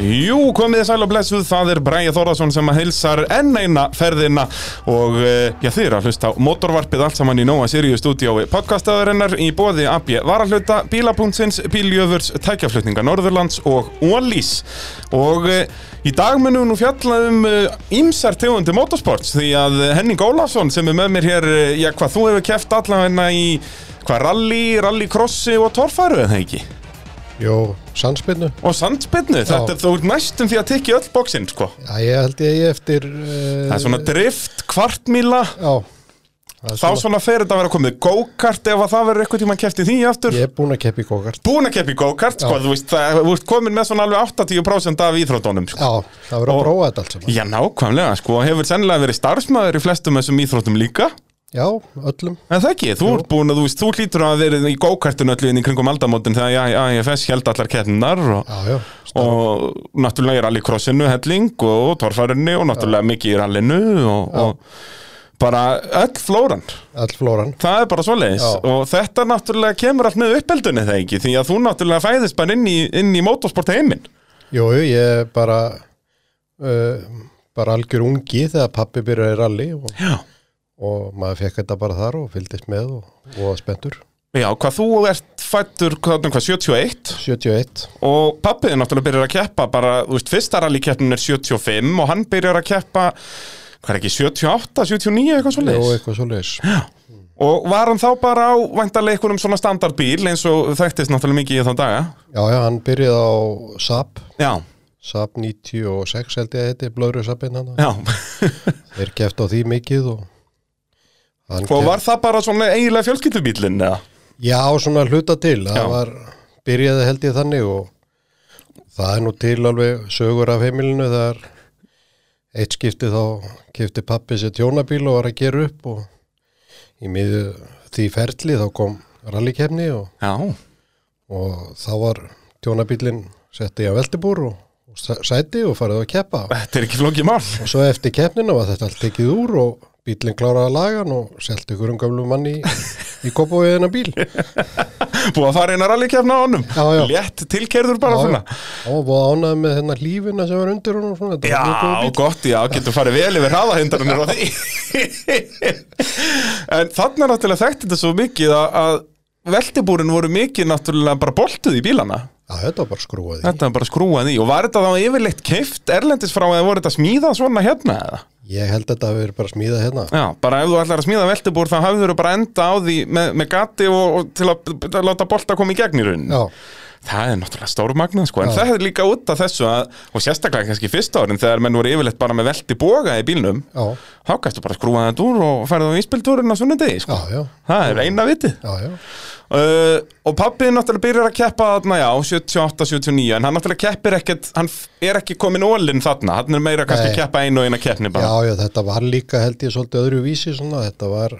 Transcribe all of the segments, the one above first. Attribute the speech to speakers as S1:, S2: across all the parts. S1: Jú, komið þið sæl og blessuð, það er Bræja Þórðarsson sem að heilsar enn eina ferðina og eh, já, þið eru að hlusta á motorvarpið allt saman í Nóa Sirius stúdíói podcastaðurinnar í bóði AB Varahluta, Bílapunktsins, Bíljöfurs, Tækjaflutninga Norðurlands og Ólís og eh, í dag munum við nú fjalla um ímsar tegundi motorsports því að eh, Henning Ólafsson sem er með mér hér, eh, já, hvað þú hefur keft allavegna í hvað rally, rallycrossi og torfæru eða ekki?
S2: Jó, sannspinnu.
S1: Og sandspinnu, þetta er þú ert næstum því að tekja öll bóksinn, sko.
S2: Já, ég held ég eigi eftir... Uh,
S1: Það er svona drift, kvartmíla,
S2: Já. Það er
S1: þá svona fer þetta að vera komið go-kart ef að það verður eitthvað tíma að kefti því aftur.
S2: Ég er búinn að keppa í gókart.
S1: Búin að keppi go-kart, sko,
S2: Já.
S1: þú veist, það, þú ert komin með svona alveg 80% af íþróttunum, sko.
S2: Já, það verður
S1: Og-
S2: að prófa þetta allt saman.
S1: Já, nákvæmlega, sko, og hefur sennilega verið starfsmæður í flestum þessum íþróttum líka.
S2: Já, öllum.
S1: En það ekki, þú ert búin að, þú veist, þú hlýtur að hafa verið í go-kartinu öllu inn í kringum aldamótin þegar AFS held allar keppnar og...
S2: Já, já.
S1: og náttúrulega í rallycrossinu helling og torfærinni og náttúrulega mikið í rallinu og, og bara öll flóran
S2: All flóran.
S1: það er bara svoleiðis
S2: Já.
S1: og þetta náttúrulega kemur allt með uppeldunni það ekki því að þú náttúrulega fæðist bara inn í, inn í motorsport heiminn
S2: Jú, jú, ég er bara... Uh, bara algjör ungi þegar pappi byrjaði í rally og,
S1: Já.
S2: og maður fekk þetta bara þar og fylgdist með og, og spenntur.
S1: Já, hvað þú ert fættur hvað, hvað, 71
S2: 71.
S1: og pappiði náttúrulega byrjar að keppa bara, þú veist, fyrsta rallykeppnin er 75 og hann byrjar að keppa hvað er ekki, 78, 79 eitthvað
S2: Jú,
S1: svoleiðis
S2: eitthvað svo leis. Já.
S1: Og var hann þá bara á væntalega einhverjum svona standardbíl eins og þekktist náttúrulega mikið í þann daga?
S2: já, hann byrjaði á SAP.
S1: Já,
S2: SAP 96 held ég að þetta er blöðru SAPinn hann.
S1: já.
S2: Þeir keft á því mikið og hann
S1: Og
S2: keppt-
S1: var það bara svona eiginlega fjölskyldubílinn eða?
S2: Já, svona hluta til, það
S1: Já.
S2: var byrjaði held ég þannig og það er nú til alveg sögur af heimilinu þegar eitt skipti þá kefti pappi sér tjónabíl og var að gera upp og í miðu því ferli þá kom rallykefni og,
S1: Já.
S2: og þá var tjónabílinn setti ég að veltibúr og, og sæ- sæti og farið að keppa
S1: Þetta er ekki flókið mál.
S2: og svo eftir keppnina var þetta allt tekið úr og bílinn kláraði að laga hann og selti ykkur um gamlu manni í, í kopóið hennar bíl
S1: Búið að fara eina rallykefna á honum.
S2: Já, já.
S1: Létt tilkerður bara
S2: Já,
S1: svona.
S2: Já, og búið ánað með hennar lífina sem var undir hún og svona. þetta
S1: Já,
S2: var mjög góður bíll.
S1: gott, já, getur farið vel yfir hraðahindarunir á því. en þannig er náttúrulega þekkt þetta svo mikið að, að veltibúrin voru mikið náttúrulega bara boltuð í bílana.
S2: Já, þetta var bara skrúað í.
S1: Þetta var bara skrúað í og var þetta þá yfirleitt keift erlendis frá eða voru þetta smíðað svona hérna eða?
S2: Ég held að þetta hafi verið bara smíðað hérna.
S1: Já, bara ef þú ætlar að smíða veltibúr þá hafður þú bara enda á því með, með gati og, og til að, að láta bolta koma í gegn í rauninni.
S2: Já,
S1: Það er náttúrulega stórmagnað sko, en það er líka út af þessu að, og sérstaklega kannski fyrst árin þegar menn voru yfirleitt bara með veltiboga í bílnum,
S2: já,
S1: þá gæstu bara skrúað þetta úr og ferðu á íspildúrin á sunnudegi
S2: já,
S1: sko.
S2: já,
S1: Það er eina vitið.
S2: já, já.
S1: Uh, og pappiði náttúrulega byrjar að keppa þarna, já, 78-79 en hann náttúrulega keppir ekkert, hann f- er ekki komin ólinn þarna, hann er meira kannski
S2: Nei.
S1: að keppa einu og eina keppni
S2: Já,
S1: bara
S2: já, þetta var líka held ég svolítið öðru vísi svona. Þetta var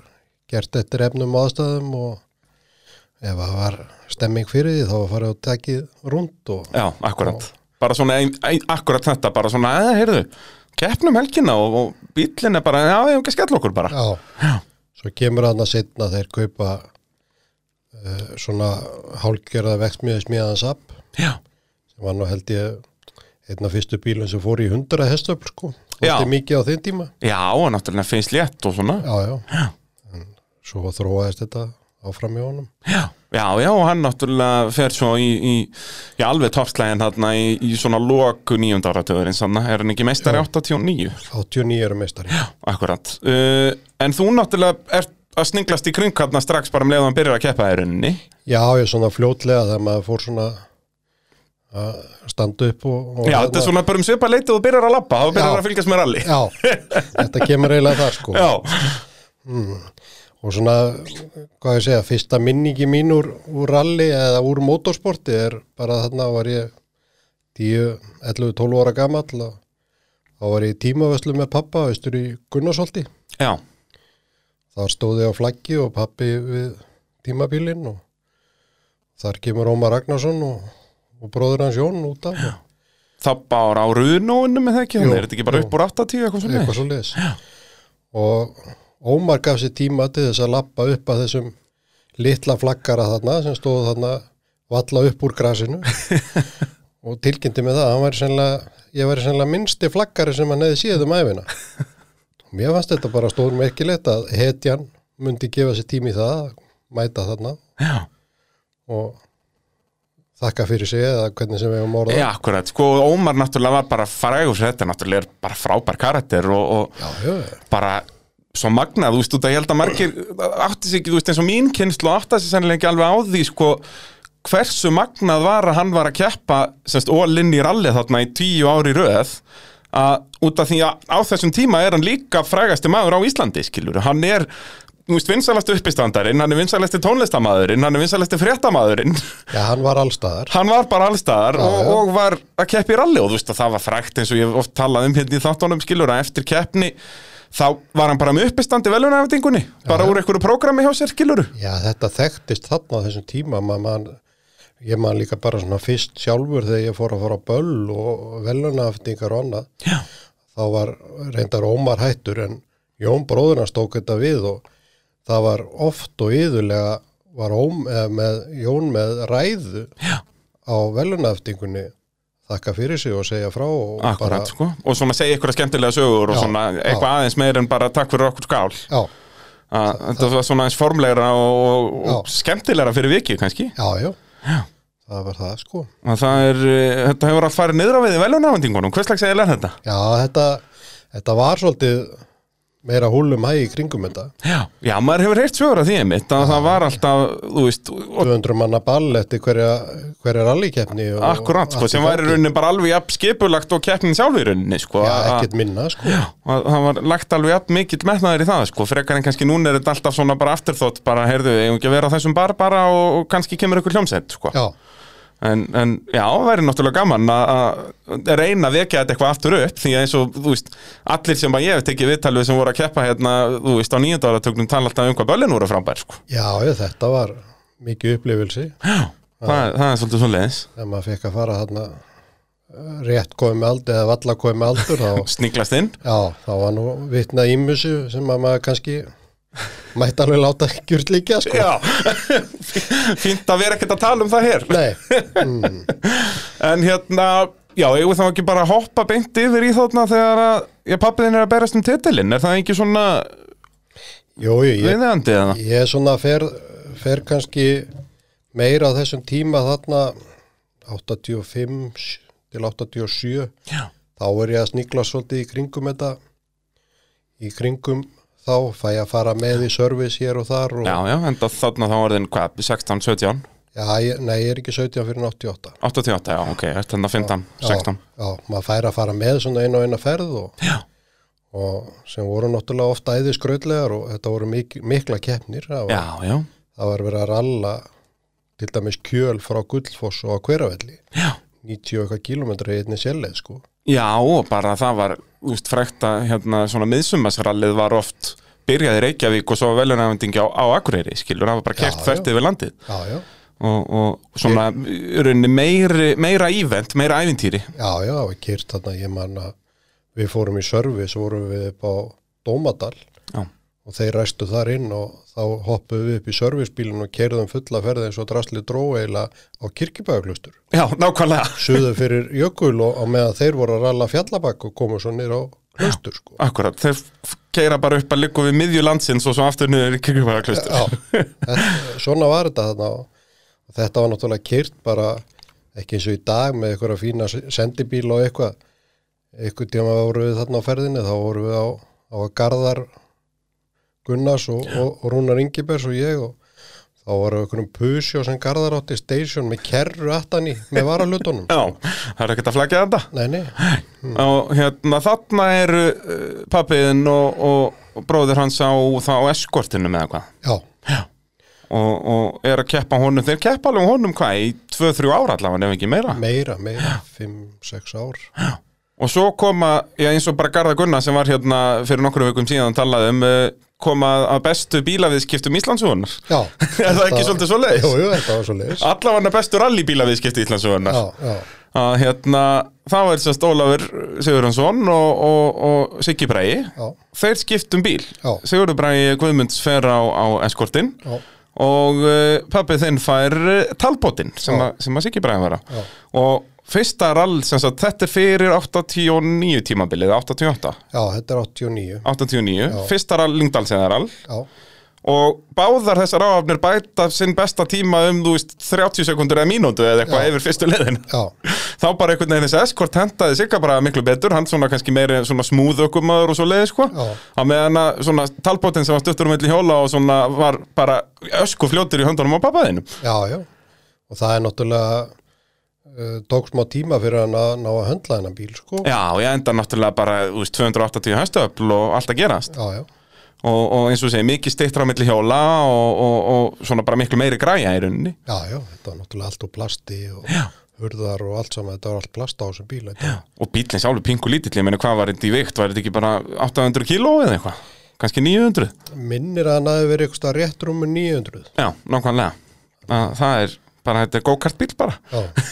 S2: gert eftir efnum og aðstæðum og ef það var stemming fyrir því þá var farið að tekið rund og
S1: Já, akkurat, bara svona ein, ein, akkurat þetta, bara svona, eða, heyrðu keppnum helgina og, og bíllinn er bara já, við hefum ekki að skella okkur bara
S2: Já. Svo kemur hann að setna þeir kaupa uh, svona hálgerða vextmiði smíðans app
S1: Já,
S2: sem var nú held ég einn af fyrstu bílum sem fór í 100 hestöfl sko.
S1: Já.
S2: Þetta er mikið á þeim tíma.
S1: já og náttúrulega finnst létt og svona
S2: Já, já. En svo þróaðist þetta áfram í honum.
S1: Já, já, já og hann náttúrulega fer svo í, í, í alveg toppslægin þarna í, í svona loku nýjönda áratöðurinn, sann er hann ekki meistari 89
S2: 89 eru meistari.
S1: Já, akkurat uh, En þú náttúrulega ert að sninglast í kring hérna strax bara um leiðan byrjar að keppa í rauninni
S2: Já, ég svona fljótlega þegar maður fór svona að standa upp og... og
S1: Já, þetta er svona bara um svipa leitið og þú byrjar að labba þá byrjar
S2: Já.
S1: að fylgjast með rally Já,
S2: Já, þetta kemur eiginlega þar sko. og svona, hvað ég segja, fyrsta minningi mín úr, úr rally eða úr motorsporti er bara þarna var ég 10, 11, 12 ára gamall og þá var ég í tímavöslu með pappa austur í Gunnarsholti
S1: já,
S2: þar stóð ég á flaggi og pappi við tímabílinn og þar kemur Ómar Ragnarsson og, og bróður hans Jón út af og
S1: það bara á runóinu með það ekki
S2: Jú,
S1: þannig, er þetta ekki bara
S2: jú.
S1: upp úr 80 eitthvað svona
S2: eitthvað svo leiðis og Ómar gaf sér tíma til þess að lappa upp að þessum litla flaggara þarna sem stóðu þarna valla upp úr grasinu og tilkynnti með það að hann væri sennilega, ég væri sennilega minnsti flaggari sem hann hefði séð um æfina og mér fannst þetta bara stór merkilegt að hetjan myndi gefa sér tími í það að mæta þarna
S1: Já.
S2: og þakka fyrir sig eða hvernig sem við höfum orðað
S1: Já, akkurat, sko, Ómar náttúrulega var bara frægur sér þetta, náttúrulega er bara frábær karakter og, og
S2: Já, já, já.
S1: bara svo magnað, þú veist, út að ég held að margir átti sig ekki, þú veist, eins og mín kynnslu átti sig sennilega ekki alveg á því, sko hversu magnað var að hann var að keppa semst ólinn í rallið þarna í tíu ári röð að út af því að á þessum tíma er hann líka frægasti maður á Íslandi, skilur hann er, þú veist, vinsalasti uppistandarinn hann er vinsalasti tónlistamaðurinn, hann er vinsalasti fréttamaðurinn
S2: já, hann var allstaðar
S1: hann var bara allstaðar
S2: Já,
S1: og,
S2: já.
S1: og var að keppa í ralli og þú veist að það var frækt eins og ég hef oft talaði um hérna í þáttunum skilur að eftir keppni þá var hann bara með uppistandi velunarvendingunni bara úr einhverju prógrami hjá sér skilur
S2: Já, þetta þekktist þarna á þessum tíma man, man, ég man líka bara svona fyrst sjálfur þegar ég fór að fara á böll og velunaftingar og annað
S1: já,
S2: þá var reyndar Ómar hættur en Jón bróðurnas tók þetta við og það var oft og yðurlega var Óm, eh, með, Jón með ræðu
S1: já,
S2: á velunaftingunni þakka fyrir sig og segja frá og
S1: akkurat sko og svona segja einhverja skemmtilega sögur og
S2: Já,
S1: svona
S2: já.
S1: eitthvað aðeins meir en bara takk fyrir okkur skál
S2: Já,
S1: að þetta var svona aðeins formlegra og, og, og
S2: Já.
S1: skemmtilegra fyrir vikið kannski
S2: já, já, það var það sko
S1: að það er, eh, þetta hefur allt farið niðra við í velunarvendingunum, hvers slags eða er þetta?
S2: Já, þetta, þetta var svolítið meira húlum hæ í kringum þetta
S1: Já, já, maður hefur heyrt sögur af því einmitt að það var alltaf, þú veist, og
S2: 200 manna ball eftir hverja, hverja rallikeppni og-
S1: Akkurát, sko,
S2: allt í
S1: sem var í
S2: gangi.
S1: rauninni bara alveg jafn skipulagt og keppnin sjálf í rauninni, sko
S2: Já,
S1: að-
S2: ekkert minna, sko
S1: að það var lagt alveg jafn mikill metnaður í það, sko frekar en kannski núna er þetta alltaf svona bara afturþótt bara, heyrðu, eigum ekki að vera á þessum bar bara og, og kannski kemur ykkur hljómsett, sko
S2: Já,
S1: en, en já, það væri náttúrulega gaman að- að reyna að vekja þetta eitthvað aftur upp því að eins og, þú veist, allir sem að ég hef tekið viðtalið sem voru að keppa hérna, þú veist, á nýjönda áratögnum tala alltaf um hvað böllin voru frambær, sko
S2: já, já, þetta var mikið upplifilsi
S1: Já, það, það er svolítið svo leiðis
S2: þegar maður fekk að fara þarna eh, rétt komið með aldur eða valla komið með aldur þá,
S1: Sniglast inn
S2: já, þá var nú vitna ímusu sem að maður kannski mætti alveg láta gjurt líka, sko
S1: Já, fínt að vera ekkert að tala um það hér
S2: Nei, mm,
S1: En hérna, já, eigum við þá ekki bara að hoppa beint yfir í þarna þegar að Já, pappiðin er að berast um titilinn, er það ekki svona
S2: jú, jú, ég,
S1: viðeigandi eða?
S2: Ég er svona fer, fer kannski meira á þessum tíma þarna 85 sj- til 87
S1: Já,
S2: þá er ég að sníkla svolítið í kringum þetta í kringum þá fæ ég að fara með í service hér og þar og,
S1: já, já enda þarna þá orðin, hvað, 16, 17,
S2: já, ég, nei, ég er ekki 17 fyrir 88
S1: 88, já, ok, er þetta 15, 16
S2: já, já, maður fær að fara með svona einu og eina ferð og,
S1: Já,
S2: og sem voru náttúrulega ofta æði skrautlegar og þetta voru mik mikla keppnir það var,
S1: já, já,
S2: það var verið að ralla til dæmis kjöl frá Gullfoss og að hveravelli
S1: já
S2: 90 og eitthvað kílómetra í einni sjæleið sko.
S1: Já, og bara það var, þú veist, frækt að hérna svona miðsumasrallið var oft byrjaði í Reykjavík og svo velunafendingi á, á Akureyri, skilur, það var bara
S2: Já,
S1: kert þvert
S2: já.
S1: yfir landið
S2: Já, já,
S1: og, og svona í rauninni meiri, meira ívent, meira ævintýri
S2: já, já, við kyrt þarna, ég man að við fórum í service, vorum við upp á Dómadal
S1: Já,
S2: og þeir ræstu þar inn og þá hoppuðum við upp í servicebílinn og keirðum fulla ferði eins og drasli dróeila á kirkibæðaklustur.
S1: já nákvæmlega
S2: Suðu fyrir jökul og á meðan þeir voru að ralla fjallabakk og komu svo nýr á klustur sko.
S1: Akkurat, þeir f- keira bara upp að liggja við miðju landsins og svo aftur niður í kirkjubæðaklaustur
S2: Já, þetta- svona var þetta þarna og þetta var náttúrulega kyrt bara ekki eins og í dag með einhverja fína sendibíla og eitthvað einhvern tíma voru við þarna á ferðinni þá voru við á, á Garðar Gunnars og, og, og Rúnar Ingibers og ég og þá voru við einhverjum pusjó sem Garðar átti station með kerru aftan í með varalutunum
S1: Já, það er ekkert að flagja þetta
S2: Nei, nei,
S1: og hérna þarna eru uh, pappiðin og, og, og bróðir hans á, þá á eskortinu með eitthvað
S2: já,
S1: og, og er að keppa á honum, þeir keppa alveg á honum hvað í 2-3 ára allavega ef ekki meira
S2: meira, meira, 5-6 ár
S1: Og svo koma, já eins og bara Garða Gunnar sem var hérna fyrir nokkru vikum síðan talaði um eh, koma að bestu bílaviðskiptum Íslandsugunar.
S2: Já,
S1: Er það ekki svolítið svoleiðis?
S2: Jú, jú, þetta var svo leiðis
S1: Allavega bestu rallybílaviðskipti Íslandsugunar.
S2: Já, já,
S1: Að hérna, þá er sérst Ólafur Sigurjónsson og, og, og Siggi Bræi.
S2: já,
S1: Þeir skiptum bíl.
S2: Já.
S1: Sigurður Bræi Guðmunds fer á, á eskortinn
S2: já,
S1: og uh, pappið þinn fær talbótinn sem,
S2: Já.
S1: að- sem að Siggi Bræði var á
S2: Já.
S1: og fyrsta rall, sem sagt, þetta er fyrir 89 tímabilið, 88
S2: Já, þetta er 89
S1: 89,
S2: Já.
S1: fyrsta rall Lingdalsenarall
S2: Já,
S1: og báðar þessar áhafnir bæta sinn besta tíma um, þú veist, 30 sekundur eða mínútu eða eitthvað
S2: Já.
S1: yfir fyrstu leiðin
S2: já,
S1: þá bara einhvern veginn þessi eskort hentaði sigga bara miklu betur, hann svona kannski meiri svona smúð ökumöður og svo leiði sko
S2: Já.
S1: að meðan að svona talbótin sem var stuttur um milli hjóla og svona var bara ösku fljótur í höndunum á pappaðinu
S2: já, já og það er náttúrulega uh, tók smá tíma fyrir hann að ná að höndla hennan bíl sko
S1: Já, og ég enda náttúrulega bara, þú veist, 280 hæstöfl og allt að gerast
S2: já, já,
S1: og, og eins og segi, mikið steyttra á milli hjóla og, og, og svona bara miklu meiri græja í rauninni
S2: já, já, þetta var náttúrulega allt úr plasti og já. hurðar og allt saman þetta var allt plast á þessum bíl já.
S1: og bílinn sálu pingu lítill, ég meina hvað var þetta í vikt var þetta ekki bara 800 kíló eða eitthvað kannski 900,
S2: minnir að hann hafi verið eitthvað rétt rúmu 900
S1: já, nákvæmlega Að það er bara, þetta er go-kart bíl bara
S2: já.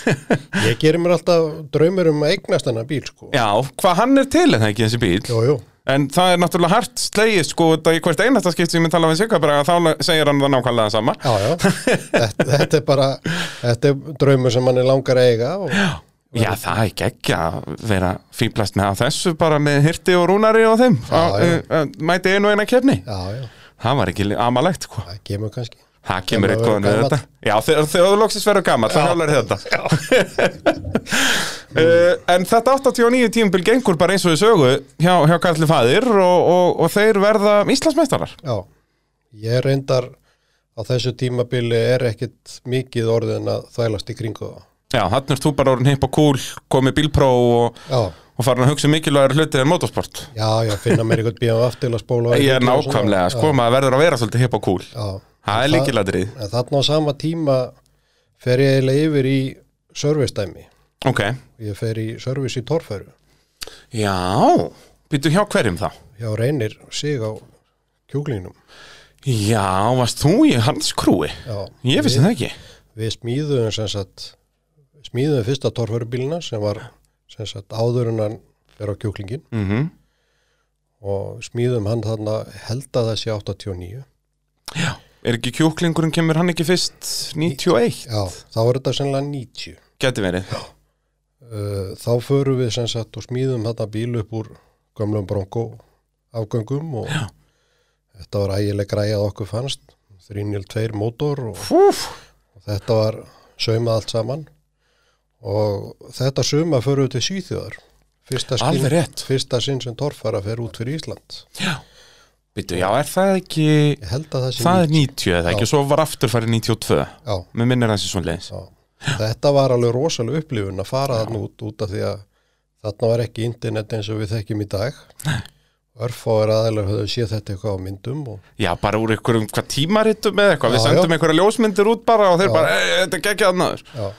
S2: ég gerir mér alltaf draumur um að eignast hennan bíl sko
S1: Já, hvað hann er til en það ekki þessi bíl
S2: jú, jú,
S1: En það er náttúrulega hart slegið sko þetta í hvert einasta skipt sem ég tala við Sigga bara að þá segir hann það nákvæmlega sama
S2: já, já þetta, þetta er bara þetta er draumur sem hann er langar að eiga og,
S1: Já, það er ekki ekki að vera fýblast með að þessu bara með Hirti og Rúnari og þeim að,
S2: já.
S1: uh, uh, Mæti einu og eina kefni
S2: já, já,
S1: Það var ekki amalegt sko
S2: það kemur kannski
S1: Það kemur
S2: Þegar maður
S1: eitthvað með
S2: verður
S1: þetta Já, þegar þegar þú loksist verður gammal, þá hjálar þetta uh, En þetta 89 tímubil gengur bara eins og við sögu hjá, hjá Karli Fæðir og, og, og þeir verða Íslandsmeistarar
S2: Já, ég reyndar á þessu tímabili er ekkit mikið orðin að þvælast í kringu það.
S1: Já, hann er þú bara orðin hipp og cool, komið bílpró og,
S2: Já,
S1: og farin að hugsa um mikilvægur hluti en motorsport.
S2: já, já, finna mér eitthvað bíðan aftil að spóla. á
S1: Ég er
S2: einhvern og svona.
S1: nákvæmlega, sko, maður verður að vera svolítið hipp og cool.
S2: Já,
S1: Það er líkiladrið.
S2: en þarna á sama tíma fer ég eiginlega yfir í servistæmi.
S1: Ok.
S2: Ég fer í service í torfæru
S1: Já, býtu hjá hverjum þá?
S2: hjá reynir sig á kjúklingnum.
S1: Já, varst þú í hans krúi?
S2: Já,
S1: Ég vissi það ekki.
S2: við smíðum sem sagt, smíðum fyrsta torfærubílina sem var sem sagt áður en hann er á kjúklingin.
S1: Mm
S2: og smíðum hann þarna held að það sé 89
S1: Er ekki kjúklingurinn kemur hann ekki fyrst 91?
S2: já, þá er þetta sennilega 90
S1: Gæti verið.
S2: uh, þá förum við sem sagt og smíðum þarna bíl upp úr gömlum bronko afgöngum og
S1: Já.
S2: þetta var ægileg græjað okkur fannst 302 mótor og
S1: Úf,
S2: þetta var saumað allt saman og þetta sauma förum við til Svíþjóðar fyrsta,
S1: Alveg rétt.
S2: fyrsta sinn sem torfara fer út fyrir Ísland
S1: býtu, já, er það ekki...
S2: ég held að það sé
S1: Það er
S2: 90
S1: 90 eða ekki, og svo var aftur farið 92.
S2: já,
S1: Mér minnir það sem svona leiðis.
S2: Já. Þetta var alveg rosalega upplifun að fara þarna út út af því að þarna var ekki internet eins og við þekkjum í dag. Örfáir aðeinar höfðu séð þetta eitthvað á myndum og
S1: Já, bara úr einhverjum hvað tímaritum eða eitthvað, við
S2: Já,
S1: sendum einhverja ljósmyndir út bara og þeir
S2: Já.
S1: bara, "Ey, þetta er ekki annaður.
S2: já.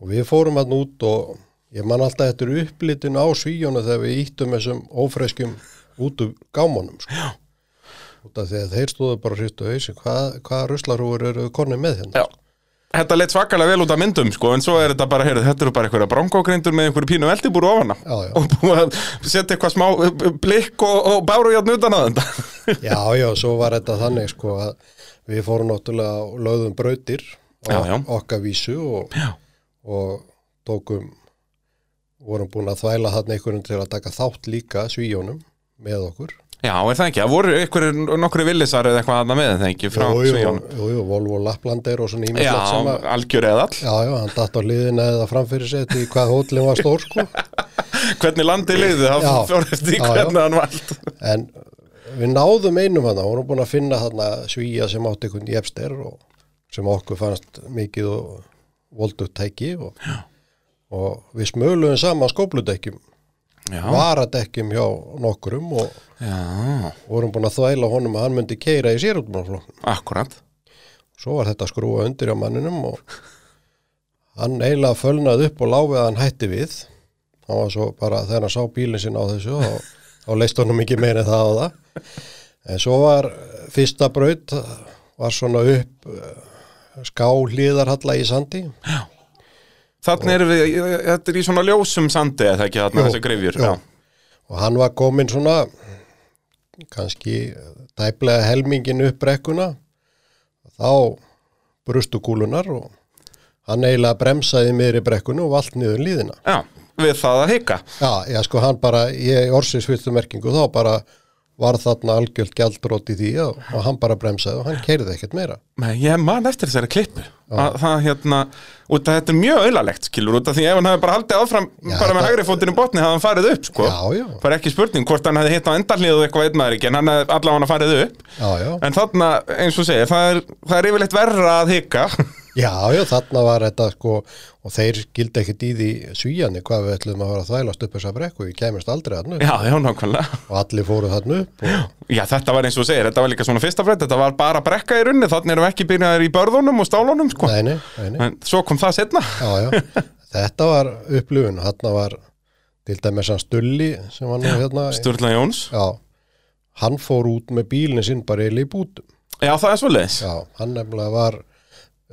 S2: Og við fórum þarna út og ég man alltaf þetta er upplitin á svíjónu þegar við íttum þessum ófreskjum út um gámanum. Sko. Út af því að þeir stóðu bara hristu hausi, hvað, hvað ruslarúur eru konið með hérna?
S1: Já. Þetta leitt svakalega vel út af myndum, sko, en svo er þetta bara, heyrðu, þetta eru bara einhverja bronkogrindur með einhverju pínu eldibúru ofana.
S2: Já, já.
S1: Og búið að setja eitthvað smá uh, uh, blikk og, og bárujárn utan að þetta.
S2: Já, já, svo var þetta þannig sko að við fórum náttúrulega og lögðum brautir og
S1: Já, já.
S2: okkar vísu og, og tókum vorum búin að þvæla þarna einhverjum til að taka þátt líka svíjónum með okkur.
S1: Já, er það ekki? Það voru einhverju nokkru villisar eða eitthvað aðna með það ekki frá
S2: jú, jú,
S1: Svíjónum.
S2: jú, jú, Volvo Laplander og svona
S1: Já,
S2: ímislegt sem að
S1: algjör eða all.
S2: Já, já, hann datt á liðina eða framfyrir sér til hvað hótlinn var stór sko
S1: Hvernig landið liðið, það
S2: Já.
S1: fór eftir
S2: Já,
S1: því
S2: já.
S1: hvernig hann vald.
S2: en við náðum einum hann vorum búin að finna þarna svíja sem átti einhvern jefster og sem okkur fannst mikið og voldugt tæki og, og við smöluðum saman skópludekkjum
S1: Já,
S2: varadekkjum hjá nokkurum og
S1: já,
S2: vorum búin að þvæla honum að hann myndi keira í sérútmálflokkum
S1: akkurat.
S2: svo var þetta skrúa undir á manninum og hann eiginlega fölnaði upp og láfið að hann hætti við hann var svo bara þegar hann sá bílinn sinna á þessu og þá leist honum ekki meira en það á það en svo var eh, fyrsta braut eh, var svona upp eh, ská hliðarhalla í sandi
S1: Þannig erum við, þetta er í svona ljósum sandi eða ekki þarna
S2: Jú,
S1: þessi grifjur.
S2: jú. og hann var komin svona kannski tæplega helmingin upp brekkuna þá brustu kúlunar og hann eiginlega bremsaði meðri brekkunni og vald niður líðina.
S1: Já, við það að hika.
S2: Já, já, sko, hann bara, ég orsinsviltu merkingu þá bara var þarna algjörð gjaldrótt í því og, og hann bara bremsaði og hann keirði ekkert meira.
S1: Nei, ég man eftir þessari klippu að það hérna, út að þetta er mjög auðalegt skilur út af því ef hann hefði bara haldið áfram bara með
S2: þetta-
S1: hægri fótinn í botni hafði hann farið upp sko,
S2: Já, já.
S1: bara ekki spurning hvort hann hefði hitt á endarliðu eitthvað einn maður ekki en hann hefði allavega farið upp
S2: Já, já,
S1: en þarna, eins og segir, það er, það er yfirleitt verra að hika
S2: já, já, þarna var þetta sko og þeir gildi ekkert í því svíjani hvað við ætlum að vera að þvælast upp þessa brekku, við kemist aldrei þarna upp
S1: Já, já, nákvæmlega
S2: og allir fóru þarna upp og
S1: Já, þetta var eins og segir, þetta var líka svona fyrsta frétt þetta var bara brekka í runni, þannig erum við ekki byrjaðir í börðunum og stálunum sko.
S2: neini, neini,
S1: en svo kom það setna
S2: já, já, þetta var upplifun, þarna var til dæmis hann Stulli sem var nú hérna,
S1: Sturla Jóns,
S2: já, hann fór út með bílinn sinn bara eiginlega í bútum.
S1: já það er svo leis
S2: Já, hann nefnilega var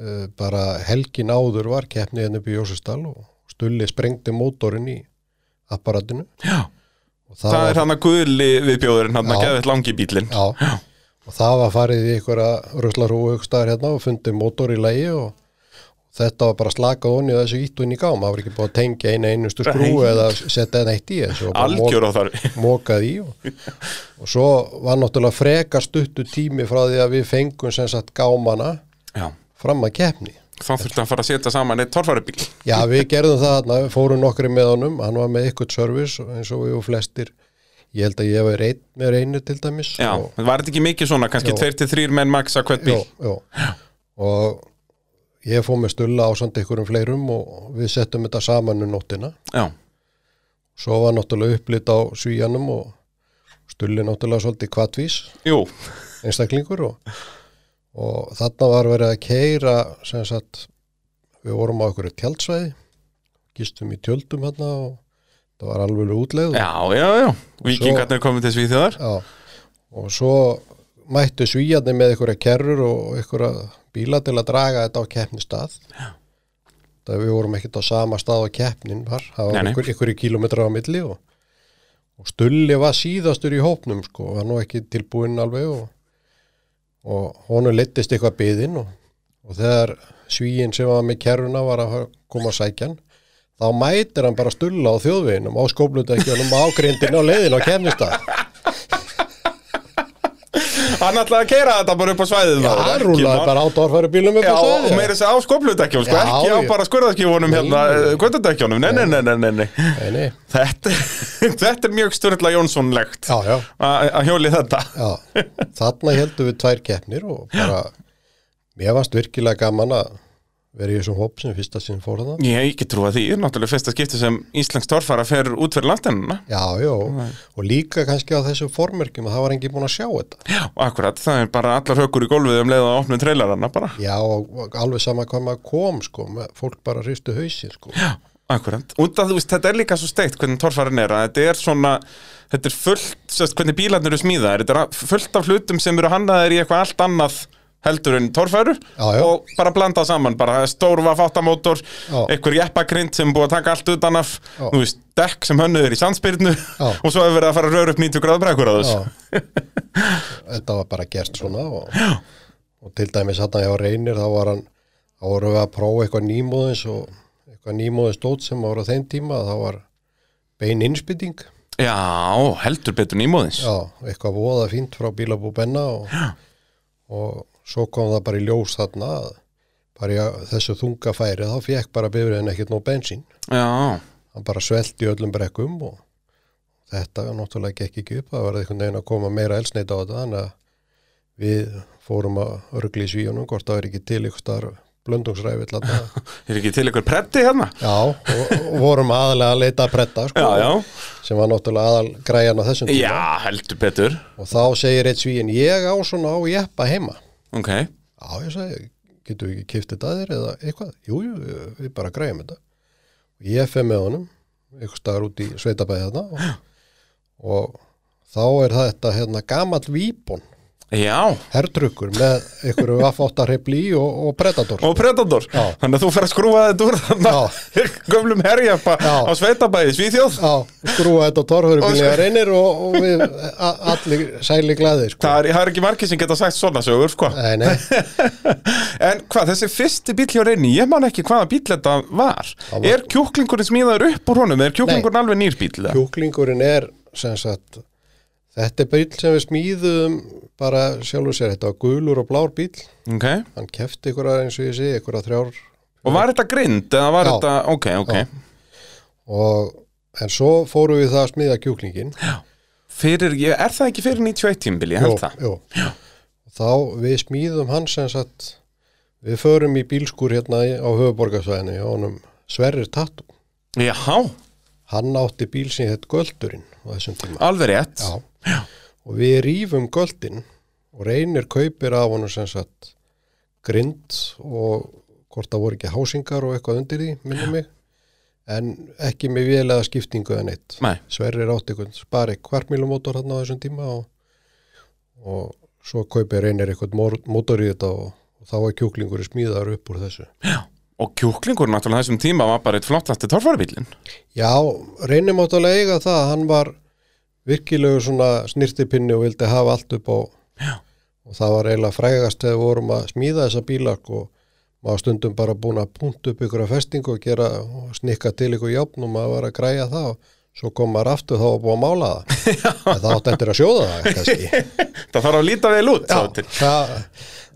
S2: uh, bara helgin áður var keppnið henni upp í Jósustal og Stulli sprengdi mótorinn í apparatinu
S1: Já.
S2: og það,
S1: Það er
S2: var,
S1: hann að guðli viðbjóðurinn hann að
S2: Já.
S1: gefa eitt langi bílinn.
S2: já, og það var farið í einhverja ruslarhúu aukstaðar hérna og fundið mótor í lægi og þetta var bara slakað honni þessu ítt og inn í gám, það var ekki búið að tengja eina einustu skrú
S1: Nei.
S2: eða setja henni eitt í þessu og bara mok-
S1: Algjör á þarfi.
S2: mokað í og, og svo var náttúrulega frekar stuttu tími frá því að við fengum sem sagt gámana
S1: Já.
S2: fram að keppni
S1: Þá þurfti hann að fara að setja saman eitt torfarubíl.
S2: Já, við gerðum það þarna, við fórum nokkri með honum, hann var með ykkur service eins og við og flestir, ég held að ég var einn með reynu til dæmis.
S1: Já.
S2: og,
S1: Var þetta ekki mikið svona, kannski
S2: Jó.
S1: tveir til þrýr menn maxa hvert
S2: já,
S1: bíl?
S2: já. Og ég fór með stulla á samt ykkurum fleirum og við settum þetta saman um nóttina.
S1: Já.
S2: Svo var náttúrulega upplit á svíjanum og stulli náttúrulega svolítið kvatvís,
S1: Jú.
S2: einstaklingur og, og þarna var verið að keira sem sagt við vorum á ykkur tjaldsvæði gistum í tjöldum hérna og það var alveg útleið
S1: Já, já, já. Víkingarnir komið til Svíþjóðar.
S2: Já, og svo mættu svíjarnir með einhverja kerrur og einhverja bíla til að draga þetta á keppnistað. Já. Það við vorum ekkert á sama stað á keppnin var, það
S1: Nei,
S2: var
S1: nei.
S2: einhver, einhverju kílómetra á milli og, og stulli var síðastur í hópnum sko, var nú ekki tilbúinn alveg og, og honum leittist eitthvað byðin og, og þegar svíin sem var með kerruna var að koma að sækja hann, þá mætir hann bara stulla á þjóðveginum, á skóplundekjunum, á grindinu og leiðin á keppnistað.
S1: Hann ætlaði að keira þetta bara upp á svæðið.
S2: Já,
S1: maður,
S2: hann
S1: ekki
S2: rúlaði
S1: mál.
S2: bara át orðfæri bílum upp
S1: Já,
S2: á
S1: og
S2: svæði.
S1: meira þess að á skoplutekjum, sko,
S2: Já,
S1: ekki á
S2: já.
S1: bara skurðarkífunum hérna, kvöldardekjunum, nei, nei, nei, nei, nei, nei.
S2: Nei, nei.
S1: Þetta, þetta er mjög Sturla Jónssonlegt
S2: Já, já,
S1: að að hjóli þetta.
S2: já. Þarna heldum við tvær keppnir og bara, mér varst virkilega gaman að vera í þessum hóp sem fyrsta sinn fór þarna.
S1: Ég ekki trúa því, er náttúrulega fyrsta skipti sem Íslensk torfara fer út fyrir landinna
S2: Já, já, og líka kannski á þessum formerkjum að það var engin búin að sjá þetta.
S1: Já, akkurat, það er bara allar hökur í gólfið um leiða að opna trailerana bara
S2: Já, og alveg sama hvað maður kom, sko, með, fólk bara hristu hausinn, sko.
S1: Já, akkurat, út að þú veist, þetta er líka svo steikt hvernig torfaran er að þetta er svona þetta er fullt, sérst, hvernig bílarnir eru smíðaðir þetta er a- fullt af hlutum sem eru hannaðir í eitthvað allt annað heldur en torfæru
S2: Já, já.
S1: og bara blanda saman, bara stórva fátamótor,
S2: Já.
S1: einhver jeppagrind sem er búið að taka allt utan af,
S2: Já.
S1: þú veist, dekk sem hönnuður í sandspyrnu
S2: Já.
S1: og svo hefur verið að fara að röra upp 90 gráð brekkur á þessu.
S2: Já. Þetta var bara gert svona og, og til dæmis hann að ég var reynir þá var hann, þá voru við að prófa eitthvað nýmóðins og eitthvað nýmóðins dót sem voru á þeim tíma þá var bein innspýting
S1: Já, heldur betur nýmóðins.
S2: já, eitthvað voða fínt frá bílabú Benna og, og svo kom það bara í ljós þarna að bara í að- þessu þunga færi þá fekk bara bifriðin ekkert nóg bensín
S1: Já,
S2: hann bara svelti í öllum brekkum og þetta náttúrulega gekk ekki upp það var einhvern veginn að koma meira elsneitt á þetta þannig að við fórum að örgli í svíunum hvort það er ekki til ykkur starf blöndungsræfill þarna.
S1: er ekki til ykkur preddi hérna?
S2: já, og, og vorum aðalega að leita að bretta sko,
S1: Já, já,
S2: sem var náttúrulega aðal græjan á þessum tíma
S1: já, heldur betur.
S2: og þá segir eitt svíin ég á svona á jeppa heima
S1: Ok,
S2: Já, ég sagði, getum við ekki kiftið þetta að þér eða eitthvað? Jú, jú, við bara græjum þetta. Ég fer með honum, einhver staðar út í sveitabæði þarna og, og þá er þetta hérna gamall víbon
S1: Já,
S2: hertrukkur með einhverju vaffáttarheipli í og, og predator.
S1: og Predator
S2: Já.
S1: Þannig að þú fer að skrúfa þetta úr þarna Gömlum herjappa
S2: Já.
S1: á sveitabæði Svíþjóð
S2: Já, skrúa þetta á torfurubíli
S1: Og-
S2: að reynir og, og við a- allir sæli glæðir sko.
S1: Það er, það er ekki margir sem geta sagt svona sögur, sko.
S2: Nei, nei,
S1: En hvað, þessi fyrsti bíl hjá reyni, ég man ekki hvaða bíl þetta var.
S2: var-
S1: Er kjúklingurinn smíðaður upp úr honum? Er kjúklingurinn alveg nýr bíl? eða?
S2: kjúklingurinn er sem sagt, þetta er bíl sem við smíðum bara sjálfur sér, þetta var gulur og blár bíl
S1: Ok.
S2: hann kefti einhverja eins og ég sé, einhverja þrjár
S1: Og var þetta grind? Eða var
S2: Já.
S1: þetta, ok, ok.
S2: Já. og, en svo fórum við það að smíða kjúklingin
S1: Fyrir, ég, er það ekki fyrir 91 tímbil, ég held það.
S2: jú. þá við smíðum hann sem sagt við förum í bílskur hérna í- á höfuborgarsvæðinu hjá honum Sverrir Tattu
S1: Jáhá,
S2: hann átti bíl sem hétt Göldurinn á þessum tíma
S1: alveg rétt.
S2: Já. og við rýfum göldin og reynir kaupir af honum sem sagt grind og hvort það voru ekki hásingar og eitthvað undir því, minnum mig en ekki með vélega skiptingu eða neitt
S1: Nei,
S2: Sverrir átti einhvern spari kvartmílumótor hann á þessum tíma og, og svo kaupir reynir einhvern mór- mótor í þetta og, og þá er kjúklingur smíðaður upp úr þessu
S1: og kjúklingurinn náttúrulega þessum tíma var bara eitt flottasti torfarabílinn.
S2: Já, reynir mátt alveg eiga það, hann var virkilegu svona snirtipinni og vildi hafa allt upp á
S1: Já.
S2: og það var eiginlega frægast þegar við vorum að smíða þessa bílak og maður stundum bara búin að punkt upp ykkur að festingu og gera og snikka til ykkur jafn og maður var að græja það og svo kom maður aftur þá að búa að mála það en það átti eftir að sjóða það kannski
S1: Það þarf að líta vel út, sá til.
S2: það,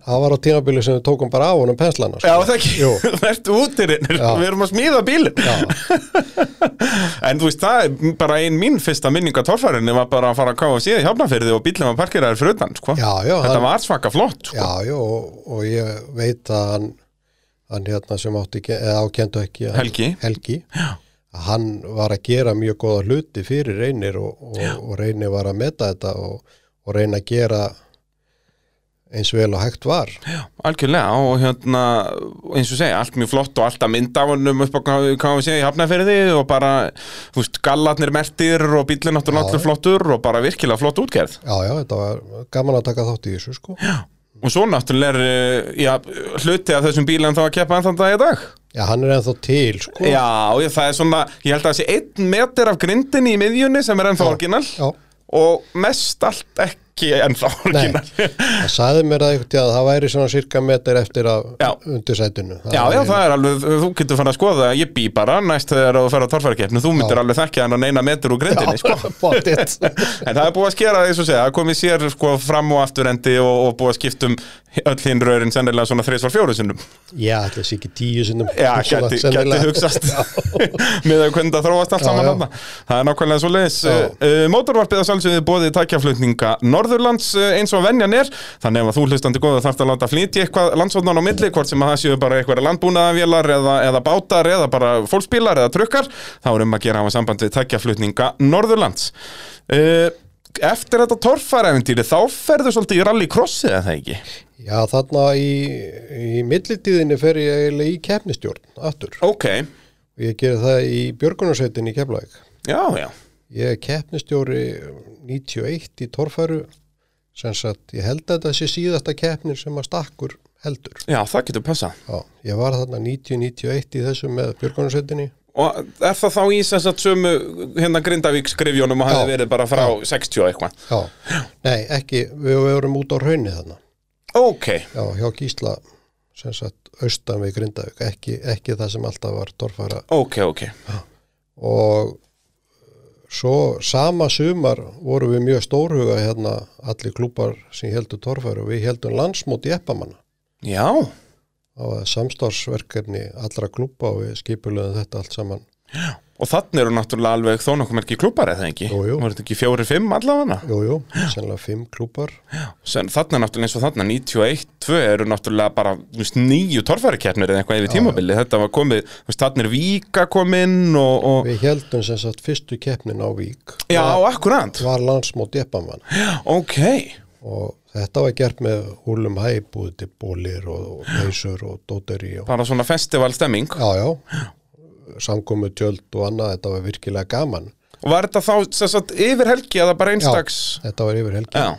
S2: það var á tímabili sem við tókum bara af honum penslana
S1: Já,
S2: sko.
S1: það ekki,
S2: Jú.
S1: verðt útirinn,
S2: Já.
S1: við erum að smíða bílinn.
S2: Já,
S1: En þú veist, það er bara ein mín fyrsta minninga torfærinni var bara að fara að káfa síði hjáfnafyrði og bílum að parkera þér fyrir utan, sko.
S2: já, já,
S1: Þetta var svaka flott, sko.
S2: Já, já, og, og ég veit að hann, hann hérna sem átti, ke- eða ákendu ekki hann,
S1: Helgi.
S2: Helgi að hann var að gera mjög góða hluti fyrir reynir og, og, og reynir var að meta þetta og, og reyna að gera eins vel og hægt var
S1: Algjörlega, og hérna, eins og segja, allt mjög flott og allt að mynda á hennum upp á káfa síði hjáfnafyrði og bara, þú veist, gallarnir mertir og bílinn náttúrulega allur flottur og bara virkilega flott útgerð.
S2: Já, já, þetta var gaman að taka þátt í þessu sko Já,
S1: Og svo náttúrulega er, eh, já, hluti af þessum bílum þá að keppa andan dag í dag.
S2: hann er ennþá til sko
S1: Já, ég, það er svona, ég held að það sé einn meter af grindinni í miðjunni sem er ennþá orginal
S2: já.
S1: og mest allt ekki ennþá
S2: Nei,
S1: orginal.
S2: það sagði mér það einhvern tíð að það væri svona cirka meter eftir að
S1: Já.
S2: undir sætinu
S1: Já, já, það er alveg, þú getur fann að skoða, ég bý bara næst þegar þú fer á torfærakeppnu, þú myndir
S2: Já.
S1: alveg þekkja hann að neina metur úr grindinni, sko.
S2: Bóttið
S1: En það er búið að skera eins og segja, það komið sér sko fram og afturendi og, og búið að skiptum öll hinn rörin sennilega svona þreisvar fjóru sinnum.
S2: Já, ætli sé ekki tíu sinnum
S1: Já,
S2: hugsanlega,
S1: gæti, gæti
S2: sennilega.
S1: hugsast
S2: Já.
S1: með að hvernig það þróast allt
S2: Já,
S1: saman
S2: já.
S1: þarna. Það er nákvæmlega svo leiðis.
S2: Já.
S1: Uh, mótorvarpið að sjálfsögðu bóði tækjaflutninga Norðurlands uh, eins og venjan er. Þannig ef að þú hlustandi góða þarfst að láta flytja eitthvað landsvotnan á milli, hvort sem að það séu bara eitthvað landbúnaðavélar eða, eða bátar eða bara fólksbílar eða trukkar, þá er um að gera hafa samband við tækjaflutninga Norðurlands. Uh, eftir þetta torfaræfintýri, þá ferðu svolítið í rallycrossið eða það ekki?
S2: Já, þarna í, í millitíðinni fer ég eiginlega í keppnistjórn aftur.
S1: Ok,
S2: Ég gerði það í Björgunarsveitinni í Keflæk.
S1: já, já.
S2: Ég er keppnistjóri 91 í Torfæru sem sagt, ég held að þetta sé síðasta keppnir sem að stakkur heldur.
S1: Já, það getur passað.
S2: Já, ég var þarna 90-91 í þessu með Björgunarsveitinni.
S1: Og er það þá í þess að sömu hérna Grindavík skrifjónum og hafi
S2: Já.
S1: verið bara frá 60 og eitthvað?
S2: Já, nei, ekki, við við vorum út á raunni þarna.
S1: Ok,
S2: Já, hjá Gísla sem sagt, austan við Grindavík, ekki, ekki það sem alltaf var Torfæra
S1: ok, ok.
S2: og svo sama sumar vorum við mjög stórhuga hérna allir klúpar sem heldur torfæru og við heldum landsmóti eppamanna
S1: Já,
S2: það var samstarfsverkefni allra klúpa og við skipulegum þetta allt saman
S1: og þannig eru náttúrulega alveg þó nokkuð merki klúpar eða ekki?
S2: Jú, jú.
S1: Var þetta ekki fjóri, fimm allavega?
S2: jújú, jú, sennilega fimm klúpar
S1: Sen, þannig er náttúrulega eins og þannig 91, 2 eru náttúrulega bara þú veist, nýju torfærikeppnir eða eitthvað yfir tímabili. Þetta var komið, þú veist, þannig er Víka kominn og... og...
S2: við heldum sem sagt fyrstu keppnin á Vík
S1: Já,
S2: var,
S1: akkurant.
S2: var landsmóti eppamanna
S1: Ok,
S2: og þetta var gert með húlum hæp og til bólir og, og peysur og dóteri og
S1: bara svona festivalstemming.
S2: já, já, samkomu tjöld og annað, þetta var virkilega gaman
S1: Var þetta þá, sem sagt, yfir helgi eða bara einstags?
S2: Þetta var yfir helgi.
S1: Já.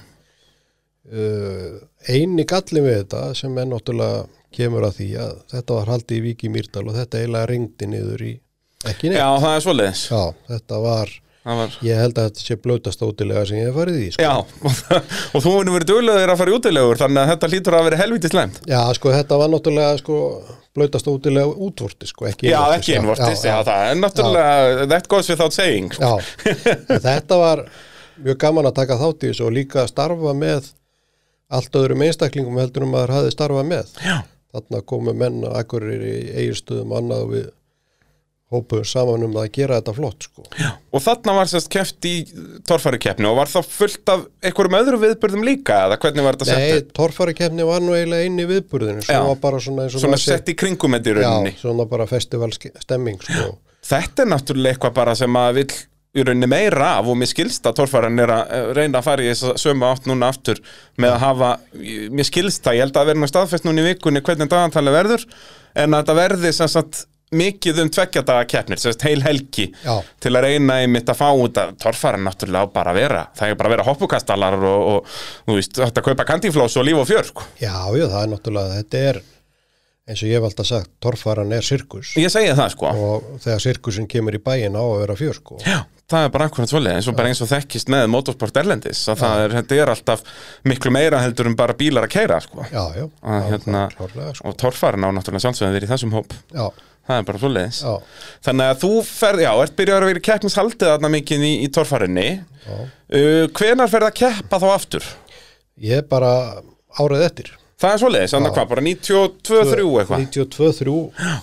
S2: uh, eini gallin við þetta sem er náttúrulega kemur að því að þetta var haldið í Vík í Mýrdal og þetta eiginlega ringdi niður í ekki neitt.
S1: Já, það er svoleiðis
S2: Já, þetta var,
S1: Það var
S2: ég held að þetta sé blötast ótilega sem ég hef farið í. Sko.
S1: Já, og þú hefur verið duglegur að fara í útilegur þannig að þetta hlýtur að vera helvítið slæmt
S2: Já, sko, þetta var náttúrulega sko, blötast ótilega útvorti, sko, ekki
S1: Já, ekki innvortis, já, það er náttúrulega that goes without saying sko.
S2: Já, en þetta var mjög gaman að taka þátt í þessu og líka að starfa með allt öðrum einstaklingum heldur um að maður hafði starfað með.
S1: Já,
S2: Þarna komu menn og akkurir í eigirstöðum annað og við hópuðum saman um að gera þetta flott, sko.
S1: og þarna var sérst keft í torfærukeppni og var það fullt af einhverjum öðrum viðbyrðum líka eða hvernig var þetta
S2: Nei,
S1: sett
S2: torfarikefni var nú eiginlega inn í viðburðinu, svo
S1: Já.
S2: var bara svona eins og
S1: svona
S2: maður sé-
S1: sett í kringum þetta í rauninni
S2: Já, svona bara festivalstemming, sko.
S1: Þetta er náttúrulega eitthvað bara sem að vill í rauninni meira af og mér skilst að torfæran er að eh, reyna að fara í þess sömu átt núna aftur með að hafa, mér skilst það, ég held að það verði nú staðfest núna í vikunni hvernig dagantalið verður en að þetta verði sem sagt mikið um tveggjadagakeppnir, sem sagt heil helgi
S2: Já.
S1: til að reyna einmitt að fá út að torfæran náttúrulega á bara að vera það er bara að vera hoppukastalar og, og þú veist, þetta kaupa kandíflós og líf og fjör sko.
S2: Já, já, það er náttúrulega, þetta er, eins og ég hef alltaf sagt, torfaran er sirkus.
S1: ég segi það sko
S2: og þegar sirkusin kemur í bæin á að vera fjör sko.
S1: Já, það er bara akkurat svolítið eins og bara eins og þekkist með motorsport erlendis að það er, þetta er alltaf miklu meira heldur en bara bílar að keira sko.
S2: Já, já,
S1: að,
S2: já,
S1: hérna,
S2: það er klárlega, sko.
S1: og torfarin á náttúrulega sjálfsögðan verið í þessum hóp
S2: já,
S1: það er bara svolítið
S2: já,
S1: þannig að þú ferð, já, ert byrjaður að vera í keppnishaldið þarna mikið í, í torfarinni
S2: já.
S1: uh, hvenar ferð að keppa þá aftur?
S2: Ég er bara árið eftir
S1: Það er svolítið, þannig að hvað, bara 92-3 eitthvað
S2: 92-3,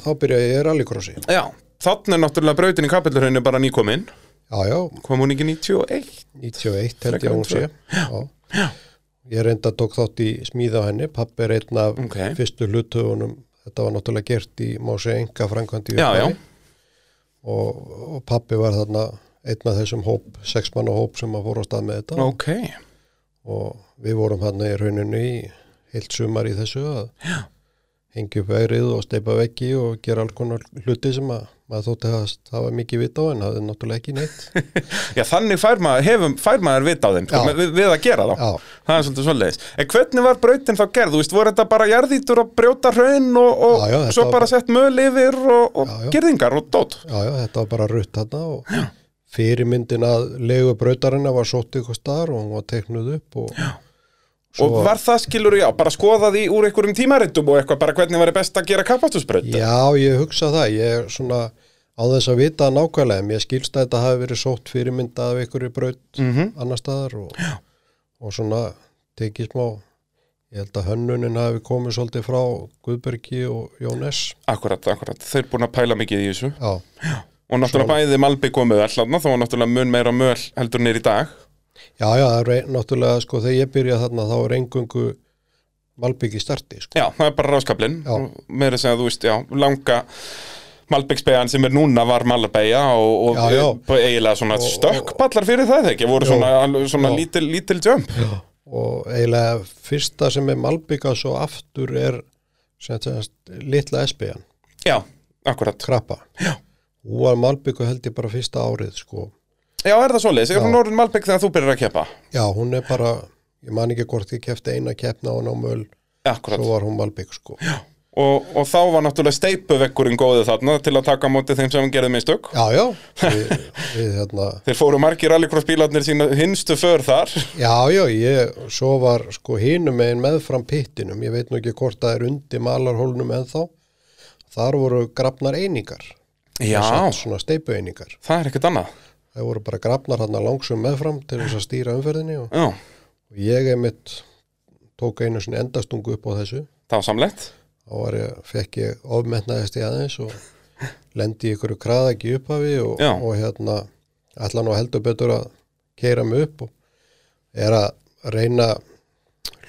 S2: þá byrjaði ég rallycrossi
S1: Já, þannig er náttúrulega brautin í kapillurhrauninu bara nýkomin
S2: Já, já,
S1: kom hún ekki 91?
S2: 91 held ég að hún sé
S1: Frekar en
S2: já. Ég reynda tók þátt í smíða á henni pappi er einn af
S1: Ok.
S2: fyrstu hlutugunum þetta var náttúrulega gert í má segja enga frangandi
S1: Já, já,
S2: og, og pappi var þarna einn af þessum hóp, sexmanna hóp sem að fóra á stað með þetta
S1: ok
S2: og við vorum hann í rauninu í heilt sumar í þessu að Já. hengja upp vegrið og steipa veggi og gera alls konar hluti sem að maður þótti að hafa mikið vita á en hafði náttúrulega ekki neitt.
S1: Já, þannig fær maður, hefum, fær maður vita á þeim sko,
S2: Já.
S1: með- við, við að gera þá
S2: Já.
S1: Það er svolítið svolítið En hvernig var brautin þá gerð? Þú veist, voru þetta bara jarðítur að brjóta hraun og, og
S2: Já, já, þetta
S1: svo
S2: var
S1: bara sett möl yfir og, og
S2: Já, já.
S1: gerðingar og dót
S2: Já, já, þetta var bara rutt hann og fyrirmyndin að legu brautarinna var sótt ykkur staðar og hún var teiknuð upp og Já.
S1: Og var það skilur, já, bara skoðað í úr einhverjum tímaritum og eitthvað, bara hvernig var best að gera kappastusbraut
S2: Já, ég hugsa það, ég er svona á þess að vita það nákvæmlega, en mér skilst að þetta hafi verið sótt fyrirmynda af einhverju braut annar staðar og, og svona tekið smá, ég held að hönnunin hafi komið svolítið frá Guðbergi og Jónes.
S1: Akkurat, akkurat, þeir búin að pæla mikið í þessu
S2: Já,
S1: Og náttúrulega bæði Malbygg og möl, hlána, þá var náttúrulega mun meira möl heldur nýr í dag
S2: já, já, það er ein- náttúrulega, sko, þegar ég byrja þarna þá er engungu Malbyggi starti, sko.
S1: Já, það er bara ráskablinn
S2: Já.
S1: Meira sem að þú veist, já, langa Malbyggsbeigan sem er núna var Malabegja og, og
S2: Já, já.
S1: bara eiginlega svona stökkballar fyrir það ekki voru svona, alveg svona
S2: Já.
S1: lítil, lítil jump
S2: Og eiginlega fyrsta sem er Malbygga svo aftur er sem sagt, litla SB-an.
S1: Já, akkurat
S2: krabba já. hún var malbyggu held ég bara fyrsta árið sko.
S1: Já, er það svoleiðis? Er hún orðin Malbygg þegar þú byrjar að keppa?
S2: já, hún er bara ég man ekki hvort ég kefti eina keppna á námöl
S1: Akkurat
S2: svo var hún malbygg sko. já.
S1: og, og þá var náttúrulega steipuvekkurinn góðið þarna til að taka á móti þeim sem gerði mistök
S2: já, já við, við hérna
S1: Þeir fóru margir rallycrossbílarnir sína hinstu för þar
S2: já, já, ég, svo var sko hinum megin meðfram pittinum ég veit nú ekki hvort það er undir malarhólnum ennþá þar voru grafnar einingar
S1: Já,
S2: svona steipu einingar
S1: það er ekkert annað
S2: það voru bara grafnar hann langsum meðfram til þess að stýra umferðinni og
S1: Já,
S2: og ég einmitt tók einu sinni endastungu upp á þessu
S1: það var samlegt
S2: þá var ég, fekk ég ofmetnaðist í aðeins og lendi í ykkur kraðagi upphafi og,
S1: Já.
S2: og hérna ætla nú heldur betur að keira mig upp og er að reyna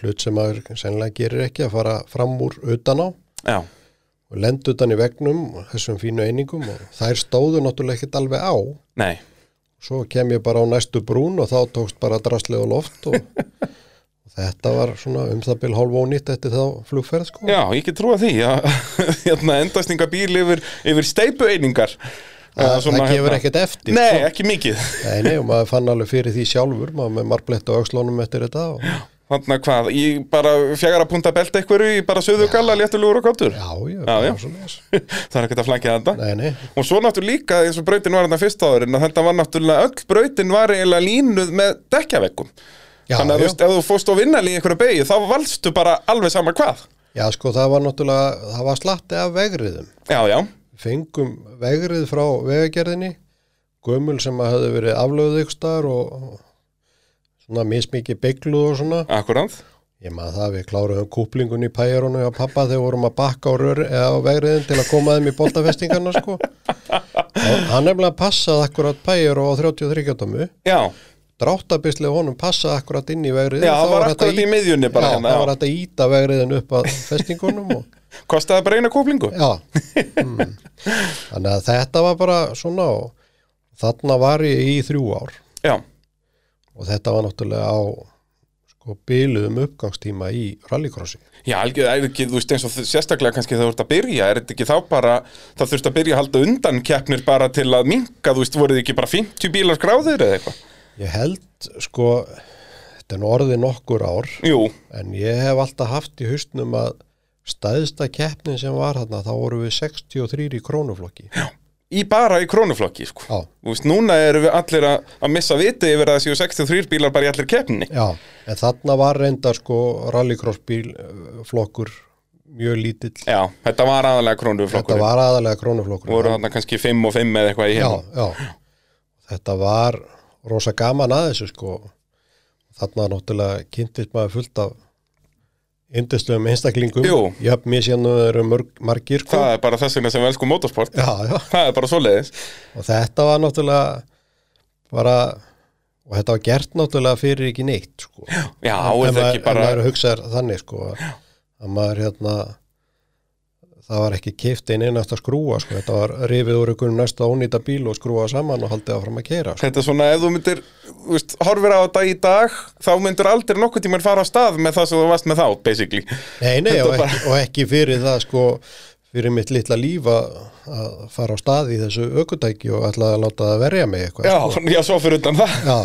S2: hlut sem maður sennilega gerir ekki að fara fram úr utan á
S1: Já,
S2: og lendi utan í vegnum þessum fínu einingum og þær stóðu náttúrulega ekkert alveg á
S1: nei
S2: svo kem ég bara á næstu brún og þá tókst bara draslið og loft og, og þetta var svona um það bil hálf ónýtt eftir þá flugferð sko
S1: Já, ég get trúa því að hérna, endastinga bíl yfir, yfir steipueiningar
S2: það, það
S1: hérna-
S2: gefur ekkert eftir Sko.
S1: Nei, ekki mikið
S2: Nei, nei, og maður fann alveg fyrir því sjálfur, maður með marbletti á aukslónum eftir þetta og
S1: Þannig hvað, ég bara fjagara punta belti einhverju, ég bara söðu galla, léttulugur og kottur.
S2: Já, já,
S1: Já, já.
S2: bara svoleiðis.
S1: Það er ekkert að flækja þetta.
S2: Nei, nei,
S1: Og svo náttúrulega líka eins og brautin var þetta fyrsta áðurinn að þetta var náttúrulega öll brautin var eiginlega línuð með dekkjaveggum.
S2: Já,
S1: Þannig að þú
S2: já.
S1: veist, ef þú fórst á vinnali í einhverju beigju þá valstu bara alveg sama hvað.
S2: já sko það var náttúrulega, það var slatti af vegriðum.
S1: Já, já,
S2: Fengum vegrið frá vegagerðinni, gömul sem að hafði verið aflöðuðykstar og og svona mismikið byggluð og svona.
S1: akkurát.
S2: Ég maður það við kláruðum kúplingun í pæjarunum og pappa þegar vorum að bakka á, rör, eða á vegriðin til að koma þeim í boltafestingarna sko. Og Hann nefnilega passaði akkurat pæjar og á 33 gjátamu.
S1: Já,
S2: Dráttabislið honum passaði akkurat inn í vegrið.
S1: já, það var akkurat í miðjunni bara.
S2: Já,
S1: hérna,
S2: það var hægt að íta vegriðin upp að festingunum og
S1: Kostaði bara eina kúplingu.
S2: Já, mm. þannig að þetta var bara svona og þarna var ég í þrjú ár
S1: Já,
S2: og þetta var náttúrulega á sko byluðum uppgangstíma í rallycrossi.
S1: já algjör, er ekki, þú veist eins og þ- sérstaklega kannski þegar þú ert að byrja, er þetta ekki þá bara, það þurft að byrja að halda undan keppnir bara til að minka, þú veist, voruð þið ekki bara 50 bílar skráðir eða eitthvað?
S2: Ég held sko, þetta er nú orðið nokkur ár
S1: Jú,
S2: en ég hef alltaf haft í haustnum að staðista keppnin sem var þarna þá voru við 63 í krónuflokki. Já.
S1: í bara í krónuflokki, sko.
S2: Já,
S1: Þú veist, núna eru við allir að, að missa viti yfir að það séu 63 bílar bara í allir keppni.
S2: en þarna var reyndar sko rallycrossbílflokkur mjög lítill.
S1: Já, þetta var aðalega
S2: Þetta
S1: krónuflokkur.
S2: var aðalega krónuflokkur.
S1: Voru þarna kannski 5 og 5 eða eitthvað í
S2: já,
S1: hérna.
S2: já. þetta var rosa gaman að þessu sko þarna náttúrulega kynntist maður fullt af yndislegum einstaklingum
S1: Jú.
S2: jöfn mér síðan eru mörg, margir sko.
S1: Það er bara þess vegna sem við elskum motorsport.
S2: já, já.
S1: Það er bara svoleiðis.
S2: og þetta var náttúrulega bara og þetta var gert náttúrulega fyrir ekki neitt sko. já,
S1: Já, er það ekki bara...
S2: en maður hugsaðar þannig sko að- að maður hérna það var ekki kift einn einast að skrúa sko. þetta var rifið úr ykkur næsta ónýta bíl og skrúa saman og haldið áfram að kera sko.
S1: Þetta er svona, ef þú myndir, þú veist, horfir á þetta í dag, þá myndir aldrei nokkuð tímar fara á stað með það sem þú varst með þá, basically.
S2: Nei, nei,
S1: Þetta
S2: og
S1: bara-
S2: ekki, og ekki fyrir það sko, fyrir mitt litla líf að að fara á staði í þessu aukutæki og ætla að láta það verja mig eitthvað.
S1: Já, já, svo fyrir utan það.
S2: Já,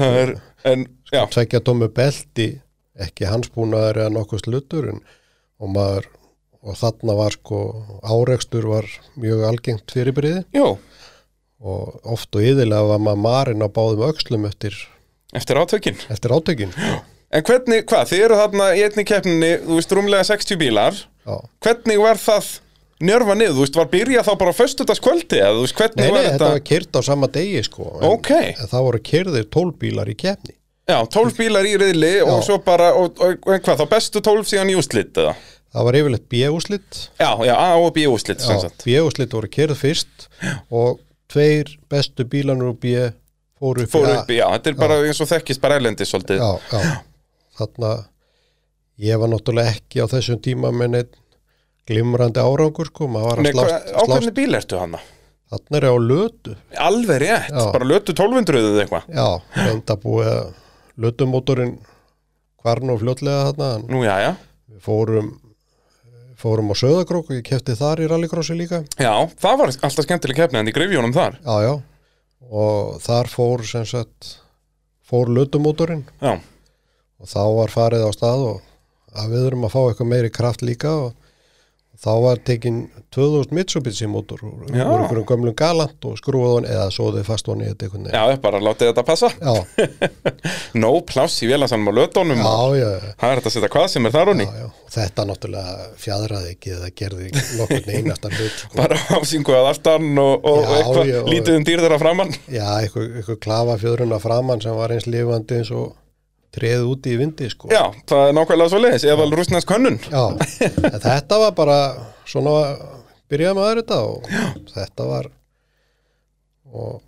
S1: það er, en, já,
S2: tveikja tómu belti, ekki hansbúnaður eða nokkuð sluttur en, og maður, og þarna var sko, árekstur var mjög algengt fyrirbriði
S1: jú,
S2: og oft og yðurlega var maður marinn á báðum öxlum eftir,
S1: eftir átökin.
S2: eftir átökin. Sko.
S1: En hvernig, hvað, þið eru þarna í einni keppninni, þú veist, rúmlega 60 bílar.
S2: Já.
S1: Hvernig var það njörfa niður, þú veist, var byrjað þá bara á föstudagskvöldi, eða þú veist, hvernig
S2: Nei, nei,
S1: var
S2: þetta var kyrt á sama degi sko, en,
S1: Ok.
S2: en það voru kyrðir tólbílar í kefni.
S1: Já, 12 bílar í riðli og
S2: Já.
S1: svo bara, og, og, og en hvað, þá bestu 12 síðan í úslit, eða?
S2: Það var yfirleitt B-úslitt
S1: Já, já, A og B úslit, sem
S2: Já,
S1: sagt.
S2: B-úslit voru kyrð fyrst og tveir bestu bílanur úr B fóru upp
S1: Fóru
S2: A.
S1: upp, í- já, þetta er bara eins og þekkist bara ælendi svolítið.
S2: Já, já. Þannig að ég var náttúrulega ekki á þessum tíma með neitt glimrandi árangur sko, maður var
S1: Nei,
S2: að slást,
S1: hva- á
S2: slást
S1: hvernig bíl ertu hann?
S2: þannig er ég á lötu
S1: Alveg rétt,
S2: Já.
S1: bara lötu 1200 eða eitthvað
S2: Já, reynda búið að lötumótorinn hvarn og fljótlega þarna en
S1: Nú, já, já
S2: við fórum fórum á Söðakrók og ég kefti þar í rallycrossi líka
S1: Já, það var alltaf skemmtileg keppni en í greifjónum þar
S2: Já, já og þar fór sem sagt fór lötumótorinn
S1: Já,
S2: og þá var farið á stað og að við erum að fá eitthvað meiri kraft líka og þá var tekin 2000 Mitsubishi mótor úr úr
S1: Já.
S2: einhverjum gömlum galant og skrúið hann eða svoðið fast hann í þetta einhvern veginn.
S1: já, ég bara látið þetta passa
S2: Já, já,
S1: Nó pláss í vélansanum á lötunum og
S2: já,
S1: Það er þetta að setja hvað sem er þar honni
S2: já, já. Og Þetta náttúrulega fjadraði ekki eða gerði nokkur einasta hlut. Sko.
S1: Bara ásingu að aftan og, og
S2: Já,
S1: eitthvað
S2: já, já.
S1: lítið um dýr þeirra framann
S2: Já, eitthvað, eitthvað klafa fjöðruna framann sem var eins lifandi eins og treði úti í vindi, sko.
S1: Já, það er nákvæmlega svo leiðis eða rúsnesk hönnun
S2: Já, en þetta var bara svona byrjaði maður þetta og þetta var og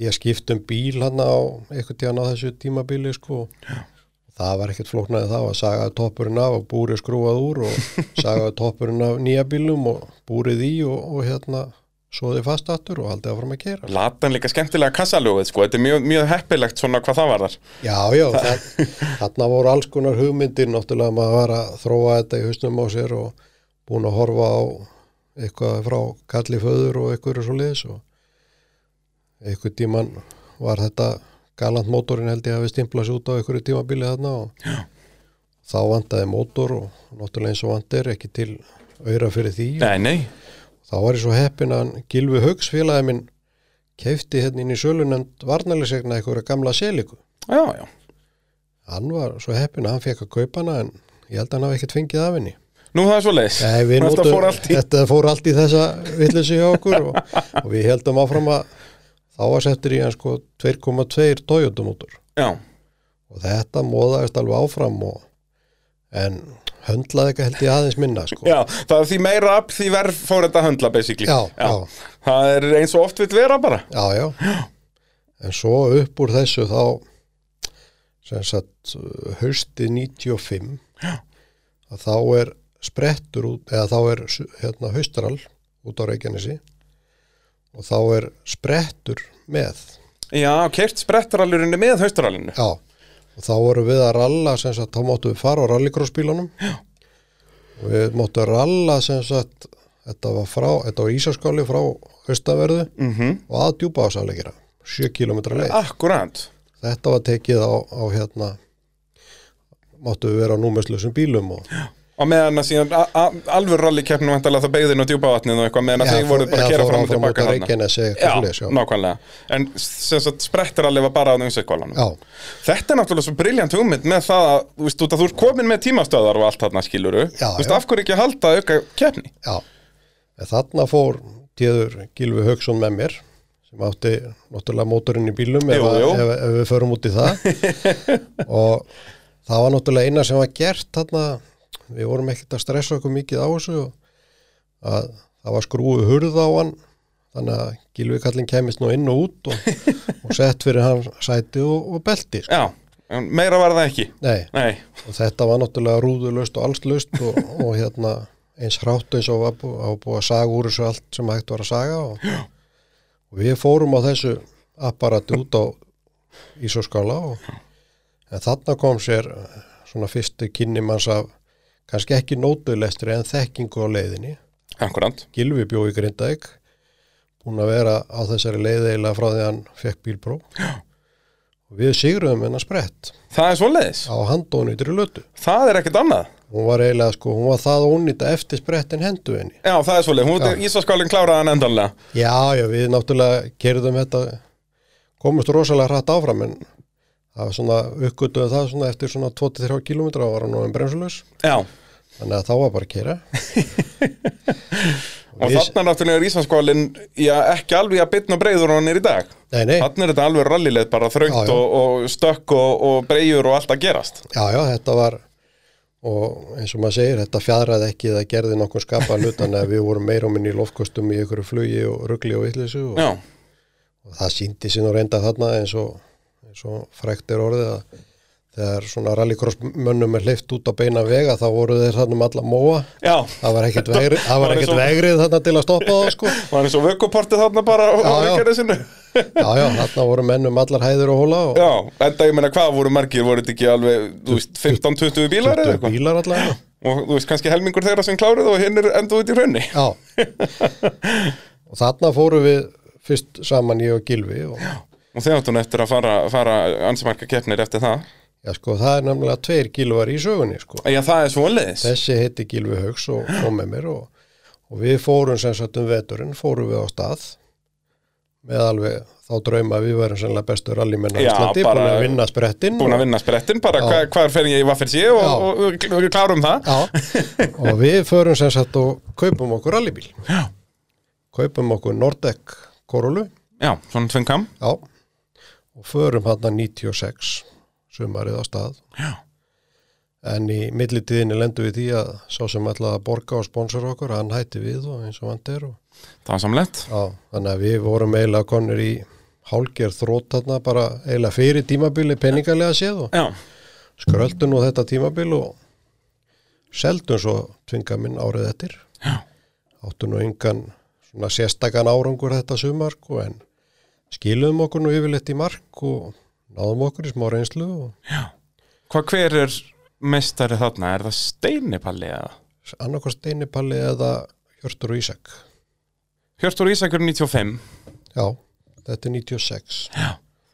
S2: ég skipti um bíl hann á einhvern tíðan á þessu tímabíli sko Já. það var ekkert flóknaði þá að sagaði toppurinn af og búrið skrúað úr og sagaði toppurinn af nýja bílum og búrið í og, og hérna svoði fast aftur og haldið áfram að kera
S1: Latan líka skemmtilega kassaljóið, sko Þetta er mjög, mjög heppilegt svona hvað það var þar
S2: Já, já, það, þarna voru alls konar hugmyndir náttúrulega maður var að þróa þetta í hausnum á sér og búin að horfa á eitthvað frá kalli föður og eitthvað svo liðs og eitthvað tíman var þetta galantmótorin held ég að við stimpla sér út á einhverju tímabili þarna og Já. þá vantaði mótor og náttúrulega eins og vant er ekki til auðra fyrir því
S1: Nei, nei,
S2: þá var ég svo heppin að hann Gilvi Haugs félagi minn kefti hérna inn í sölunend varnarlegsegna einhverja gamla seliku
S1: já, já
S2: hann var svo heppin að hann fekk að kaupa hana en ég held að hann hafi ekkert fengið af henni
S1: Nú það er svo leiðis
S2: Nei, við
S1: Þetta
S2: notum-
S1: fór allt í
S2: þetta fór allt í þessa villisi hjá okkur og, og við heldum áfram að þá var settur í hann sko 2,2 Toyota mótor
S1: Já,
S2: og þetta móðaðist alveg áfram og, en höndlaði ekki held ég aðeins minna sko.
S1: já, það er því meira afl því verð fór þetta að höndla basically
S2: Já, já.
S1: Það er eins og oft vill vera bara
S2: já, já. en svo upp úr þessu þá sem sagt uh, haustið 95 að þá er sprettur út eða þá er su- hérna, haustral út á Reykjanesi og þá er sprettur með
S1: Já, kert sprettaralurinn með haustaralinu
S2: Já, og þá vorum við að ralla sem sagt, þá máttum við fara á rallycrossbílunum Já. og við máttum ralla sem sagt, þetta var frá þetta var Ísaskáli frá austaverðu -hmm. og að djúpa ásalegina 7 km leið.
S1: Akkurát
S2: Þetta var tekið á, á hérna máttum við vera á númestlösum bílum og
S1: Og meðan að síðan a- a- alvöru rallikeppnum vantalega það beigðin og djúpavatnið og eitthvað meðan að þeir voru bara að kera fram og tilbaka
S2: hana.
S1: þarna. Já, nákvæmlega En sem sagt sprettaralli var bara að umsveikvalanum
S2: Já,
S1: Þetta er náttúrulega svo briljant hugmynd með það að þú veist, út að þú ert komin með tímastöðar og allt þarna skiluru
S2: Já,
S1: Þú veist,
S2: já.
S1: af hverju ekki að halda auka keppni?
S2: já. En þarna fór tíður Gilvi Hauksson með mér sem átti náttúrulega mótorinn í bílum ef,
S1: Jú,
S2: að-
S1: jú.
S2: Ef, ef við förum út í það og það var náttúrulega eina sem var gert þarna við vorum ekkert að stressa okkur mikið á þessu og að það var skrúið hurð á hann þannig að Gilvi kallinn kemist nú inn og út og, og sett fyrir hann sæti og, og belti sko.
S1: Já, en meira var það ekki
S2: Nei,
S1: Nei,
S2: og þetta var náttúrulega rúðulöst og allslaust og, og hérna eins hrátt eins og var búið, var búið að saga úr þessu allt sem hægt var að saga og, og við fórum á þessu apparati út á ísóskála og en þarna kom sér eh, svona fyrstu kynni manns af kannski ekki nótulestri en þekkingu á leiðinni
S1: akkurant
S2: Gilvi bjó í Grindavík búin að vera á þessari leið eiginlega frá því að hann fekk bílpró og við sigruðum hennar sprett
S1: Það er svoleiðis,
S2: á handónýtri lötu
S1: það er ekkert annað
S2: hún var eiginlega sko, hún var það ónýta eftir sprettin hendu henni.
S1: Já, það er svoleiðis, hún út í Ísaskálinn kláraði hann endanlega
S2: Já, já, við náttúrulega kerðum þetta, komumst rosalega hratt áfram en það var svona, uppgötuðu það svona eftir svona 23 km var hann orðinn bremsulegs,
S1: Já,
S2: þannig að þá var bara að kera.
S1: og þarna náttúrulega er Ísaskálinn já, ekki alveg að bitna breyður og hann er í dag
S2: Nei, nei,
S1: Þarna er þetta alveg rallileið bara þröngt
S2: Já, já.
S1: Og, og stökk og, og breyður og allt að gerast
S2: já, já, þetta var og eins og maður segir, þetta fjadraði ekki eða gerði nokkuð skapa hlutan að við vorum meira minn í loftkostum í ykkur flugi og rugli og yllísu og,
S1: Já,
S2: og það síndi sín og reynda þarna eins og, eins og frækt er orðið að þegar svona rallycross mönnum er hleyft út á beina vega þá voru þeir þarna um alla móa
S1: já
S2: það var ekkert vegrið, það
S1: Það
S2: var
S1: var
S2: ekkert
S1: eins og-
S2: vegrið þarna til að stoppa það sko
S1: Var eins og vökuportið þarna bara á
S2: Já, já.
S1: reykjarið sinu
S2: já já, þarna voru menn um allar hæðir og hóla og
S1: Já, enda ég meina hvað voru margir, voru þetta ekki alveg, þú veist, 15-20 bílar eða
S2: tuttugu
S1: eitthvað
S2: bílar allar
S1: og þú veist, kannski helmingur þeirra sem kláruðu og hinn er enda út í hraunni
S2: já og þarna fóru við fyrst saman ég og Gilvi og já
S1: og þegar áttu hún eftir að fara, fara ansimarka keppnir eftir það
S2: sko það er nefnilega tveir Gilvar í sögunni sko
S1: Já, það er svoleiðis
S2: þessi heiti Gilvi Haugs og, og með mér og, og við fórum sem sagt um veturinn, fórum við á stað með alveg þá drauma að við værum sennilega bestu rallymenn á
S1: Já,
S2: Íslandi,
S1: bara-
S2: búin að vinna sprettinn
S1: Búin að vinna sprettin, bara hva, hvar fer ég í vaffir sé og,
S2: Já.
S1: og, og, og klárum það
S2: Já, og við förum sem sagt og kaupum okkur rallybíl
S1: Já.
S2: kaupum okkur Nordec Corolla
S1: Já, svona tvöngkam
S2: já, og förum hann 96 sumarið á stað
S1: Já.
S2: en í millitíðinni lendum við því að sá sem ætlaði að borga og sponsora okkur, hann hætti við og eins og hann er og
S1: Það var samlegt
S2: Já, þannig að við vorum eiginlega konur í hálger þrótt þarna bara eiginlega fyrir tímabili peningalega séð og
S1: Já,
S2: skröldum nú þetta tímabil og seldum svo tvinga minn árið eftir.
S1: Já.
S2: Áttu nú engan svona sérstakan árangur þetta sumark og en skiluðum okkur nú yfirleitt í mark og náðum okkur í smá reynslu og
S1: hvað hver er meistari þarna? Er það steinipalli eða?
S2: annarkvort steinipalli eða Hjörtur og Ísak.
S1: Hjörtur Ísakur 95
S2: Já, þetta er 96.
S1: Já.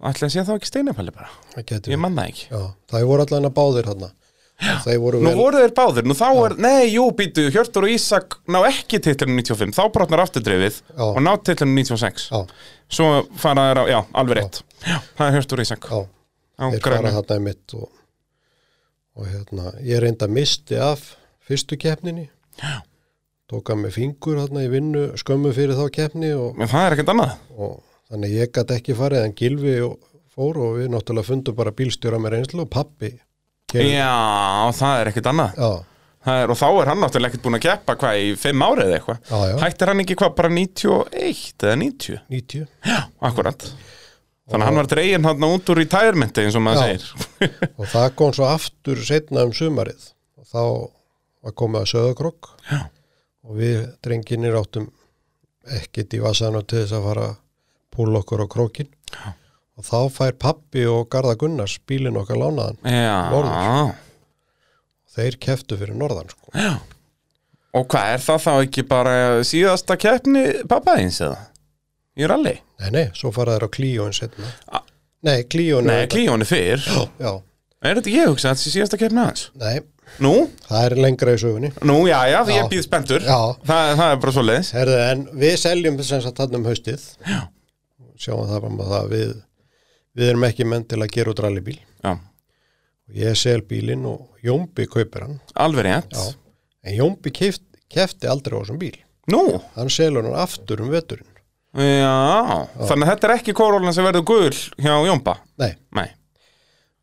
S1: ætla að sé þá ekki steinapalli bara
S2: það getur
S1: ég manna ekki
S2: Já, það voru allan að báðir hann Þeir voru
S1: Nú
S2: vel
S1: voru þeir báðir, nú þá er, nei, jú, býtu, Hjörtur og Ísak ná ekki titlunum 95, þá brotnar afturdrifið
S2: Já.
S1: og ná titlunum 96.
S2: Já,
S1: Svo fara þeir á, já, alveg rétt. Já, það er Hjörtur og Ísak.
S2: já,
S1: Á
S2: þeir fara
S1: grænu.
S2: þarna í mitt og, og hérna, ég reynda misti af fyrstu keppninni
S1: Já.
S2: Tók að með fingur þarna í vinnu skömmu fyrir þá keppni og,
S1: En það er ekkert annað.
S2: og þannig ég gat ekki farið en Gilvi og fór og við náttúrulega fundum bara bílstjóra með reynslu og pappi keyrði.
S1: Já, það er ekkert annað.
S2: Já,
S1: Það er, og þá er hann náttúrulega ekkert búin að keppa hvað í fimm árið eða eitthvað.
S2: já, já,
S1: Hættir hann ekki hvað bara 91 eða 90?
S2: 90
S1: Já, akkurat. Þannig að hann var dreginn hann út úr í tærmyndi eins og maður
S2: Já.
S1: segir.
S2: og það kom svo aftur setna um sumarið og þá var komið að söðakrokk
S1: Já.
S2: og við drenginir áttum ekkit í vasanum til þess að fara að púla okkur á krókin
S1: Já.
S2: og þá fær pappi og Garða Gunnars bílinn okkar lánaðan
S1: Já.
S2: Norður. þeir keftu fyrir norðan sko.
S1: Og hvað er það þá ekki bara síðasta keppni pappaðins eða? Í rally?
S2: nei, nei, svo fara þeir á klíón setna
S1: A-
S2: nei, klíón
S1: Nei, klíjónu fyrr.
S2: já,
S1: Er þetta ég hugsa að þetta sé síðasta keppni hans?
S2: nei,
S1: Nú?
S2: það er lengra í sögunni
S1: Nú, já, já, ég
S2: Já.
S1: býð spenntur.
S2: já,
S1: Þa, það er bara svo leiðis.
S2: herðu, en við seljum sem sagt hann um haustið
S1: Já.
S2: sjáum það bara með það að við við erum ekki menn til að gera út rallybíl
S1: Já,
S2: og ég sel bílinn og Jómbi kaupir hann
S1: alveg rétt.
S2: Já, en Jómbi keft, kefti aldrei á þessum bíl.
S1: Nú?
S2: Hann selur hann aftur um veturinn.
S1: Já. þannig að þetta er ekki kórólan sem verður gul hjá Jómba.
S2: Nei,
S1: Nei.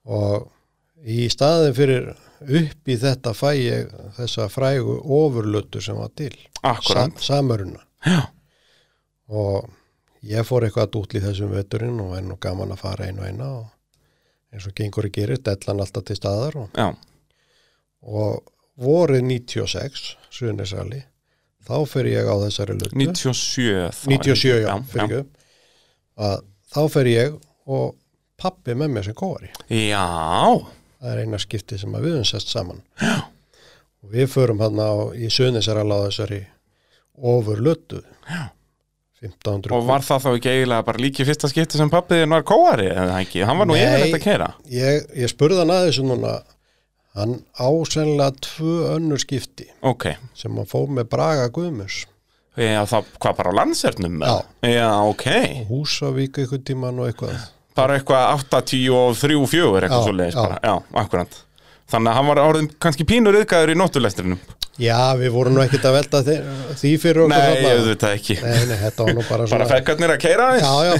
S2: og í staðin fyrir upp í þetta fæ ég þessa frægu ofurlötu sem var til.
S1: Akkurat.
S2: samöruna.
S1: Já.
S2: Og ég fór eitthvað að dútli þessum veturinn og enn og gaman að fara einu og eina og eins og gengur að gerir, dellan alltaf til staðar og,
S1: Já.
S2: og vorið 96, suðunisali, þá fer ég á þessari lötu.
S1: 97. þá.
S2: 97, já,
S1: Já, já.
S2: fyrir að þá fer ég og pappi með mér sem kóari.
S1: já.
S2: Það er eina skipti sem að við höfum sest saman. Já. Og við förum hann á, í söðnisarala á þessari ofur löttu. Já. 1500.
S1: Og var það þá ekki eiginlega bara líki fyrsta skipti sem pappiðin var kóari eða ekki? Hann var nú
S2: Nei.
S1: yfirleitt að keira.
S2: Ég, ég spurði hann að þessu núna, hann ásennilega tvö önnur skipti
S1: Ok.
S2: sem hann fór með Braga Guðmus.
S1: Já, það, hvað bara á landsernum? eða? Já, ok.
S2: Húsavík einhvern tíman og eitthvað.
S1: Bara eitthvað 80 og 3 og 4 eitthvað
S2: Já,
S1: svo leiðis
S2: já.
S1: bara. Já, akkurat. Þannig að hann var orðin kannski pínur yðgæður í nóttulestrinum.
S2: Já, við vorum nú ekkert að velta því, því fyrir okkur.
S1: Nei,
S2: þarna.
S1: ég auðvitað ekki.
S2: Nei, nei, þetta var nú bara svona
S1: Bara fekkarnir að keira aðeins?
S2: Já, já,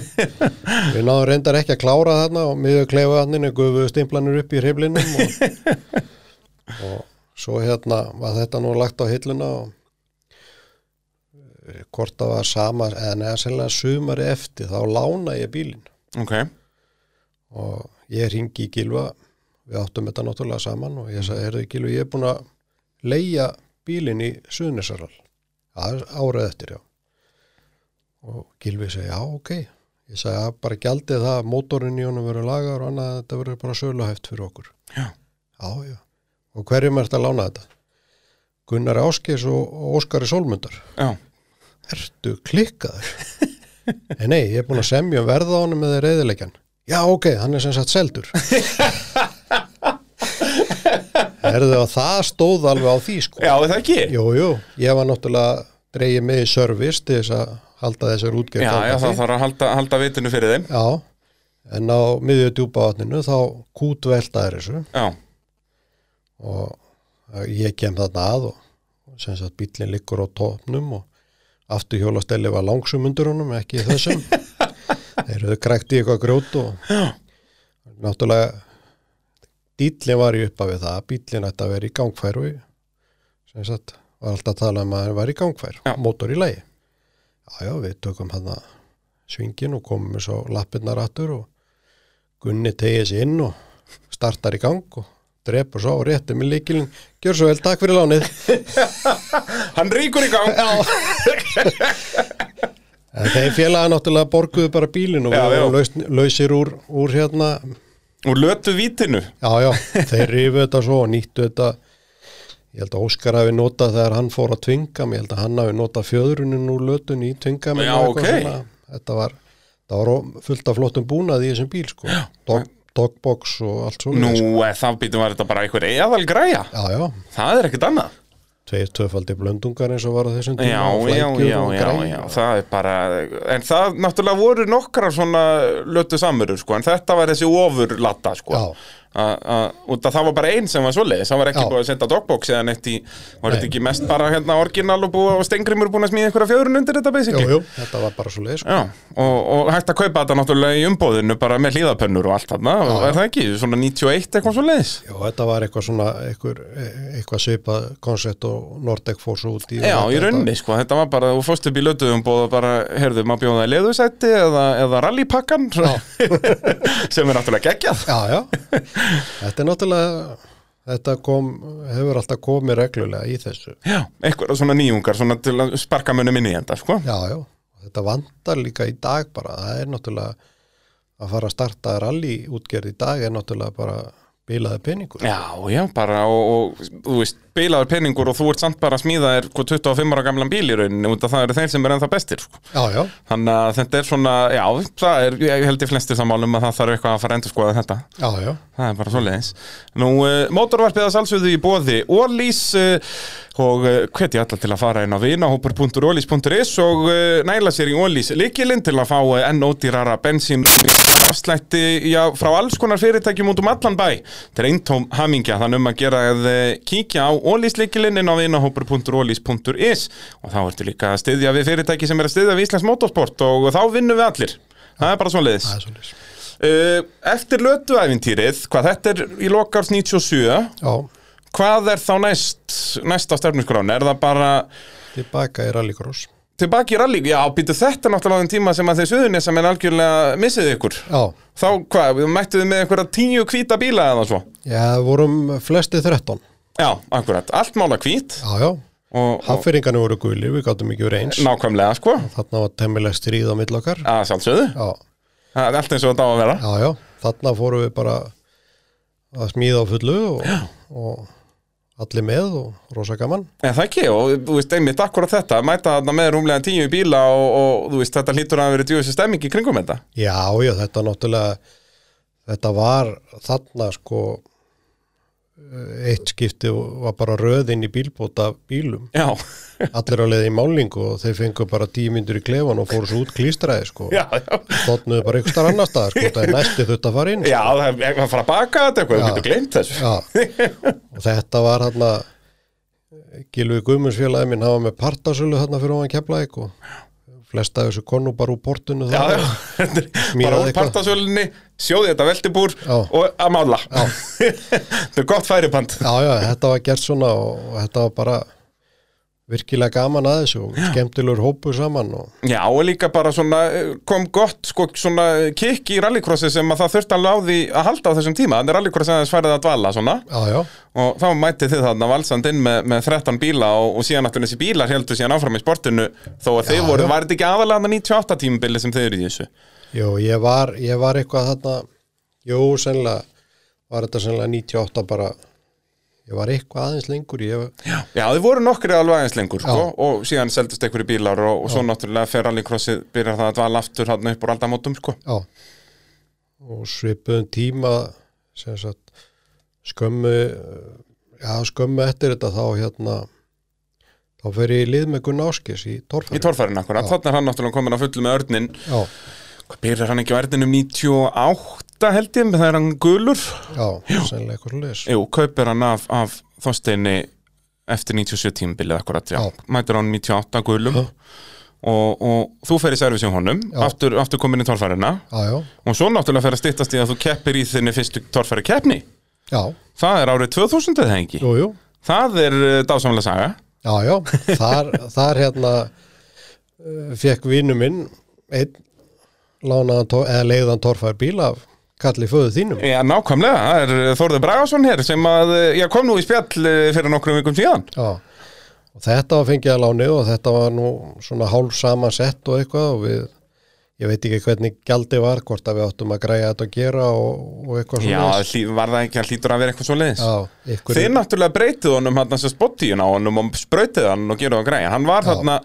S2: við náðum reyndar ekki að klára þarna og miður klefa þanninu, gufu stimplanir upp í hriflinum og, og svo hérna var þetta nú lagt á hilluna og eh, hvort það var sama, eða neða sennilega sumari eftir, þá lána ég bílinn
S1: Ok,
S2: og ég ringi í Gilva, við áttum þetta náttúrulega saman og ég sagði, heyrðu Gilvi, ég er búin að leia bílinn í Suðnisarall, árað eftir, já. Og Gilvi segi, já, ok. Ég sagði, já, bara gjaldið það, mótorinn í honum verður lagar og annað, þetta verður bara söluhæft fyrir okkur.
S1: Já.
S2: Já, já. Og hverjum er þetta að lána þetta? Gunnar Áskis og og Óskari Sólmundar.
S1: já.
S2: Ertu klikkaður? en nei, ég er búin að semja um verða á honum með reyðileikjan. Já, ok, hann er sem sagt seldur. Erðu að það stóð alveg á því, sko.
S1: Já, er það ekki?
S2: Jú, jú, ég var náttúrulega dreigið með í service til þess að halda þessar
S1: Já,
S2: útgerð.
S1: já,
S2: gangandi.
S1: það þarf að halda, halda vitinu fyrir þeim.
S2: Já, en á miðju djúpavatninu þá kútveltaður þessu
S1: Já,
S2: og ég kem þarna að og og sem sagt bíllinn liggur á topnum og aftur hjólastelli var langsum undir honum, ekki þessum þeir eru grækt í eitthvað grjót og náttúrulega dýllinn var í uppa við það bíllinn ætti að vera í gangfæru sem sagt var alltaf að tala um að hann var í gangfæru,
S1: Já.
S2: mótor í lagi já já, við tökum hann að svingin og komum svo lappirnar aftur og Gunni tegið sér inn og startar í gang og drepur svo og réttir með líkilinn gjör svo vel, takk fyrir lánið
S1: hann rýkur í gang.
S2: En þeir félaga náttúrulega borguðu bara bílinn og
S1: Já,
S2: við
S1: já.
S2: vorum laus, lausir úr, úr hérna
S1: Og lötu vitinu.
S2: já, já, þeir rifu þetta svo og nýttu þetta ég held að Óskar hafi notað þegar hann fór að tvinga mig, ég held að hann hafi notað fjöðrunin úr lötun í tvinga mig
S1: Já,
S2: og eitthvað
S1: ok.
S2: þetta var, það var ó- fullt af flottum búnaði í þessum bíl sko Dog, dogbox og allt svo
S1: Nú,
S2: sko.
S1: eh, þá býtum var þetta bara einhver eðal græja
S2: já, já,
S1: Það er ekkert annað
S2: tveir töfaldi blöndungar eins og var á þessum tíma
S1: Já,
S2: og
S1: já,
S2: flækjur
S1: já,
S2: og
S1: já,
S2: græjur.
S1: já, það er bara En það náttúrulega voru nokkrar svona lötu samurur, sko En þetta var þessi ofurlatta, sko
S2: Já.
S1: A- a- Út að það var bara einn sem var svoleiðis Það var ekki
S2: Já.
S1: búið að senda dogbox eða neitt í Var
S2: Nei.
S1: þetta ekki mest bara hérna orginal og búið og Stengrimur búin að smíða einhverja fjörun undir þetta
S2: Jú,
S1: basically
S2: jú, þetta var bara svo leið sko.
S1: Já, og, og hægt að kaupa þetta náttúrulega í umbóðinu bara með hlýðapönnur og allt þarna og er það ekki, svona 91 eitthvað svo leiðis
S2: Já, þetta var eitthvað svona eitthvað, eitthvað svipað koncept og Nordec fór svo út í og
S1: Já,
S2: þetta-
S1: í rauninni, sko, þetta var bara, þú fórst upp í lötuðum bóða bara, heyrðu, maður bjóða í leðusætti eða, eða rallypakkan sem er náttúrulega geggjað
S2: Já, já, þetta er náttúrulega þetta kom, hefur alltaf komið reglulega í þessu
S1: Já, einhverja svona nýjungar, svona til að sparka mönnum inn í enda, sko
S2: Já, já, þetta vandar líka í dag bara, það er náttúrulega að fara að starta rally útgerð í dag er náttúrulega bara bilaði peningur
S1: Já, já, bara, og, og þú veist, bilaður peningur og þú ert samt bara að smíða þér sko, hvað 25 ára gamlan bíl í rauninni, út að það eru þeir sem er ennþá bestir, sko
S2: Já, já,
S1: Þannig að þetta er svona, já, það er, ég held ég flestir sammálum að það þarf eitthvað að fara að endurskoða þetta
S2: já, já,
S1: Það er bara svoleiðis. Nú, uh, mótorvarpið að salsöðu í bóði Ólís uh, og uh, hvet ég alla til að fara inn á vinahópur.ólís.is og uh, næla sér í Ólís likilinn til að fá uh, enn ódýrara bensín afslætti já, frá alls konar fyrirtækjum út um allan bæ. Þetta er eintóm hamingja þannig um að gera að uh, kíkja á Ólís likilinn inn á vinahópur.ólís.is og þá ertu líka að styðja við fyrirtæki sem er að styðja við Íslands motorsport og þá vinnum við allir. Það er bara svoleiðis.
S2: það er svo leið
S1: Uh, eftir lötuæfintýrið, hvað þetta er í lokars 97,
S2: Já,
S1: hvað er þá næst, næst á stefnuskrán? Er það bara
S2: tilbaka í rallycross
S1: tilbaki í rally? Já, býtu þetta er náttúrulega á þeim tíma sem að þeir suðunir sem er algjörlega missið ykkur.
S2: Já,
S1: Þá hvað, mættuðu með einhverja tíu hvíta bíla eða svo?
S2: já, vorum flesti 13
S1: Já, akkurat, allt mála hvít
S2: Já, já,
S1: og, og
S2: haffyrringarnir voru gulir, við gáttum ekki verið eins
S1: nákvæmlega sko,
S2: Þarna var temmilega stríð á mill okkar
S1: að sjálfsögðu,
S2: Já,
S1: það er allt eins og þetta á að vera.
S2: já, já, þarna fórum við bara að smíða á fullu og, og allir með og rosa gaman
S1: En það ekki, og þú veist, einmitt akkurat þetta, mæta þarna með rúmlega tíu bíla og, og þú veist, þetta hlýtur að hafa verið djúðisir stemming í kringum þetta.
S2: Já, já, þetta náttúrulega þetta var þarna sko eitt skipti var bara röðin í bílbóta af bílum
S1: Já.
S2: allir á leið í málingu og þeir fengu bara tíu myndur í klefan og fóru svo út klístraði sko
S1: já, já.
S2: stotnuðu bara einhver starf annar staðar sko, það er næsti þurft að fara inn
S1: já það er að fara að baka þetta eitthvað, þú
S2: Já.
S1: getur gleymt þessu
S2: Já, og þetta var hérna Gilvi Guðmundsfélagi minn hafa með partasölu hérna fyrir ofan Keflæk og flesta af þessu konu bara úr portinu
S1: Já,
S2: þar.
S1: já, þetta er bara
S2: Smíðaði
S1: úr
S2: eitthvað.
S1: partasölunni, sjóði þetta veltibúr
S2: Já.
S1: og að mála. þetta er gott færiband.
S2: já, já, þetta var gert svona og, og þetta var bara virkilega gaman að þessu og skemmtilegur hópu saman og
S1: Já, og líka bara svona eh, kom gott, sko, svona kikk í rallycrossi sem að það þurfti alveg á því að halda á þessum tíma. Þannig rallycrossi aðeins færið að dvala svona
S2: já, já,
S1: og þá mætið þið þarna valsand inn með, með 13 bíla og, og síðan náttúrulega þessi bílar heldur síðan áfram í sportinu þó að þið
S2: Já,
S1: voru,
S2: já.
S1: var þetta ekki aðalega þarna 98 tímubili sem þið eru í þessu?
S2: jú, ég var, ég var eitthvað þarna, jú, sennilega var þetta sennilega 98 bara ég var eitthvað aðeins lengur ég,
S1: Já, þið voru nokkri alveg aðeins lengur sko,
S2: Já.
S1: og síðan seldust einhverju bílar og, og svo náttúrulega fer rallycrossið byrjar það að dvala aftur hann upp úr aldamótum sko.
S2: Já. Og svipuðum tíma sem sagt skömmu já, skömmu eftir þetta þá hérna þá fer ég í lið með Gunn Áskis í
S1: í
S2: Torfæri.
S1: torfærin akkur, þannig er hann náttúrulega komin að fullu með örnin
S2: Já,
S1: hvað byrjar hann ekki á örnin um 98 held ég, það er hann gulur
S2: já, sennilega eitthvað leis.
S1: Jú, kaupir hann af, af þorsteinni eftir 97 tímabilið akkurat, já,
S2: Já.
S1: mætir hann 98 gulum og, og þú fer í servis í honum,
S2: Já.
S1: aftur, aftur komin í torfærina
S2: Já, já,
S1: og svo náttúrulega fer að styttast í að þú keppir í þinni fyrstu torfæri keppni
S2: já,
S1: það er árið 2000 eða ekki
S2: jú, jú.
S1: Það er dásamlega saga
S2: Já, já, þar, þar hérna eh, fekk vinnu minn einn lánaðan, Tor- eða leiðan Torfæri bíl af kalli föðu þínum.
S1: Já, nákvæmlega, það er eh, Þórður Bragason hér sem að, ég kom nú í spjall eh, fyrir nokkrum vikum síðan
S2: Já, og þetta var fengið að láni og þetta var nú svona hálf samansett og eitthvað og við, ég veit ekki hvernig gjaldi var, hvort að við áttum að græja þetta að gera og, og eitthvað
S1: Já,
S2: svona.
S1: hlý- var það ekki, hann hlýtur að vera eitthvað svo leiðis
S2: Já, ykkur,
S1: Þeir náttúrulega breytið honum hann sem spottíun á honum og sprautið hann og gerðu að græja Hann var þarna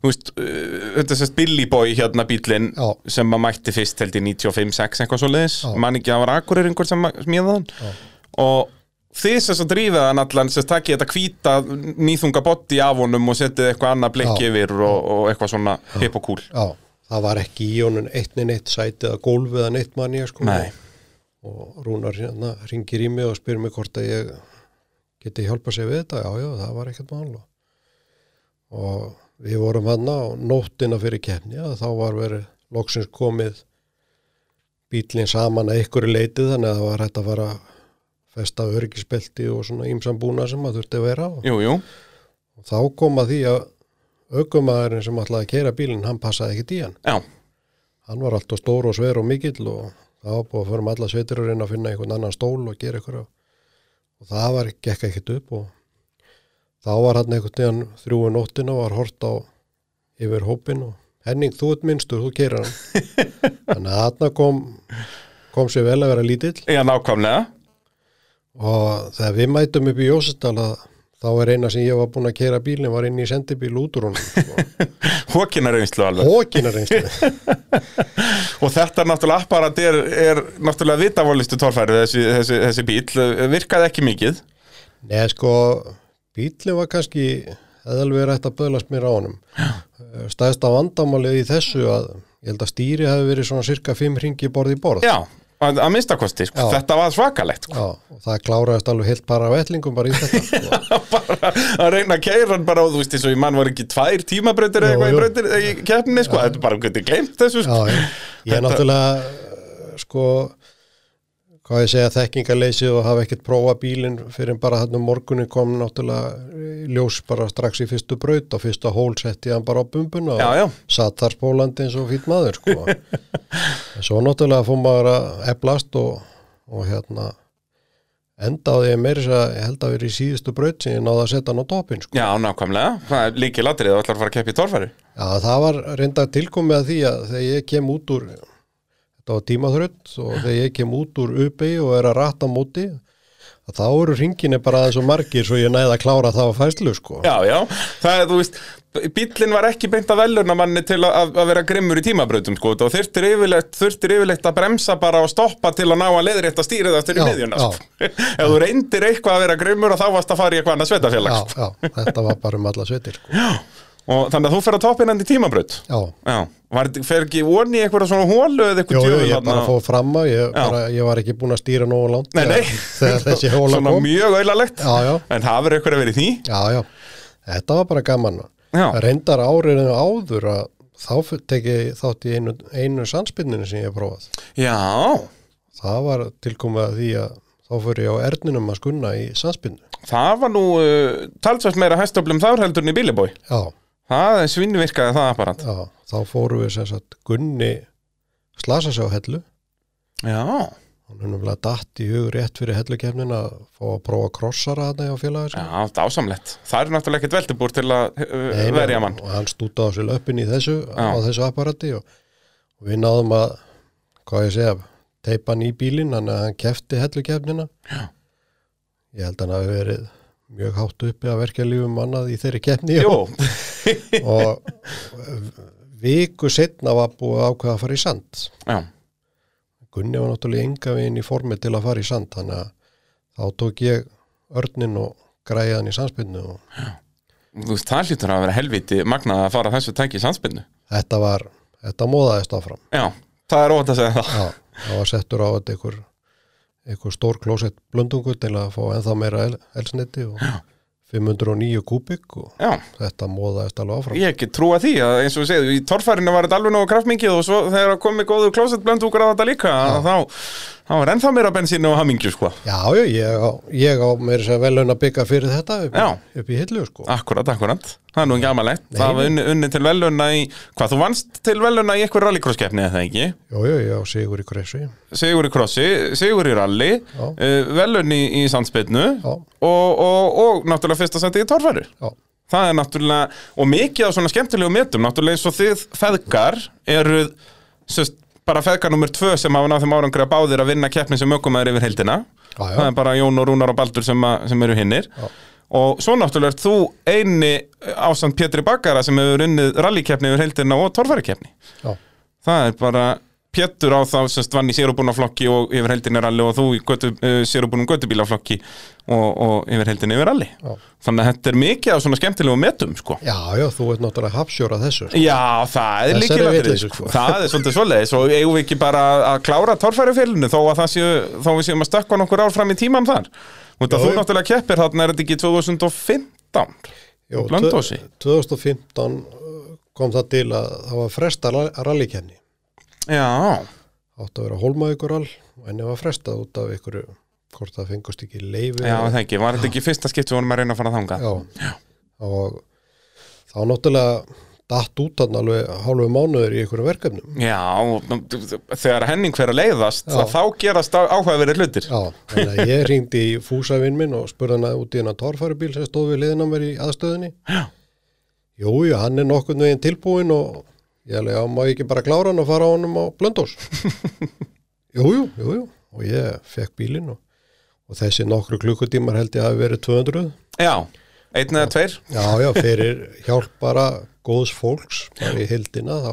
S1: þú veist, uh, þetta er sérst Billy Boy hérna bílinn
S2: Já.
S1: sem að mætti fyrst held í 95-6 eitthvað svo leiðis,
S2: Já.
S1: man ekki að var akkurir einhver sem að smíða hann og þið sérst að drífa hann allan sérst takkið þetta hvíta nýþunga botti af honum og setið eitthvað annað blikki
S2: Já.
S1: yfir og, og eitthvað svona hip og cool
S2: Já, það var ekki í honum eitt neinn eitt sæti eða gólf eða neitt manni sko.
S1: Nei.
S2: og Rúnar hérna ringir í mig og spyr mig hvort að ég geti hjálpa sér við þetta, já, já, það var ekkert mál og- og við vorum hann á nóttina fyrir kefni að þá var verið loksins komið bílinn saman að ykkur leiti þannig að það var hægt að fara að festa örgisbelti og svona ímsambúna sem að þurfti að vera á
S1: Jú, jú,
S2: og þá kom að því að aukumæðurinn sem ætlaði að keira bílinn, hann passaði ekkert í hann
S1: já,
S2: hann var alltaf stór og sver og mikill og það var búið að förum alla sveitir að reyna að finna einhvern annan stól og gera eitthvað og það var, gekk ekkert upp og þá var hann einhvern veginn þrjúi nóttina og var hort á yfir hópin og Henning, þú ert minnstur, þú keirir hann þannig að hann kom kom sér vel að vera lítill
S1: já, nákvæmlega
S2: og þegar við mætum upp í Jósestal þá er eina sem ég var búin að keira bílinn var inn í sendibíl út úr honum
S1: hókina reynslu alveg
S2: hókina reynslu
S1: Og þetta náttúrulega apparat er, er náttúrulega vitavólistu torfæri þessi, þessi, þessi bíl, virkaði ekki mikið
S2: Nei, sko, bílinn var kannski eða alveg rætt að böðlast mér á honum. Stæðsta vandamálið í þessu að ég held að stýri hafi verið svona cirka 5 ringi borð í borð.
S1: Já, að, að minnsta kosti, sko.
S2: Já.
S1: þetta var svakalegt sko.
S2: Já, og það kláraðist alveg heilt bara af ætlingum bara í þetta. sko.
S1: bara að reyna að keira hann bara og þú veist eins og ég mann var ekki tvær tímabrautir eða eitthvað
S2: Jú,
S1: í
S2: jú.
S1: brautir í keppni, sko, þetta er bara hvernig glemt þessu,
S2: Já,
S1: sko.
S2: ég, ég er náttúrulega, eh, sko, hvað ég segja, þekkingarleysið og hafa ekkert prófa bílinn fyrir en bara þannig morgunin kom náttúrulega í ljós bara strax í fyrstu braut og fyrsta hól setti ég hann bara á bumbuna og
S1: Já, já.
S2: satt þar spólandi eins og fýtt maður sko. En svo náttúrulega fór maður að eflast og, og hérna endaði ég meiri þess að ég held að vera í síðustu braut sem ég náði að setja hann á topin sko.
S1: Já, nákvæmlega, það er líki latrið og ætlar að fara að keppa í torfæri
S2: Já, það var reynda tilkomið að því að þegar ég kem út úr þetta var tímaþrönd og þegar ég kem út úr uppi og er að rata á móti að þá eru ringinni bara aðeins og margir svo ég næði að klára það á fæslu sko.
S1: Já, já, það er, þú veist, bíllinn var ekki beint að velurna manni til að, að- að vera grimmur í tímabrautum, sko, og þurftir yfirleitt, þurftir yfirleitt að bremsa bara og stoppa til að ná að leiðrétta stýrið eftir í
S2: Já,
S1: miðjuna,
S2: já.
S1: sko. Ef þú reyndir eitthvað að vera grimmur og þá varst að fara í eitthvað annað
S2: já,
S1: sveitafélag, sko.
S2: já, þetta var bara um alla sveitir sko.
S1: Og þannig að þú fer að toppin enn í tímabraut.
S2: Já,
S1: Já, var, fer ekki von í eitthvað svona hólu eða
S2: Jó,
S1: eitthvað
S2: jú,
S1: djöfull
S2: ég
S1: þarna?
S2: bara fóð fram að ég, bara, ég var ekki búin að stýra nógu langt
S1: Nei, nei,
S2: þegar, þegar þessi hóla
S1: svona
S2: kom
S1: mjög auðlalegt,
S2: Já, já.
S1: en hafur eitthvað verið í því?
S2: Já, já, þetta var bara gaman
S1: Já.
S2: reyndar áriðinu áður að þá teki þátt í einu, einu sannspinninu sem ég hef prófað
S1: Já,
S2: það var tilkomið að því að þá fyrir ég á erninum að skunna í sannspinnu
S1: það var nú uh, talsvægt meira hæstöflum þar heldur en í bílibói.
S2: já,
S1: Það er svinnvirkaði það apparat.
S2: já, þá fórum við sem sagt Gunni slasa sig á hellu
S1: Já,
S2: hann er náttúrulega datt í hug rétt fyrir hellukefnin að fá að prófa krossara þarna hjá sko. félagis
S1: já, það ásamlegt. Það er náttúrulega ekkert veldibúr til að uh, verja mann.
S2: og hann stúta á sér löppin í þessu á þessu apparati og, og við náðum að hvað ég segja, teipa hann í bílinn hann að hann kefti hellukefnina Já. ég held hann að verið mjög hátt uppi að verka lífum mannað í þeirri kefni
S1: Jú,
S2: og viku setna var búið að ákveða að fara í sand
S1: já,
S2: Gunni var náttúrulega enga veginn í formi til að fara í sand þannig að þá tók ég örnin og græði hann í sandspinnu og
S1: þú veist, það hlýtur að vera helviti magnað að fara þessu tæki í sandspennu.
S2: þetta var, þetta móðaðist áfram
S1: Já, það er óvænt að segja það.
S2: Já, það var settur á þetta einhver, einhver stór klósett blöndungu til að fá ennþá meira el, elsniti og 509 kúbik og
S1: Já,
S2: þetta móðaðist alveg áfram.
S1: ég ekki trúa því að eins og við segjum, í torfærinu var þetta alveg nógu kraftmikið og svo þegar komið góðu klósettblöndúkur að þetta líka, að þá, þá er ennþá meira bensínu og hamingju, sko.
S2: Já, já, ég á, ég á meira sér velun að bygga fyrir þetta upp, í-
S1: Já.
S2: upp í hillu sko.
S1: Akkurat, akkurat. Það er nú ekki amalegt. Það var unni, unni til veluna í, hvað þú vannst til veluna í eitthvað rallycrosskeppni eða ekki?
S2: Jú, jú, ég á sigur í kressu.
S1: Sigur í krossi, sigur í rally,
S2: Já.
S1: uh, velun í, í sandspinnu
S2: Já.
S1: og, og, og náttúrulega fyrsta seti í torfæru.
S2: Já,
S1: Það er náttúrulega, og mikið af svona skemmtilegu metum, náttúrulega eins og þið feðgar eru sest, bara feðgar nummer tvö sem hafa náð þeim árangri að báðir að vinna keppni sem ökumæður yfir heildina.
S2: Já, já.
S1: Það er bara Jón og Rúnar og Baldur sem, að, sem eru hinnir.
S2: Já.
S1: og svo náttúrulega ert þú eini ásand Pétri Bakara sem hefur unnið rallykefni yfir heildina og torfærikefni
S2: já,
S1: það er bara Pétur á þá sem vann í sérubúnaflokki og yfir heldinni ralli og þú í götu, uh, sérubúnum götubílaflokki og, og yfir heldinni yfir ralli
S2: Já.
S1: þannig að þetta er mikið af svona skemmtilegum metum sko.
S2: já, já, þú ert náttúrulega hafsjóra þessu sko.
S1: Já, það er
S2: Þessari
S1: líkilatrið
S2: vitleysu,
S1: sko.
S2: sko.
S1: Það er svolítið svoleiðis og eigum við ekki bara að klára torfærufélinu þó að það séu, þó við séum að stökkva nokkur ár fram í tíman þar Út að
S2: Jó.
S1: þú náttúrulega keppir þarna er þetta ekki 2015
S2: Jó,
S1: Blönduósi.
S2: tvö- 2015 uh, kom það til að það var fresta rallikenni
S1: Já,
S2: átt að vera hólmaðugurall og henni var frestað út af ykkur hvort það fengust ekki leifi
S1: já það ekki, var þetta ekki fyrsta skipt við vorum að reyna að fara þangað
S2: Já. og þá náttúrulega datt út hann alveg hálfu mánuður í einhverjum verkefnum
S1: Já, og þegar henning hver að leiðast
S2: Já.
S1: þá gerast áhugaverið hlutir
S2: Já, þannig að ég ringdi í fúsavinn minn og spurði hann út í hennar torfæribíl sem stóð við liðin á mér í aðstöðinni
S1: Já.
S2: Jú, jú, hann er nokkurn veginn tilbúin og ég alveg, já, má ég ekki bara klára hann og fara á honum á blöndós Jú, jú, jú, jú og ég fekk bílinn og, og þessi nokkru klukkutímar held ég hafi verið 200
S1: Já, einn eða tveir
S2: Já, já, fyrir hjálp bara góðs fólks bara í hildina þá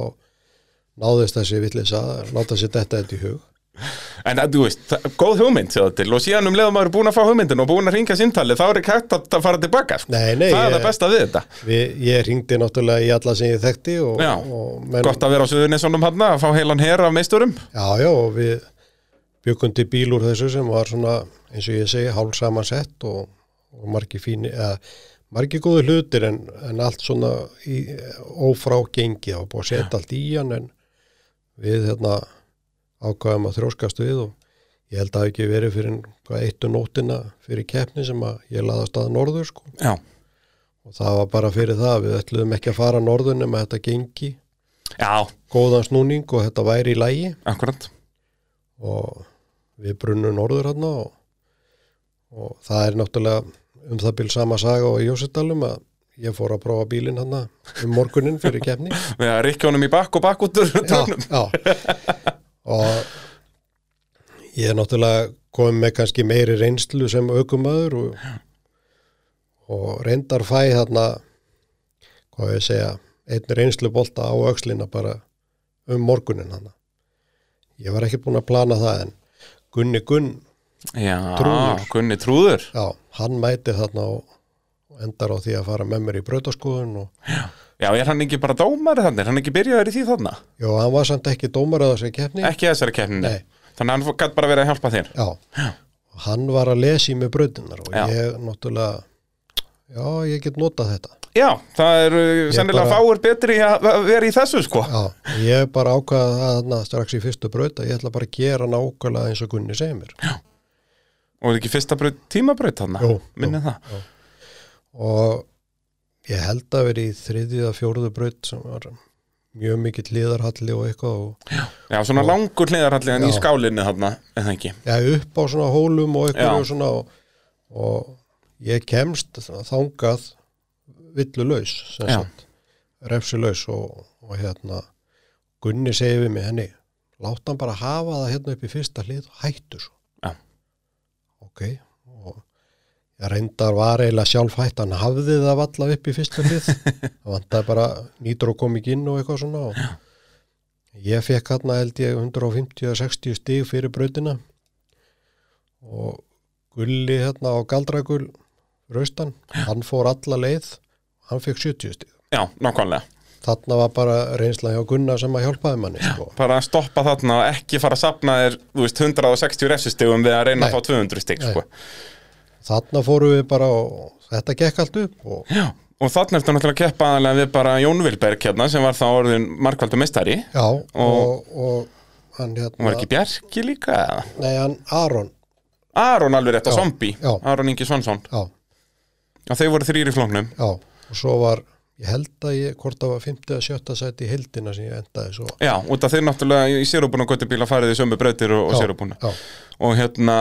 S2: náðist þessi villis að láta sér þetta þetta í hug
S1: En að, þú veist, það- góð hugmynd sér það til og síðan um leiðum maður er búin að fá hugmyndin og búin að ringa síntalið þá er ekki hægt að að fara tilbaka sko.
S2: Nei, nei, eh,
S1: Það er
S2: ég-
S1: það besta við þetta
S2: Við, ég ringdi náttúrulega í alla sem ég þekkti og,
S1: Já,
S2: og menn,
S1: Gott að vera á Suðurnesónum hann að fá heilan her af meisturum
S2: já, já, og við byggum til bíl úr þessu sem var svona, eins og ég segi, hálf samansett og, og margi fíni, eða margi góði hlutir en, en allt svona í, ófrá gengi, það var búið að setja allt í hann en við hérna ákvæðum að þrjóskast við og ég held að hafi ekki verið fyrir hvað eittu nóttina fyrir keppni sem að ég laðast að norður sko
S1: Já,
S2: og það var bara fyrir það, við ætluðum ekki að fara norður nema þetta gengi
S1: já,
S2: góðan snúning og þetta væri í lægi
S1: akkurat
S2: og við brunnum norður hann og, og það er náttúrulega um það bíl sama saga og í Jósefdalum að ég fór að prófa bílinn hann um morgunin fyrir kefni
S1: Við að rikki honum í bakk og bakk út úr
S2: já,
S1: tóknum
S2: já. og ég er náttúrulega komið með kannski meiri reynslu sem aukumöður og, og reyndar fæ þarna hvað á ég að segja einn reynslu bolta á öxlina bara um morgunin hann ég var ekki búin að plana það en Gunni Gunn,
S1: Já,
S2: Trúður.
S1: Gunni trúður
S2: já, hann mæti þarna og, og endar á því að fara með mér í brautaskoðun og
S1: Já, er hann ekki bara dómari þannig, er hann ekki byrjaður í því þarna
S2: já, hann var samt ekki dómar að þessi keppni
S1: Ekki í þessari keppninu
S2: Nei.
S1: Þannig að hann gætt bara verið að hjálpa þér
S2: Já, og hann var að lesa í mig bröðunar og
S1: Já.
S2: ég náttúrulega, já, ég get notað þetta.
S1: Já, það eru sennilega
S2: bara-
S1: fáir betri að að vera í þessu sko
S2: Já, ég bara ákvaða það þarna strax í fyrstu bröð að ég ætla bara að gera nákvæmlega eins og Gunni segir mér.
S1: Og er ekki fyrsta braut, tímabraut þarna
S2: Jú,
S1: Minni það
S2: Og ég held að vera í þriðið að fjóruðu bröð sem var mjög mikill liðarhalli og eitthvað og
S1: Já, svona langur hliðarallið en í
S2: Já.
S1: skálinni þarna En það ekki
S2: ég upp á svona hólum og eitthvað
S1: Já.
S2: og svona og, og ég kemst þangað villulaus sem
S1: Já.
S2: sagt, refsilaus og, og hérna Gunni segir við mig henni láta hann bara hafa það hérna upp í fyrsta hlið og hættu svo
S1: Já.
S2: ok og ég reyndar var eiginlega sjálf hætt hann hafði það valla upp í fyrsta hlið það vantaði bara nýtur og kom ekki inn og eitthvað svona og ég fekk hann held ég 150 eða 60 stig fyrir brautina og Gulli hérna á Galdragull raustan, hann fór alla leið hann fekk 70 stig
S1: Já, nákvæmlega
S2: þarna var bara reynsla hjá Gunnar sem að hjálpaði manni sko.
S1: bara að stoppa þarna og ekki fara að sapna þér þú veist, 160 refsistigum við að reyna
S2: Nei.
S1: að fá 200 stig
S2: Nei.
S1: sko.
S2: þarna fórum við bara og þetta gekk allt upp og
S1: Já, og þarna ertu náttúrulega að keppa aðalega við bara Jón Vilberg hérna sem var þá orðin markvaldur meistari
S2: já og, og, hann
S1: hún
S2: hérna
S1: var ekki Bjarki líka eða?
S2: nei hann Aron
S1: Aron alveg rétt á
S2: Já,
S1: zombi
S2: já.
S1: Aron Ingi Svansson
S2: já,
S1: og þeir voru þrýri flóknum
S2: já og svo var ég held að ég hvort það var 50 að 70 sæti í hildina sem ég endaði svo
S1: Já, út af þeir náttúrulega í sérubúna og Götubíla farið í sömu breytir og, og
S2: Já,
S1: sérubúna
S2: já.
S1: og hérna,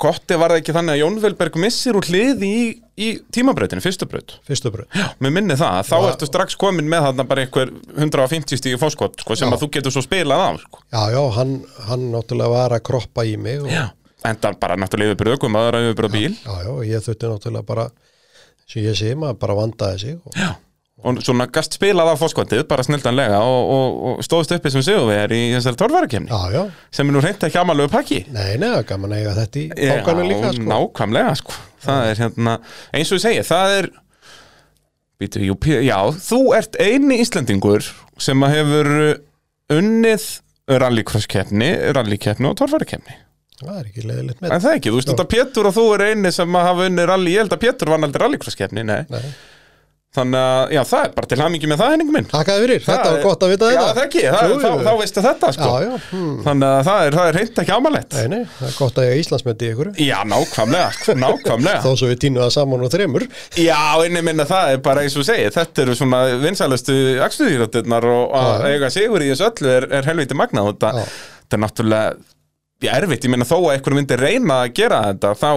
S1: gotti var það ekki þannig að Jón Vilberg missir úr hliði í, í tímabreytinu, fyrstu breyt
S2: fyrstu bröð
S1: Já, mér minni það, þá ertu strax komin með þarna bara einhver 150 stíði fórskot sko, sem
S2: Já.
S1: að þú getur svo spilað á sko.
S2: já já hann, hann náttúrulega var að kroppa í mig og,
S1: en það bara náttúrulega yfirbyrðu ökum aðra yfirbyrðu bíl
S2: Já, já, og ég þurfti náttúrulega bara sem ég sé maður bara vandaði sig og
S1: Já. Og svona gast spilað á fórskotið, bara snildanlega og, og, og stóðst uppi sem sigurvegar í þessari torfærakemni,
S2: já, já,
S1: sem er nú reynt ekki amalegu pakki.
S2: nei, nei, það er gaman að eiga þetta í
S1: Já,
S2: bókanum líka, sko,
S1: nákvæmlega sko það er hérna, eins og ég segi, það er býtu, jú, P- já, þú ert eini Íslendingur sem að hefur uh, unnið rallycross-keppni, rallykeppni og torfærakeppni
S2: það er ekki leiðilegt með
S1: en það ekki, þú veist,
S2: Já.
S1: þetta Pétur og þú er eini sem að hafa unnið rally, ég held að Pétur vann aldrei rallycross-keppni, nei,
S2: Nei.
S1: þannig að, já, það er bara til hamingi með það, henningu minn
S2: Takkaði fyrir, þetta var gott að vita
S1: já,
S2: þetta
S1: það ekki, það,
S2: Jú,
S1: þá,
S2: jú.
S1: þá veistu þetta sko,
S2: Já, já, hmm.
S1: þannig að það er, það er reynd ekki amalett,
S2: nei, nei, það er gott að eiga Íslandsmyndi í ykkur
S1: já, nákvæmlega sko, nákvæmlega
S2: Þó svo við týnum það saman og þremur
S1: Já, inni minna það er bara eins og segið Þetta eru svona vinsælustu akstuðýrötirnar og að
S2: Já.
S1: eiga sigur í þessu öllu er, er helviti magnað og þetta,
S2: Já.
S1: þetta er náttúrulega já, erfitt, ég minna þó að einhver myndi reyna að gera þetta þá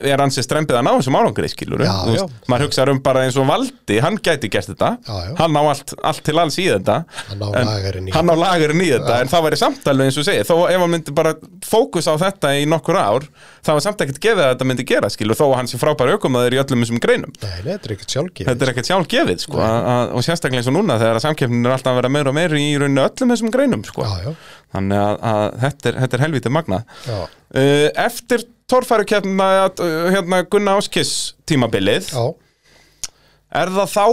S1: er hans í strempið að ná þessum árangri skilur
S2: Já, já.
S1: maður hugsaður um bara eins og Valdi hann gæti gert þetta,
S2: Já, já.
S1: hann á allt, allt til alls í þetta
S2: Hann á
S1: En
S2: lagarinn í
S1: hann á lagurinn í þetta en það væri samtalið eins og segið þó ef hann myndi bara fókus á þetta í nokkur ár þá var samt ekkert gefið að þetta myndi gera skilur þó að hann sé frábæri aukumæður í öllum þessum greinum
S2: Nei, nei, þetta er ekkert sjálfgefið
S1: þetta er ekkert sjálf gefið sko, að- að- og sérstaklega eins og núna þegar að samkeppnin er alltaf að vera meira og meira í rauninu öllum þessum greinum sko.
S2: Já, já,
S1: þannig að, að þetta, er, þetta er helvítið magna
S2: já,
S1: uh, eftir torfærukeppna uh, hérna Gunna Áskiss tímabilið
S2: já
S1: er það þá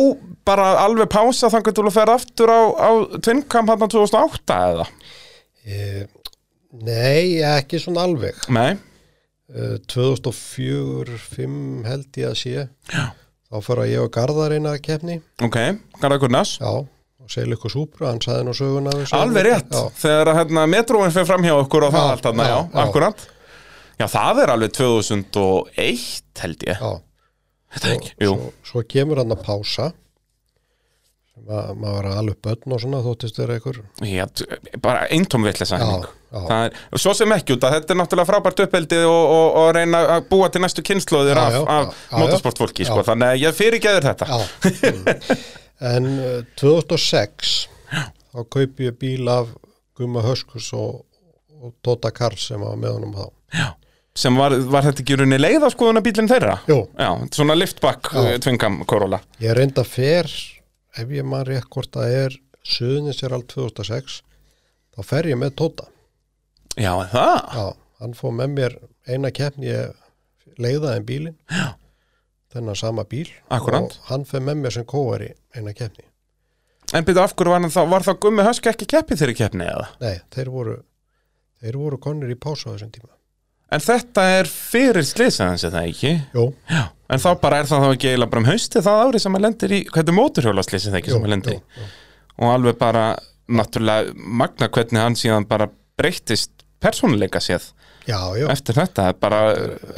S1: bara alveg pása þangar til að ferða aftur á, á tvinnkamp hann 2008 eða?
S2: e, Nei, ekki svona alveg
S1: Nei,
S2: e, 2004-05 held ég að sé já. Þá fara ég og Garðar eina að keppni
S1: ok, Garðar Gunnars
S2: Já, og segja ykkur súpra, hann saði nú söguna af þessu.
S1: alveg rétt,
S2: Já,
S1: þegar að, hérna, metróin fyrir fram hjá okkur og það
S2: Já,
S1: allt þarna, já,
S2: já, já.
S1: akkurat Já, það er alveg 2001 held ég
S2: já
S1: Þetta er ekki, jú,
S2: svo, svo kemur hann að pása sem að maður var alveg börn og svona þóttist vera einhver
S1: já, t- bara eintóm vitleysa
S2: Já,
S1: Henning.
S2: já.
S1: Það er, Svo sem ekki út að þetta er náttúrulega frábært uppeldi og, og, og reyna að búa til næstu kynnslóðir
S2: Já,
S1: af,
S2: já,
S1: af
S2: já, já,
S1: motorsportfólki
S2: já.
S1: sko, þannig að ég fyrirgeður þetta
S2: Já. en uh, 2006 þá kaupi ég bíl af Guma Höskus og, og Tóta Karl sem var með honum þá
S1: sem var, var þetta ekki í rauninni leiða skoðuna bílinn þeirra
S2: Jú,
S1: Já, svona liftback
S2: Já.
S1: eh, tvingam Corolla
S2: ég reynda fer ef ég man rétt hvort það er Suðnisjárald 2006 þá fer ég með Tóta
S1: Já, er það
S2: Já, hann fóð með mér eina keppni ég leiðaði en bílin Já. þennan sama bíl
S1: Akkúrat.
S2: og hann fer með mér sem kóari eina keppni.
S1: En byrja af hverju var, hann þá, var þá Gummi Hösk ekki keppið þeirri keppni eða?
S2: Nei, þeir voru þeir voru konir í pásu á þessum tíma
S1: En þetta er fyrir slisaðans eða ekki?
S2: Jú,
S1: Já. En þá bara er það þá ekki eiginlega bara um hausti það árið sem hann lendir í, hvað er móturhjólaslisið það ekki sem hann lendir í? Og alveg bara, náttúrulega, magna hvernig hann síðan bara breyttist persónuleika séð
S2: já, já,
S1: eftir þetta. Bara,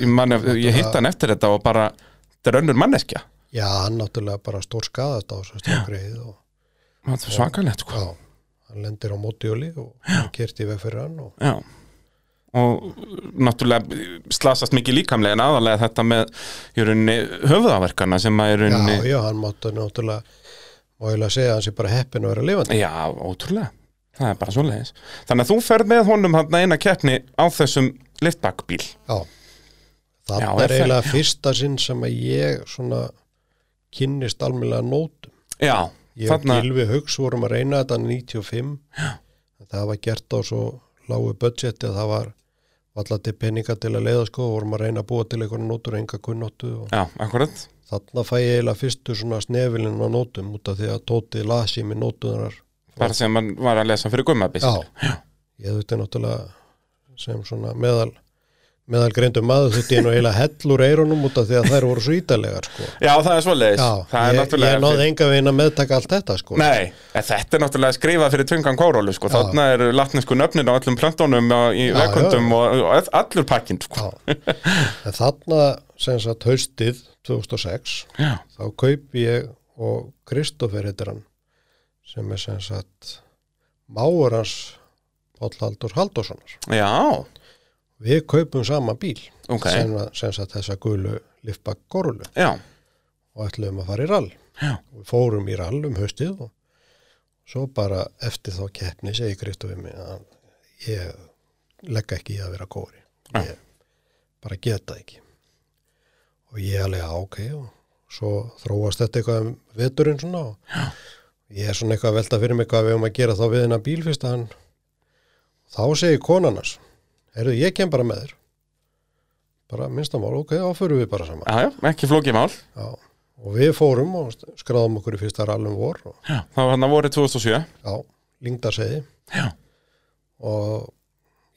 S1: ég, man, ég hitt hann eftir þetta og bara, þetta er önnur manneskja.
S2: já, hann náttúrulega bara stór skadast á þessum stjórngrið og
S1: Það er svakalegt, sko.
S2: já, hann lendir á mótjóli og kerti veg fyrir hann og
S1: Já og náttúrulega slasast mikið líkamlega en aðalega þetta með í rauninni höfðaverkana sem að í
S2: já,
S1: rauninni
S2: já, hann máttu náttúrulega má ég að segja að hann sé bara heppin að vera lifandi
S1: já, ótrúlega, það er bara svoleiðis þannig að þú ferð með honum hann eina keppni á þessum liftbackbíl
S2: Já, það
S1: Já, er
S2: er
S1: það-
S2: eiginlega fyrsta sinn sem að ég svona kynnist almennlega nótum.
S1: Já,
S2: Ég og
S1: þarna
S2: Gylfi Hauks vorum að reyna þetta 95. Já. Það var gert á svo lágu budgeti að það var allar til peninga til að leiða sko og vorum að reyna að búa til einhverja nótur enga kunnóttu og
S1: Já, akkurat,
S2: þarna fæ ég eiginlega fyrstu svona snefilin á nótum út af því að Tóti lasi mér nótunar.
S1: bara sem hann var að lesa fyrir gummabís
S2: Já. Ég þurfti náttúrulega sem svona meðal meðal greindu maður þurfti ég nú eiginlega hellur eyrunum út af því að þær voru svo ítarlegar sko.
S1: Já, það er svoleiðis
S2: Já,
S1: það er
S2: ég,
S1: náttúrulega
S2: ég náði enga veginn að meðtaka allt þetta sko
S1: Nei, en þetta er náttúrulega skrifað fyrir tvingan kórólu sko.
S2: Já.
S1: þarna eru latnesku nöfnin á öllum plöntunum og í
S2: Já,
S1: vekkundum og, og allur pakkinn sko.
S2: Já. En þarna sem sagt haustið 2006
S1: Já,
S2: þá kaupi ég og Kristoffer heitir hann sem er sem sagt máur hans Páll Haldur Haldurssonar
S1: já
S2: Við kaupum sama bíl
S1: Ok.
S2: sem, að- sem sagt þessa gulu liftbakk gorulu
S1: Já,
S2: og ætluðum að fara í rall
S1: Já.
S2: Við fórum í rall um haustið og svo bara eftir þá keppni segi Kristoffer mig að ég legg ekki í að vera kóri ég bara geta ekki og ég alveg "Já, ok og svo þróast þetta eitthvað um veturinn svona og ég er svona eitthvað að velta fyrir mig hvað við höfum að gera þá við hennar bíl fyrst að hann þá segi konan hans heyrðu ég kem bara með þér bara minnstamál, ok, þá förum við bara saman
S1: Já, já, ekki flókið mál
S2: já. og við fórum og st- skráðum okkur í fyrsta rallum vor og,
S1: Já, það var hann að voru 2007
S2: já, Lingdarseiði
S1: Já,
S2: og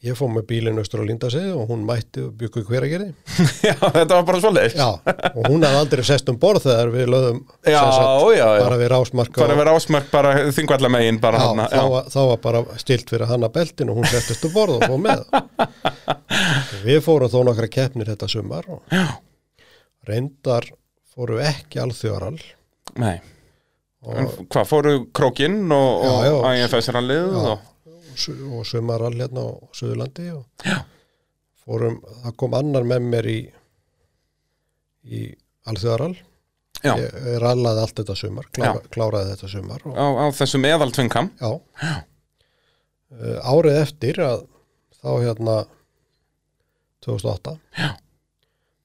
S2: ég fór með bílinn austur á Lingdarseiði og hún mætti og byggu í hveragerði
S1: já þetta var bara svoleiðis
S2: Já, og hún hafði aldrei sest um borð þegar við löðum
S1: já, já, já.
S2: bara við rásmarka
S1: bara að vera ásmörk bara þingvallamegin bara
S2: já,
S1: hann
S2: þá, var- þá var bara stilt fyrir hana beltin og hún settist um borð og fóð með Við fórum þó nokkra keppnir þetta sumar og
S1: já,
S2: reyndar fórum við ekki alþjóral
S1: nei En Hvað, fóru krókinn og,
S2: Já, já.
S1: og IFS-rallið og...
S2: og su- og sumaral hérna á Suðurlandi og fórum, það kom annar með mér í í alþjóral
S1: Já,
S2: ég ég rallaði allt þetta sumar klára, kláraði þetta sumar og
S1: á, á þessum eðaltvingam
S2: Já. Uh, árið eftir að þá hérna 2008
S1: Já.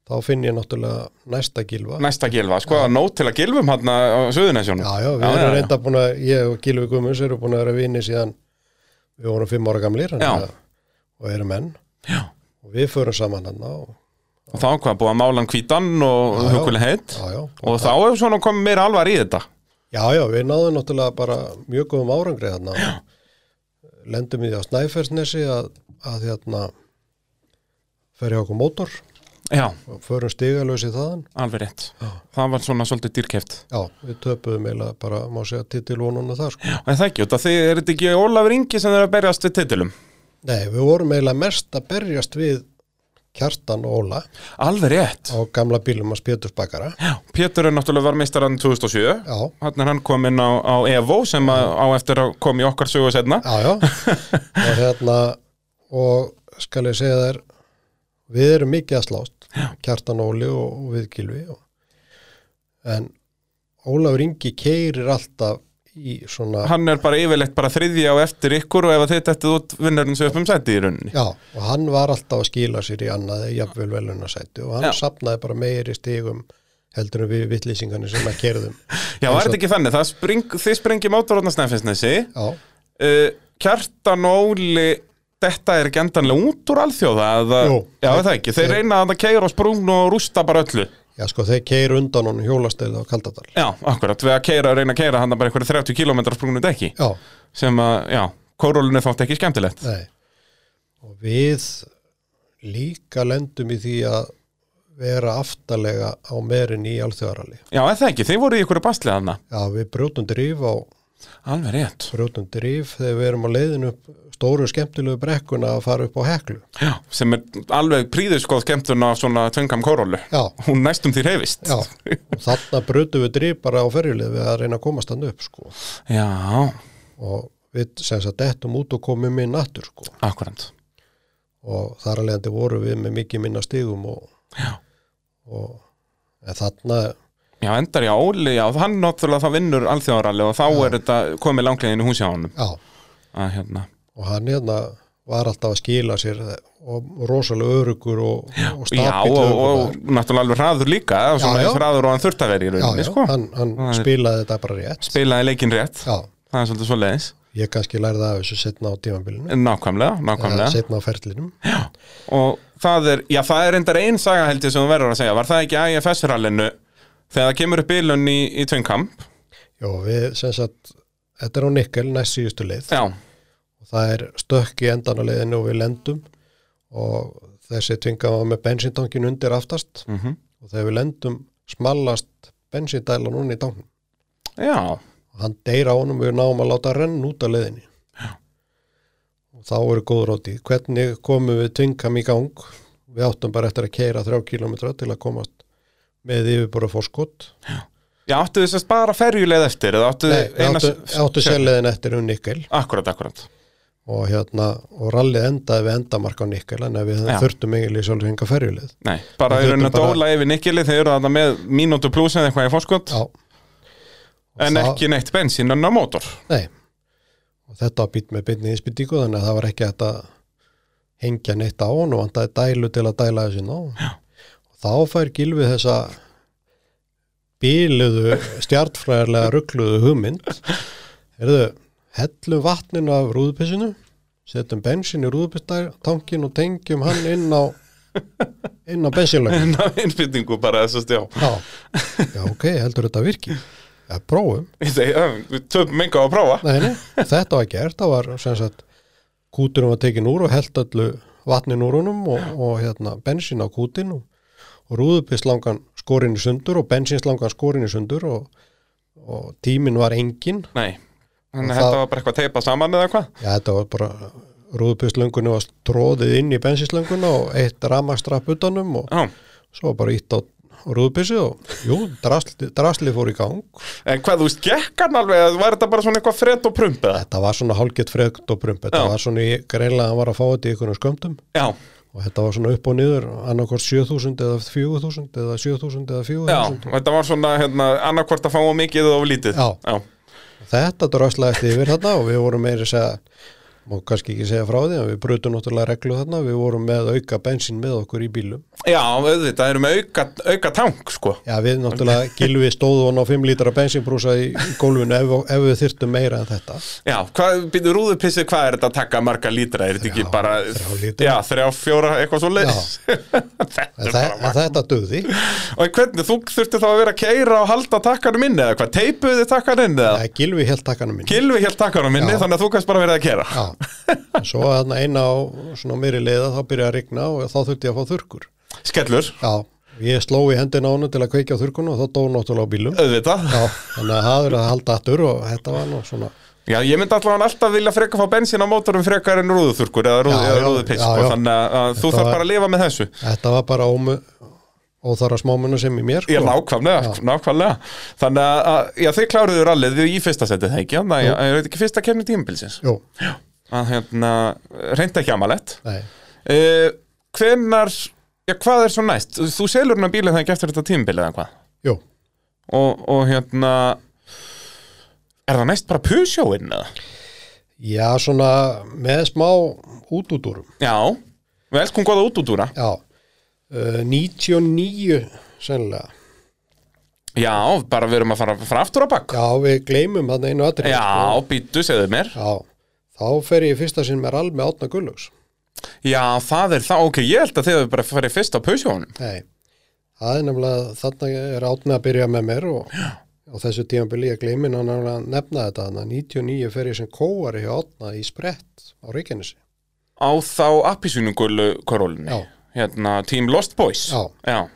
S2: þá finn ég náttúrulega næsta gilva.
S1: Næsta gilva, sko, að nót til að gilvum hann á Suðunessjónum
S2: Já, já, við erum reynda búin að, ég og Gilvi Guðmunds erum búin að vera vini síðan við vorum fimm ára gamlir þannig
S1: Já.
S2: að, og erum menn
S1: Já,
S2: og við förum saman hann og
S1: og þá hvað, búið að mála hann hvítan og
S2: Já, já.
S1: huguleg heitt
S2: já, já,
S1: Og þá hefur svona komið meira alvar í þetta
S2: já, já, við náðum náttúrulega bara mjög góðum árangri þarna og lendum í því á Snæfersnesi að, að hérna fer hjá okkur mótor
S1: Já,
S2: og förum stigalösi þaðan
S1: alveg rétt
S2: Já.
S1: Það var svona svolítið dýrkeft
S2: Já, við töpuðum eiginlega bara, má segja, titilvonuna þar sko.
S1: En það ekki, út af því er þetta ekki Ólafur Ingi sem er að berjast við titilum
S2: Nei, við vorum eiginlega mest að berjast við Kjartan og Óla
S1: Alveg rétt
S2: á gamla bílum að spjötus bakara.
S1: Já, Pétur er náttúrulega var meistarann 2007
S2: Já,
S1: Þannig er hann kominn á, á Evo sem að, á eftir að koma í okkar sögu setna
S2: já, já. og hérna, og skal ég segja þær, við erum mikið að slást, já. Kjartan og Óli og, og við Gilvi. Og, en Ólafur Ingi keirir alltaf í svona...
S1: Hann er bara yfirleitt bara þriðja á eftir ykkur og ef að þetta eftir út vinnarinn sem upp um sæti í rauninni
S2: Já, og hann var alltaf að skila sér í annað jafnvel velunarsæti og hann
S1: Já.
S2: sapnaði bara meiri stigum heldur en við vittlýsingarnir sem að kerðum
S1: Já, var þetta ekki þannig, það spring, þið springi um mótorotna snæfinsnesi
S2: Já,
S1: uh, Kjartan og Óli Þetta er ekki endanlega út úr alþjóða eða,
S2: Jú.
S1: Já, er það ekki, þeir
S2: Þeir-
S1: reyna að keira og sprungna og rústa bara öllu
S2: já sko, þeir keir undan honum hjólastegið á Kaldadal
S1: Já, akkurat, við að keira að reyna að keira hann bara einhverju 30 km sprungnu dekki
S2: Já,
S1: sem að, já, kórólinu þótt ekki skemmtilegt
S2: nei og við líka lendum í því að vera aftalega á merin í alþjóðarali
S1: Já, er það ekki, þeir voru í einhverju bastlið hana
S2: Já, við brjótum drif á
S1: Alveg rétt
S2: brjótum drif þegar við erum á leiðinu upp stóru skemmtilegu brekkuna að fara upp á heklu
S1: já, sem er alveg príðuskoð skemmtun af svona tvöngam kórólu
S2: Já,
S1: Hún næstum því reyfist
S2: Já, og þarna brutum við drif bara á ferjulið við að reyna að komast hann upp sko
S1: já
S2: og við sem sagt dettum út og komum inn aftur sko
S1: akkurat
S2: og þar alveg endi voru við með mikið minna stigum og,
S1: Já.
S2: og en þarna
S1: Já, endar já, Óli, já, hann náttúrulega það vinnur alþjóðaralli og þá er þetta komið langlegin í húsi á honum
S2: já,
S1: að hérna,
S2: og hann hérna var alltaf að skila sér og rosalega örugur og, og
S1: já,
S2: stabill
S1: og, og,
S2: örugur
S1: náttúrulega alveg hraður líka, já, svona
S2: Já, já.
S1: eins hraður og hann þurft að vera í
S2: já,
S1: rauninni,
S2: já,
S1: sko
S2: hann, hann
S1: er-
S2: spilaði þetta bara rétt
S1: spilaði leikin rétt,
S2: já,
S1: það er svolítið svo leiðis
S2: ég kannski lærði af þessu setna á tímabilinu
S1: nákvæmlega, nákvæmlega
S2: setna á ferlinum
S1: og það er, já það er endar ein saga held ég sem þú verður að segja, var það ekki IFS-rallinu þegar það kemur upp bílun í, í tvöngkamp,
S2: já, við sem sagt þetta er á Nikkel næst síðustu leið
S1: já,
S2: og það er stökk í endan á leiðinu og við lendum og þessi tvinga var með bensintangin undir aftast
S1: mm
S2: og þegar við lendum smallast bensindælan hún í tankin
S1: já
S2: og hann deyra á honum og við náum að láta renn út á leiðinni Já. og þá eru góð róti hvernig komum við tvingam í gang við áttum bara eftir að keira þrjá kilometra til að komast með yfirbúra fórskott
S1: já, áttu þess að bara ferjuleið eftir eða áttu
S2: Nei, við áttu, áttu sérleiðin eftir um Nikkel
S1: akkurat, akkurat,
S2: og hérna og rallið endaði við endamark á Nikkel en við
S1: Já.
S2: þurftum eiginlega í sjálfur hinga ferjuleið
S1: nei, bara
S2: Við
S1: eru henni
S2: þurfum
S1: að
S2: bara-
S1: dóla yfir nikili, þeir eru þarna með mínútu pluss eða eitthvað í fórskot,
S2: Já,
S1: en
S2: það-
S1: ekki neitt bensín en á mótor,
S2: nei. Og þetta var býtt með byrni ísbyttíku þannig að það var ekki hægt að hengja neitt á hann og hann dælu til að dæla þessi ná. Já. Og þá fær Gilvi þessa bíluðu stjartfræðarlega ruggluðu hugmynd Herðu, hellum vatninu af rúðupissinu setjum bensin í rúðupisstankin og tengjum hann inn á inn á bensinlögn
S1: Ná, innbyttingu bara þessast, já.
S2: Já, já ok, heldur þetta virki Já, prófum
S1: Ég segi, já, Við töfum enga á að prófa.
S2: Nei, nei, þetta var gert, það var sem sagt, kúturinn var tekin úr og held öllu vatnin úr honum og, og hérna, bensín á kútin og, og rúðupislangan skorinn í sundur og bensinslangan skorinn í sundur og, og tíminn var engin
S1: Nei, þannig að
S2: Það-
S1: þetta var bara eitthvað teipað saman eða hvað?
S2: Já, þetta var bara rúðupistlöngunni var stróðið inn í bensinslönguna og eitt ramastrapp utanum og
S1: Já,
S2: svo var bara ítt á rúðupissið og jú, drasli, drasli fór í gang
S1: en hvað, þú veist, gekk hann alveg, eða var þetta bara svona eitthvað fred og prump eða?
S2: þetta var svona hálgett frekt og prump þetta
S1: Já.
S2: var svona í- greinlega að hann var að fá þetta í einhvernum skömmtum
S1: Já,
S2: og þetta var svona upp og niður annarkort 7000 eða 4000 eða 7000 eða
S1: já,
S2: 4000
S1: þetta var svona, hérna, annarkvort að fá of mikið eða of lítið.
S2: Já.
S1: Já,
S2: þetta dröslaðist yfir þarna og við vorum meiri að segja má kannski ekki segja frá því en við brutum náttúrulega reglu þarna við vorum með auka bensín með okkur í bílum
S1: já þetta erum auka, auka tank, sko.
S2: já við náttúrulega gilvi stóðu hann á 5 lítra bensínbrúsa í í gólfinu ef, ef við þyrtum meira en þetta
S1: Já, hvað, býtu rúðupissið, hvað er þetta að taka marga lítra? Er þetta ekki
S2: Þrjá-
S1: bara...
S2: þrjá lítra.
S1: Já, þrjá, fjóra, eitthvað svo leis. þetta
S2: en,
S1: er
S2: þe
S1: bara...
S2: en þetta döði
S1: Og hvernig, þú þurfti þá að vera að keira og halda takkanum inni eða hvað? Teipuðu þið takkanum inni eða?
S2: gilvi held takkanum minn
S1: Gilvi helt takkanum inni,
S2: Já.
S1: þannig að þú kannst bara verið að keira.
S2: Já, En svo þarna eina á svona mér í leiða þá byrjaði að rigna og þá þurfti ég að fá þurkur.
S1: Skellur,
S2: Já, ég sló í hendina á honum til að kveikja á þurkun og þá dói náttúrulega á bílum.
S1: auðvitað.
S2: Já, þannig að það er að halda aftur og þetta var nú svona...
S1: Já, ég myndi allavega alltaf vilja freka fá bensín á mótorum frekar en rúðuþurkur eða, rúð,
S2: Já,
S1: eða
S2: já,
S1: rúðupiss,
S2: já,
S1: sko,
S2: já.
S1: þannig að- að þú
S2: Þetta
S1: þarf
S2: var-
S1: bara að lifa með þessu.
S2: Þetta var bara ómu, óþara smámunu sem í mér. sko.
S1: Ég nákvæmlega, nákvæmlega. Þannig að, að, já, þið kláruður allir, þið í fyrsta setið það ekki, þannig að, er þetta ekki fyrsta kemni tímabilsins?
S2: Jú,
S1: Að, hérna, reynda ekki amalett.
S2: nei.
S1: Uh, hvenar, já, hvað er svo næst? Þú- Þú selur hennar bílið það ekki eftir þetta tímabilið eða hvað?
S2: Jú,
S1: Og, og hérna, er það næst bara pusjóinn eða?
S2: já, svona með smá útúdúrum.
S1: Já, við elskum góða útúdúra.
S2: Já, uh, 99 sennilega.
S1: Já, bara við erum að fara, fara aftur á bakk.
S2: Já, við gleymum þarna einu atrið.
S1: Já, býttu, segðu mér
S2: Já, þá fer ég í fyrsta sinn með rall með Átna Gullöks.
S1: Já, það er það, ok, ég held að þið hefur bara farið fyrst á pusjónum
S2: Nei, það er nefnilega, þarna er Átni að byrja með mér og á þessu tímabili ég gleymin að nefnilega nefna þetta þannig að 99 fer ég sem kóari hjá Átna í sprett á Reykjanesi.
S1: Á þá appisýningulu korólunni
S2: Já.
S1: Hérna, Team Lost Boys
S2: Já.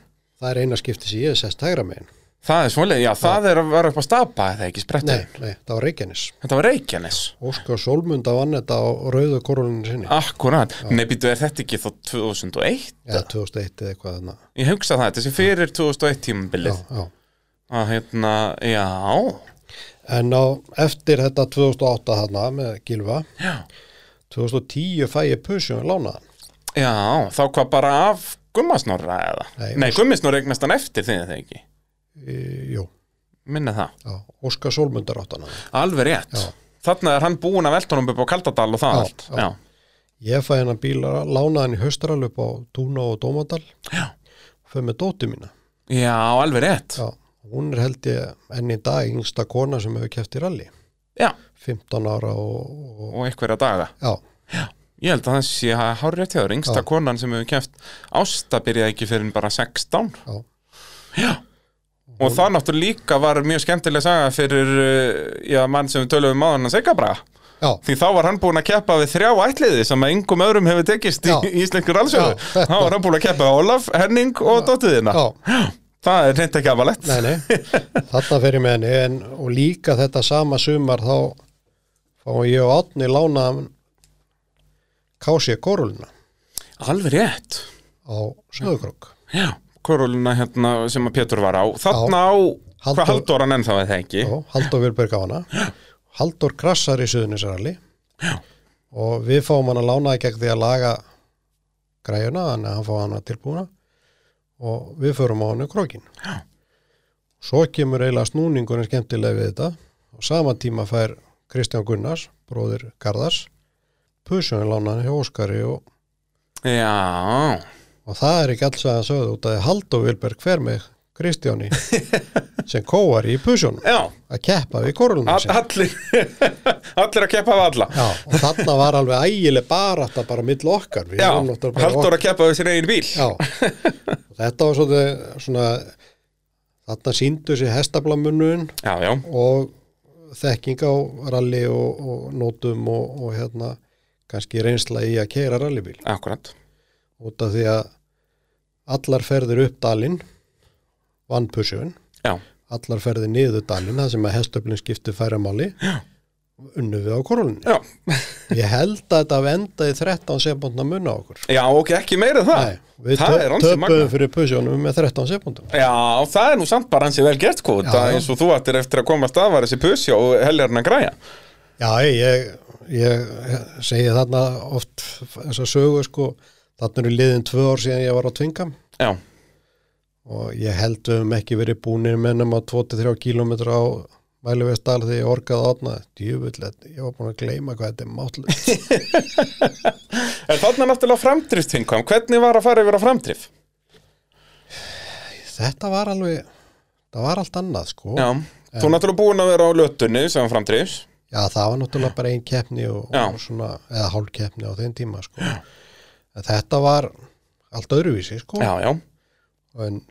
S2: Það er eina skipti sem ég er sest hægra megin.
S1: Það er svoleið, já, það er að vera upp að stapa eða ekki
S2: Nei,
S1: sprettur
S2: nei, það var Reykjanes.
S1: Þetta var Reykjanes
S2: Óskar Solmunda vann þetta á rauðu koruninu sinni.
S1: Akkurat, nei, býttu, er þetta ekki þá 2001?
S2: Eða 2001 eða eitthvað þarna.
S1: Ég hugsa það, þetta sé fyrir 2001 tímabilið
S2: Já, já.
S1: Að hérna, já
S2: En á eftir þetta 2008 þarna með Gilva,
S1: Já,
S2: 2010 fæ ég pusjum að lána hann.
S1: já þá hvað bara af gummasnorra eða
S2: Nei,
S1: Nei, gummisnorra eignast hann eftir því það ekki
S2: E, jú,
S1: Minna það
S2: já, Óskar Solmundar átt hann.
S1: Alveg rétt
S2: Já.
S1: Þarna er hann búin að velta honum upp á Kaldadal og það
S2: Já,
S1: allt
S2: já. Ég fæ hennan bíl að lána hann í haustral upp á Túna og Dómadal
S1: Já.
S2: fyrir með dóti mína.
S1: já, alveg rétt Já,
S2: Já. Hún er held ég enn í dag yngsta kona sem hefur kæft í ralli. 15 ára og, og
S1: og einhverja daga
S2: já,
S1: Ég held að það sé að hár rétt hjá þér Yngsta
S2: Já.
S1: konan sem hefur keft Ásta byrjaði ekki fyrir en bara 16
S2: já,
S1: Já Og það náttúrulega líka var mjög skemmtileg saga fyrir uh, já, mann sem við töluðum á hann að segja bara
S2: já,
S1: Því þá var hann búin að keppa við þrjá ætliði sem að yngum öðrum hefur tekist
S2: Já.
S1: í íslenskur allsöðu
S2: Já, þetta-
S1: Þá var hann búin að keppa við Ólaf, Henning og dóttiðina
S2: já,
S1: Það er reynd ekki afalett
S2: nei, nei, þarna fer ég með henni en, og líka þetta sama sumar þá fá ég og Átni lána hann kási korulina
S1: Alveg rétt
S2: á Söðukrok.
S1: Já, koróluna hérna sem að Pétur var á Þarna á,
S2: Halldór-
S1: hvað Halldór hann ennþá eða ekki
S2: Já, Halldór Vilberg á hana Halldór krassar í Suðunisralli og við fáum hann að lána í gegn því að laga græjuna, þannig að hann fá hana tilbúna og við förum á hann krókin Já. svo kemur eiginlega snúningurinn skemmtilega við þetta og sama tíma fær Kristján Gunnars bróðir Garðars pusjum við lána hann hjá Óskari og,
S1: Já,
S2: og það er ekki alls að hann sögðu út að Halldór Vilberg fer með Kristjáni sem kóar í pusjónum
S1: Já,
S2: að keppa við korlunum
S1: all,
S2: sinni.
S1: allir, allir að keppa af alla
S2: Já, og þarna var alveg ægileg barata bara mill okkar. Við
S1: Já,
S2: vorum náttúrulega bara
S1: Halldór að keppa við sér eigin bíl
S2: Já, og þetta var svolítið svona, þarna síndu sér hestablamunun
S1: já, já,
S2: og þekking á rally og, og nótum og, og hérna kannski reynsla í að keira rallybíl
S1: akkurat
S2: út af því að allar ferðir upp dalinn vann pusjun,
S1: Já,
S2: allar ferðir niður dalinn, það sem að hestöflin skipti færamáli unnu við á korulunni.
S1: já,
S2: Ég held að þetta hafi endað í 13 sekundna munna okkur.
S1: já ok, ekki meira en það
S2: Nei, við
S1: það er
S2: töp-
S1: ansi magna
S2: töpuðum fyrir pusjónum með 13 sekundum.
S1: Já, það er nú samt bara hansi vel gert sko
S2: Já,
S1: Það
S2: já.
S1: eins og þú ættir eftir að komast af var þessi pusja og heljarn að græja
S2: Já, ég, ég segi þarna oft þessa sögu sko, þarna eru liðin tvö ár síðan ég var á tvingam
S1: Já,
S2: og ég held við höfum ekki verið búinir með nema 23 km á Mæluvegsdal þegar ég orgaði átna djöfullett, ég var búin að gleyma hvað þetta er mátlust
S1: en þarna náttúrulega framdrift hinkom Hvernig var að fara yfir á framdrif?
S2: þetta var alveg það var allt annað sko
S1: Já, þú er náttúrulega búin að vera á lötunni sem framdrifs
S2: Já, það var náttúrulega bara ein keppni og,
S1: Já.
S2: og svona, eða hálf keppni á þeim tíma sko en þetta var allt öðruvísi sko
S1: Já, já,
S2: en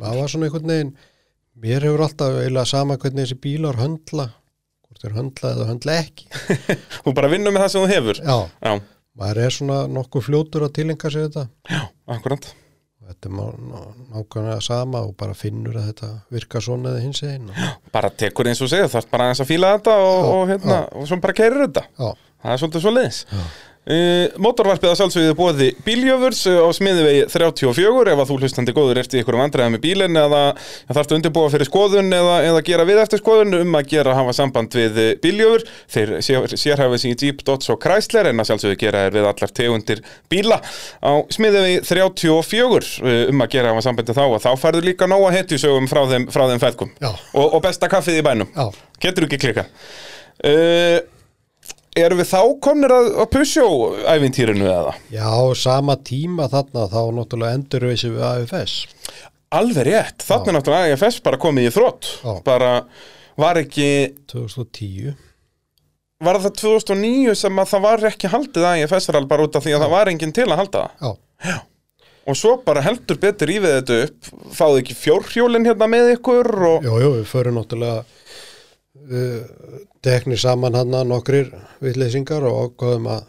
S2: maður var svona einhvern veginn mér hefur alltaf eiginlega sama hvernig þessi bílar höndla hvort þeir höndla eða höndla ekki
S1: þú bara vinnur með það sem þú hefur
S2: já,
S1: Já,
S2: maður er svona nokkuð fljótur að tilenga sér þetta
S1: já, akkurat
S2: Og þetta er má- ná- nákvæmlega sama og bara finnur að þetta virka svona eða hins einn og,
S1: Bara tekur eins og segja, þarf bara aðeins að fíla þetta og, og hérna, og svo bara keirir þetta
S2: já,
S1: Það er svolítið svo leiðis. Uh, motorvarpið að sjálfsögðu bóði bíljöfurs uh, á smiðvegi 34 ef að þú hlustandi góður eftir ykkur vandræðum með bílinn eða eða þarftu að undirbúa fyrir skoðun eða, eða gera við eftir skoðun um að gera hafa samband við uh, bíljöfur þeir sér, sérhafið sín í Jeep, Dodge og Chrysler en að sjálfsögðu gera er við allar tegundir bíla á smiðvegi 34 uh, um að gera hafa sambandi þá og þá færðu líka nóga hetjusögum frá þeim, frá þeim feðgum
S2: Já.
S1: og, og besta kaffið í bænum
S2: já,
S1: Getur ekki klika uh, Erum við þá komnir að, að pusjó ævintýrinu eða?
S2: já, sama tíma þarna þá náttúrulega endurveysi við AFS
S1: Alveg rétt, þannig náttúrulega AFS bara komið í þrótt
S2: Já.
S1: Bara var ekki
S2: 2010
S1: Var það 2009 sem að það var ekki haldið AFS-ral bara út af því að það var enginn til að halda það
S2: já,
S1: Og svo bara heldur betur í við þetta upp Fáðu ekki fjórhjólin hérna með ykkur og...
S2: Jú, jú, við förum náttúrulega uh, teknir saman hann að nokkrir vitleysingar og ákvaðum að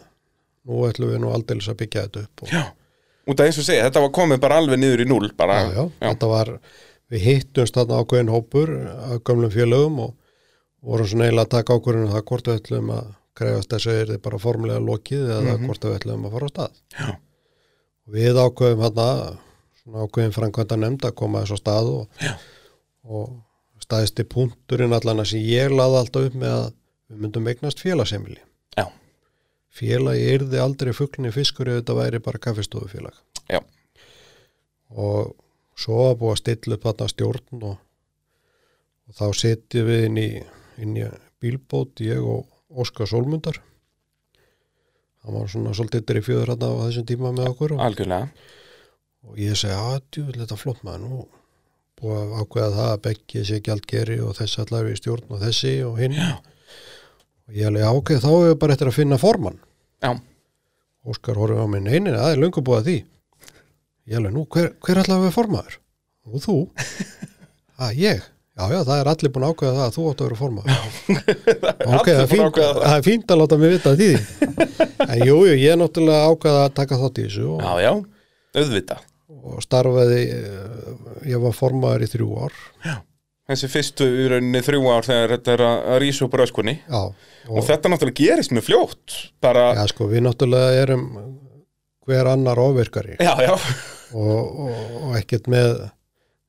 S2: nú ætlum við nú aldeilis að byggja þetta upp og, já,
S1: Já, út af eins og segja, þetta var komið bara alveg niður í núl bara,
S2: já, þetta var við hittumst þarna ákveðin hópur af gömlum félögum og vorum svona eiginlega að taka ákveðinu það hvort við ætlum að krefast þess að er þið bara formulega lokið eða hvort við ætlum að fara á stað
S1: Já.
S2: og við ákveðum hann að svona ákveðin framkvæmda nefnd að koma þess á stað og og staðisti punkturinn allan að sem ég laði alltaf upp með að við myndum eignast félagsemili.
S1: já,
S2: Félagi yrði aldrei fugglinni fiskur ef þetta væri bara kaffistofufélag.
S1: já,
S2: Og svo var búið að stilla upp þarna stjórn og, og þá setjum við inn í, inn í bílbót, ég og Óskar Sólmundar. Hann var svona svolítið drifjöður hérna á þessum tíma með okkur og,
S1: algjörlega
S2: og ég segi að djúvill þetta er flott maður nú búið að ákveða það að beggi sé gjaldgeri og þessi allar við í stjórn og þessi og hinn
S1: Já.
S2: og ég alveg ákveð þá hefur bara eftir að finna formann
S1: Já,
S2: Óskar horfið á mig neinin það er löngu búið að því ég alveg nú hver, hver allar við formaður og þú að ég Já, já, það er allir búin að ákveða það að þú átt að vera formaður. Ok,
S1: allir búin
S2: það er
S1: að
S2: fínt,
S1: ákveða það.
S2: það er fínt að láta mig vita því. En jú, jú, ég er náttúrulega ákveða að taka þátt í þessu og,
S1: Já, já, auðvita
S2: og starfaði, eh, ég var formaður í þrjú ár.
S1: Þessi fyrstu í rauninni þrjú ár þegar þetta er að að rísa upp röskunni
S2: Já,
S1: og, þetta náttúrulega gerist mjög fljótt bara,
S2: Já, sko, við náttúrulega erum hver annar ofvirkari
S1: já, já,
S2: og, og, og ekkert með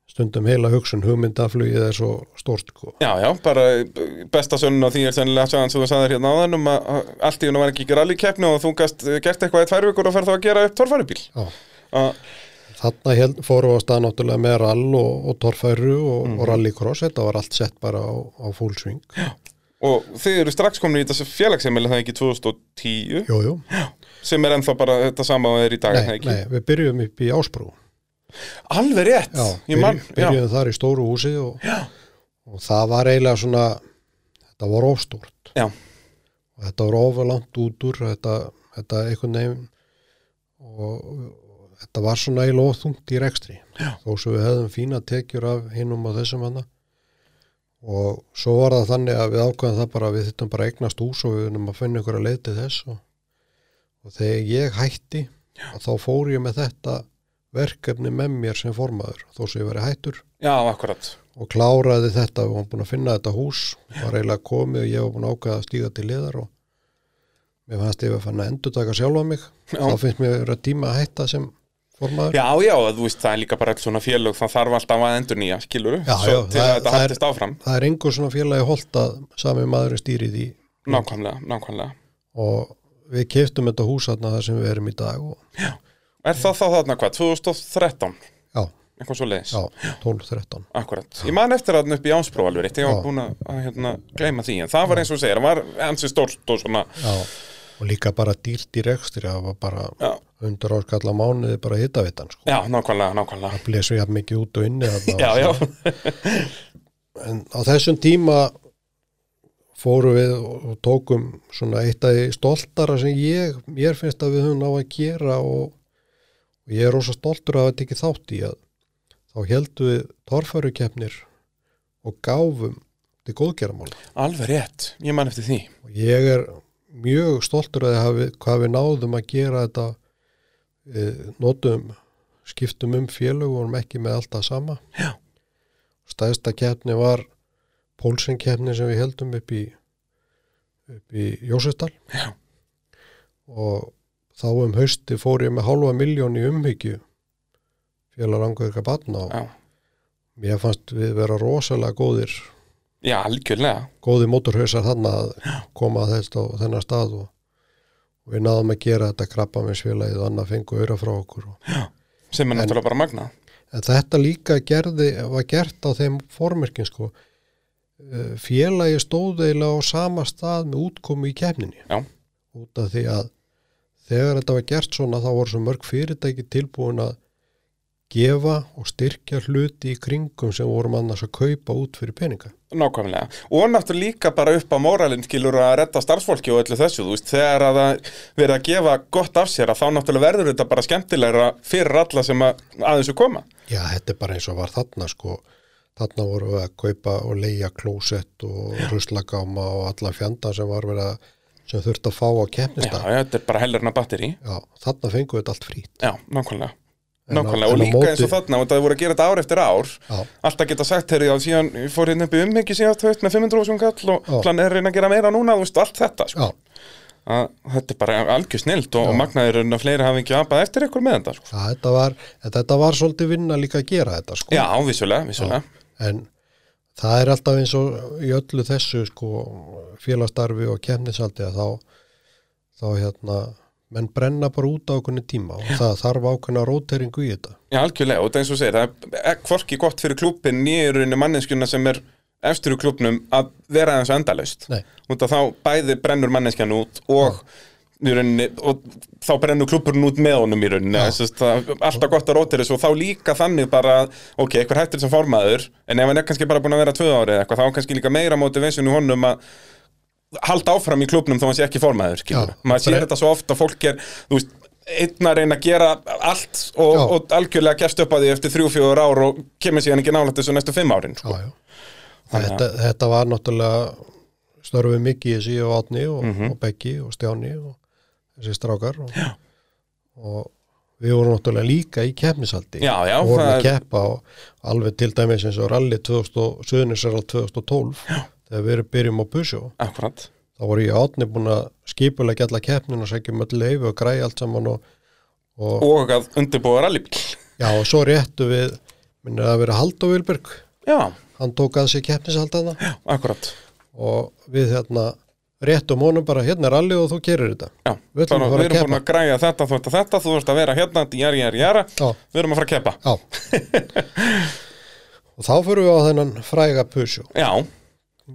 S2: stundum heila hugsun hugmyndaflugið er svo stórt sko.
S1: já, já bara eh, besta sönnun á því er sennilega sagan sem þú sagðir hérna áðan um að að allt í hún var ekki ekki rallikeppni og þú gast eh, gert eitthvað í tvær vikur og ferð þá að gera upp torfarubíl
S2: Já.
S1: Að-
S2: Þarna held, fórum við á stað náttúrulega með rall og, og torfæru og,
S1: Mhm.
S2: og rallycross, þetta var allt sett bara á, á full swing.
S1: og þið eru strax komin í þessi félagsheimili það er ekki 2010
S2: Jú, jú.
S1: sem er ennþá bara þetta sama og það er í dag er
S2: Nei,
S1: það ekki?
S2: nei, við byrjum upp í Ásbrú.
S1: Alveg rétt,
S2: Já,
S1: ég mann
S2: byrju-
S1: já.
S2: byrjuðum þar í stóru húsi og,
S1: Já.
S2: og það var eiginlega svona, þetta var ofstúrt
S1: já,
S2: og þetta var ofalangt út úr, þetta, þetta einhvern veginn og, og þetta var svona eiginlega óþungt í rekstri. Já. Þó svo við hefðum fína tekjur af hinnum og þessum hana og svo var það þannig að við ákvæðum það bara að við þittum bara að eignast hús og við erum að finna ykkur að leið til þess og, og þegar ég hætti að þá fór ég með þetta verkefni með mér sem formaður þó svo ég verið hættur
S1: já, akkurat
S2: og kláraði þetta, við varum búin að finna þetta hús var eiginlega komið og ég var búin að ákveða að stíga til liðar og mér fannst ég að fann að endur taka sjálfa mig
S1: Já.
S2: þá finnst mér vera tíma að hætta sem formaður
S1: Já, já, þú veist, það er líka bara alls svona félög, það þarf alltaf að endur nýja, skilur
S2: Já,
S1: Svo
S2: já,
S1: til að
S2: það-
S1: þetta
S2: það er-
S1: haldist áfram
S2: það er einhver svona félagi holt að sami maðurinn stýrið í
S1: Nákvæmlega, nákvæmlega
S2: og við keftum þetta hús þarna þar sem við erum í dag og
S1: Er það þá þarna hvað, 2013,
S2: já,
S1: eitthvað svo leiðis
S2: já, 12-13
S1: Akkurat, ég man eftir þarna upp í Ánspróf alveg rétt, ég var
S2: Já.
S1: búin að að, hérna, gleyma því, en það var eins og þú segir, það var hansi stórt og svona
S2: já, og líka bara dýrt í rekstri það var bara
S1: Já,
S2: undur áskalla mánuði bara hittavitan sko.
S1: já nákvæmlega, nákvæmlega
S2: blesu jafn mikið út og inni þarna
S1: Já,
S2: og
S1: já,
S2: en á þessum tíma fórum við og tókum svona eitt af því stoltara sem ég, mér finnst að við höfum ná að gera og, og ég er rosa stoltur að hafa tekið þátt í að þá heldum við torfærukeppnir og gáfum til góðgerðamála
S1: alveg rétt, ég man eftir því
S2: og ég er mjög stoltur að hafi, hvað við náðum að gera þetta eh, notum skiptum um félög og vorum ekki með alltaf sama
S1: Já.
S2: stæðsta keppni var Pólsen keppni sem við heldum upp í upp í Jósefsdal
S1: Já.
S2: og þá um hausti fór ég með hálfa miljón í umhyggju félag langveika batna og
S1: Já,
S2: mér fannst við vera rosalega góðir
S1: já algjörlega,
S2: góði mótorhausar þarna að koma að þetta og þennan stað og og við náðum að gera þetta krabba með svilaðið og annað fengu auðra frá okkur. og-
S1: sem er náttúrulega bara magna
S2: En þetta líka gerði, var gert á þeim formerkin sko. Eh, Félagi stóð eiginlega á sama stað með útkomu í kefninni.
S1: Já.
S2: Út af því að þegar þetta var gert svona þá voru svo mörg fyrirtæki tilbúin að gefa og styrkja hluti í kringum sem vorum annars að kaupa út fyrir peninga.
S1: Nákvæmlega, og náttúrulega líka bara upp á móralinn skilur að redda starfsfólki og öllu þessu, þú veist, þegar að það verið að gefa gott af sér að þá náttúrulega verður þetta bara skemmtilegra fyrir alla sem að, að þessu koma.
S2: Já, þetta er bara eins og var þarna sko. Þarna voru við að kaupa og leigja klósett og ruslagáma og allan fjanda sem var verið að sem þurfti að fá á
S1: Já,
S2: keppnista. Já,
S1: já, þetta er bara hellerna batteri.
S2: þarna fengum við þetta allt frýtt.
S1: Já, nákvæmlega.
S2: En á-
S1: Nákvæmlega,
S2: en
S1: og
S2: á
S1: líka
S2: móti-
S1: eins og þarna, og það voru að gera þetta ár eftir ár,
S2: Já,
S1: alltaf geta sagt, herri, já, síðan ég fór hérna upp í umhengi síðan þú veist með 500 sem kall og
S2: Já.
S1: plan er að reyna að gera meira núna, þú veist, allt þetta, sko.
S2: já,
S1: Að, þetta er bara algjör snilt og, og magnaður en að fleiri hafi ekki apað eftir ykkur með þetta, sko.
S2: það, þetta, var, en þetta var svolítið vinna líka að gera þetta sko.
S1: Já, vissulega, vissulega.
S2: En það er alltaf eins og í öllu þessu sko félastarfi og keppnisaldi að þá, þá hérna, menn brenna bara út á okkurni tíma og það þarf ákveðna róteringu í þetta.
S1: Já, algjörlega, og það er eins og þú segir, það er hvorki gott fyrir klúbin nýjurinu manneskjuna sem er eftir í klúbnum að vera aðeins endalaust.
S2: Nei.
S1: Út að þá bæði brennur manneskjan út og, í rauninni, og þá brennur klúburinn út með honum í rauninni. Þess, það, alltaf gott að rótir þessu og þá líka þannig bara, að, ok, eitthvað hættir sem formaður, en ef hann er kannski bara búin að vera tvö árið eitthvað, þá er kannski líka meira motivation í honum að halda áfram í klubnum þó hann sé ekki formaður skilur.
S2: Já.
S1: maður sér
S2: Bre-
S1: þetta svo oft að fólk er þú veist, einn að reyna að gera allt og,
S2: Já.
S1: og algjörlega gerst upp að því eftir þrjú-fjögur ár og kemur síðan ekki nálægt þessu næstu fimm árin sko.
S2: Já, já. Þetta, þetta var náttúrulega störfið mikið í þessi og Átni og,
S1: Mhm.
S2: og Beggi og Stjáni og þessi strákar og, og við vorum náttúrulega líka í keppnisaldi
S1: Já, já,
S2: og vorum
S1: það
S2: að
S1: er-
S2: keppa og alveg til dæmis eins og rally 2000 Suðunisarall 2012 já. þegar við erum byrjum á Pusjó
S1: akkurat,
S2: þá voru ég og Átni búin að skipulega gæla keppnin og sækjum öll leifu og græja allt saman og, og
S1: og að undirbúa rallybíl
S2: já, og svo réttu við minnir að vera Haldó Vilberg
S1: já,
S2: hann tók að sér keppnisaldaðna
S1: akkurat
S2: og við hérna réttum honum bara hérna er allir og þú kerir þetta
S1: já.
S2: Við ætlum
S1: Bara,
S2: að fara
S1: við
S2: að
S1: erum
S2: keppa.
S1: búin að græja þetta, þú ert að þetta þú ert að vera hérna, jæri, jæri, jæra
S2: já,
S1: við erum að fara að keppa
S2: já og þá fyrir við á þennan fræga pusjó
S1: já,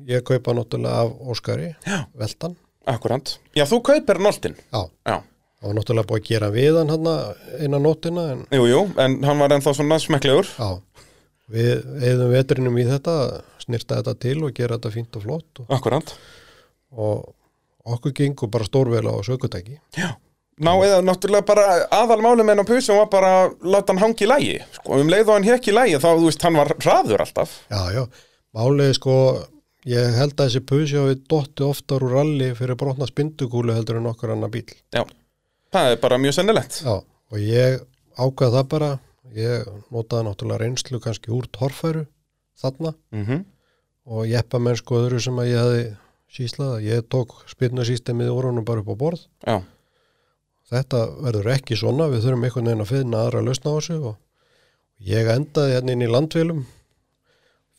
S2: ég kaupa náttúrulega af Óskari já. veltan,
S1: akkurat, já þú kaupir noltin
S2: já,
S1: já,
S2: Það var náttúrulega búið að gera við hann hann innan nóttina en
S1: Jú, jú, en hann var ennþá svona smekklegur
S2: já, við eðum vetrinum í þetta, snirta þetta til og gera þetta fínt og flott og,
S1: Akkurant
S2: og okkur gengur bara stórvela á sökutæki.
S1: Já Ná, eða náttúrulega bara aðalmáli með hann á pusum var bara að láta hann hangi í lægi sko, um leið og hann hekki í lægi þá, þú veist, hann var hraður alltaf
S2: Já, já, málið er sko, ég held að þessi pusi hafi dotti oftar úr ralli fyrir brotna spindukúlu heldur en okkur annar bíl.
S1: Já, það er bara mjög sennilegt
S2: Já, og ég ákvað það bara, ég notaði náttúrulega reynslu kannski úr torfæru þarna
S1: mm
S2: og jeppa menn sko öðru sem að ég hefði síslað, ég tók spyrnasýstemið úr honum bara upp á borð
S1: Já,
S2: þetta verður ekki svona, við þurfum einhvern veginn að finna aðra lausna á þessu og ég endaði hérna inn í landvélum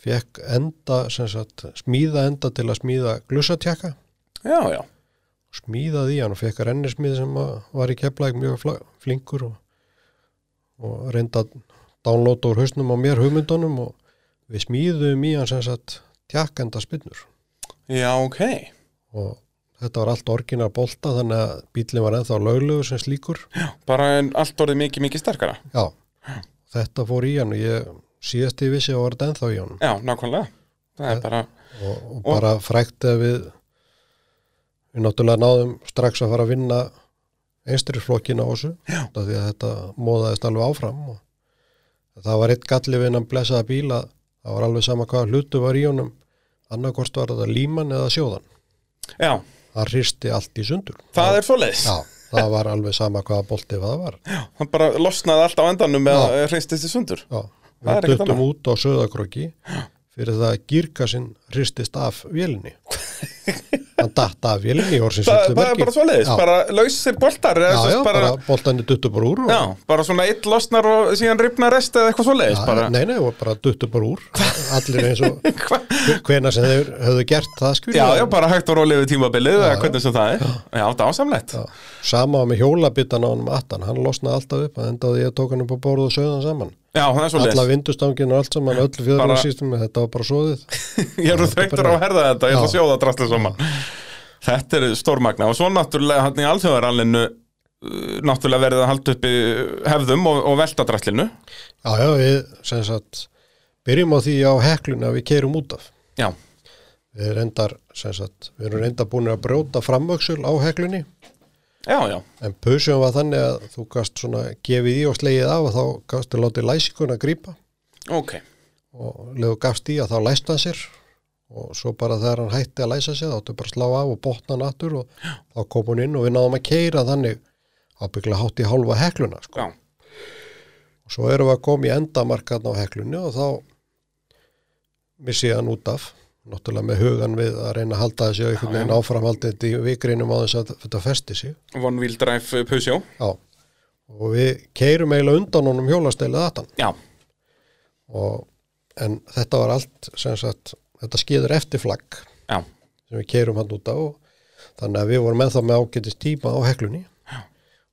S2: fekk enda sem sagt, smíða enda til að smíða glussatjaka,
S1: já, já
S2: smíðaði í hann og fekk rennismíð sem að var í keflæk mjög fla- flinkur og, og reynda að downloada úr hausnum á mér hugmyndunum og við smíðum í hann sem sagt tjakkenda spinnur
S1: Já, ok
S2: og þetta var allt orginar bolta þannig að bílinn var ennþá löglegu sem slíkur
S1: Bara en allt orðið mikið, mikið sterkara
S2: Já, þetta fór í hann og ég síðast ég vissi að var þetta ennþá í hann
S1: Já, nákvæmlega Það er bara,
S2: og, og bara frækt að við við náttúrulega náðum strax að fara að vinna einstri flokkina á þessu
S1: Já.
S2: af því að þetta móðaðist alveg áfram og það var eitt galli við innan blessaða bíla það var alveg sama hvað hlutu var í honum annarkort var þetta líman eða sjóðan
S1: já,
S2: það hristi allt í sundur
S1: það er svoleiðis
S2: Já, það var alveg sama hvaða bolti það var
S1: Hann bara losnaði allt á endanum með að hristist í sundur
S2: Já,
S1: Það er
S2: við
S1: ekkert
S2: duttum út á söðakroki fyrir það að gírkasinn hristist af vélinni hann datt af vélinni í orðsins
S1: Það,
S2: fullu
S1: það er
S2: merki.
S1: bara svoleiðis,
S2: já,
S1: bara lausir boltar eða
S2: já,
S1: sem
S2: já,
S1: sagt
S2: bara, boltan er duttu bara úr og,
S1: Já, bara svona eitt losnar og síðan ripnar rest eða eitthvað svoleiðis
S2: Já,
S1: bara,
S2: nei, nei, og bara duttu bara úr allir eins og
S1: Hva?
S2: hvena sem þeir höfðu gert það skil
S1: Já, já, bara hægt og rólið við tímabilið eða hvernig sem það er Já, það ásamlegt
S2: Já, sama með hjólabitan á honum attan hann losnaði alltaf upp að endaði ég tók hann upp á borð og sögðan saman
S1: Já, það er
S2: alla
S1: svoleiðis
S2: vindustangin og allt saman, öll fjöður
S1: Bara-
S2: og sístum þetta var bara svoðið
S1: Ég er þreytur á að herða þetta, ég ætla að
S2: Já.
S1: sjóða drastlega saman Þetta er stórmagna og svo náttúrulega hann í alþjóðarallinu uh, náttúrulega verið að halda uppi hefðum og, og velta drastlinu
S2: Já, já, við sem sagt byrjum á því á heklun að við keirum út af.
S1: Já,
S2: Við erum reyndar, sem sagt, við erum reyndar búin að brjóta framöksul á heklunni
S1: já, já,
S2: en pusjum var þannig að þú gast svona gefið í og slegið af og þá gastu látið læsinguna grípa
S1: ok
S2: og leðu gafst í að þá læst hann sér og svo bara þegar hann hætti að læsa sér þá áttu bara að slá af og botna hann aftur og þá kom hún inn og við náðum að keira þannig ábygglega hátt í hálfa hekluna sko.
S1: Já,
S2: og svo erum við að koma í endamarkaðna á heklunni og þá missi ég hann út af náttúrulega með hugan við að reyna að halda þessi einhvern veginn áframhaldið í vikrinum á þess að þetta festi sig
S1: One Wheel Drive uh, Pusjó
S2: já. og við keirum eiginlega undan honum hjólastelið aftan
S1: Já,
S2: og, en þetta var allt sem sagt, þetta skýður eftir flagg
S1: já,
S2: sem við keirum hann út á þannig að við vorum ennþá með ágætist tíma á heklunni Já.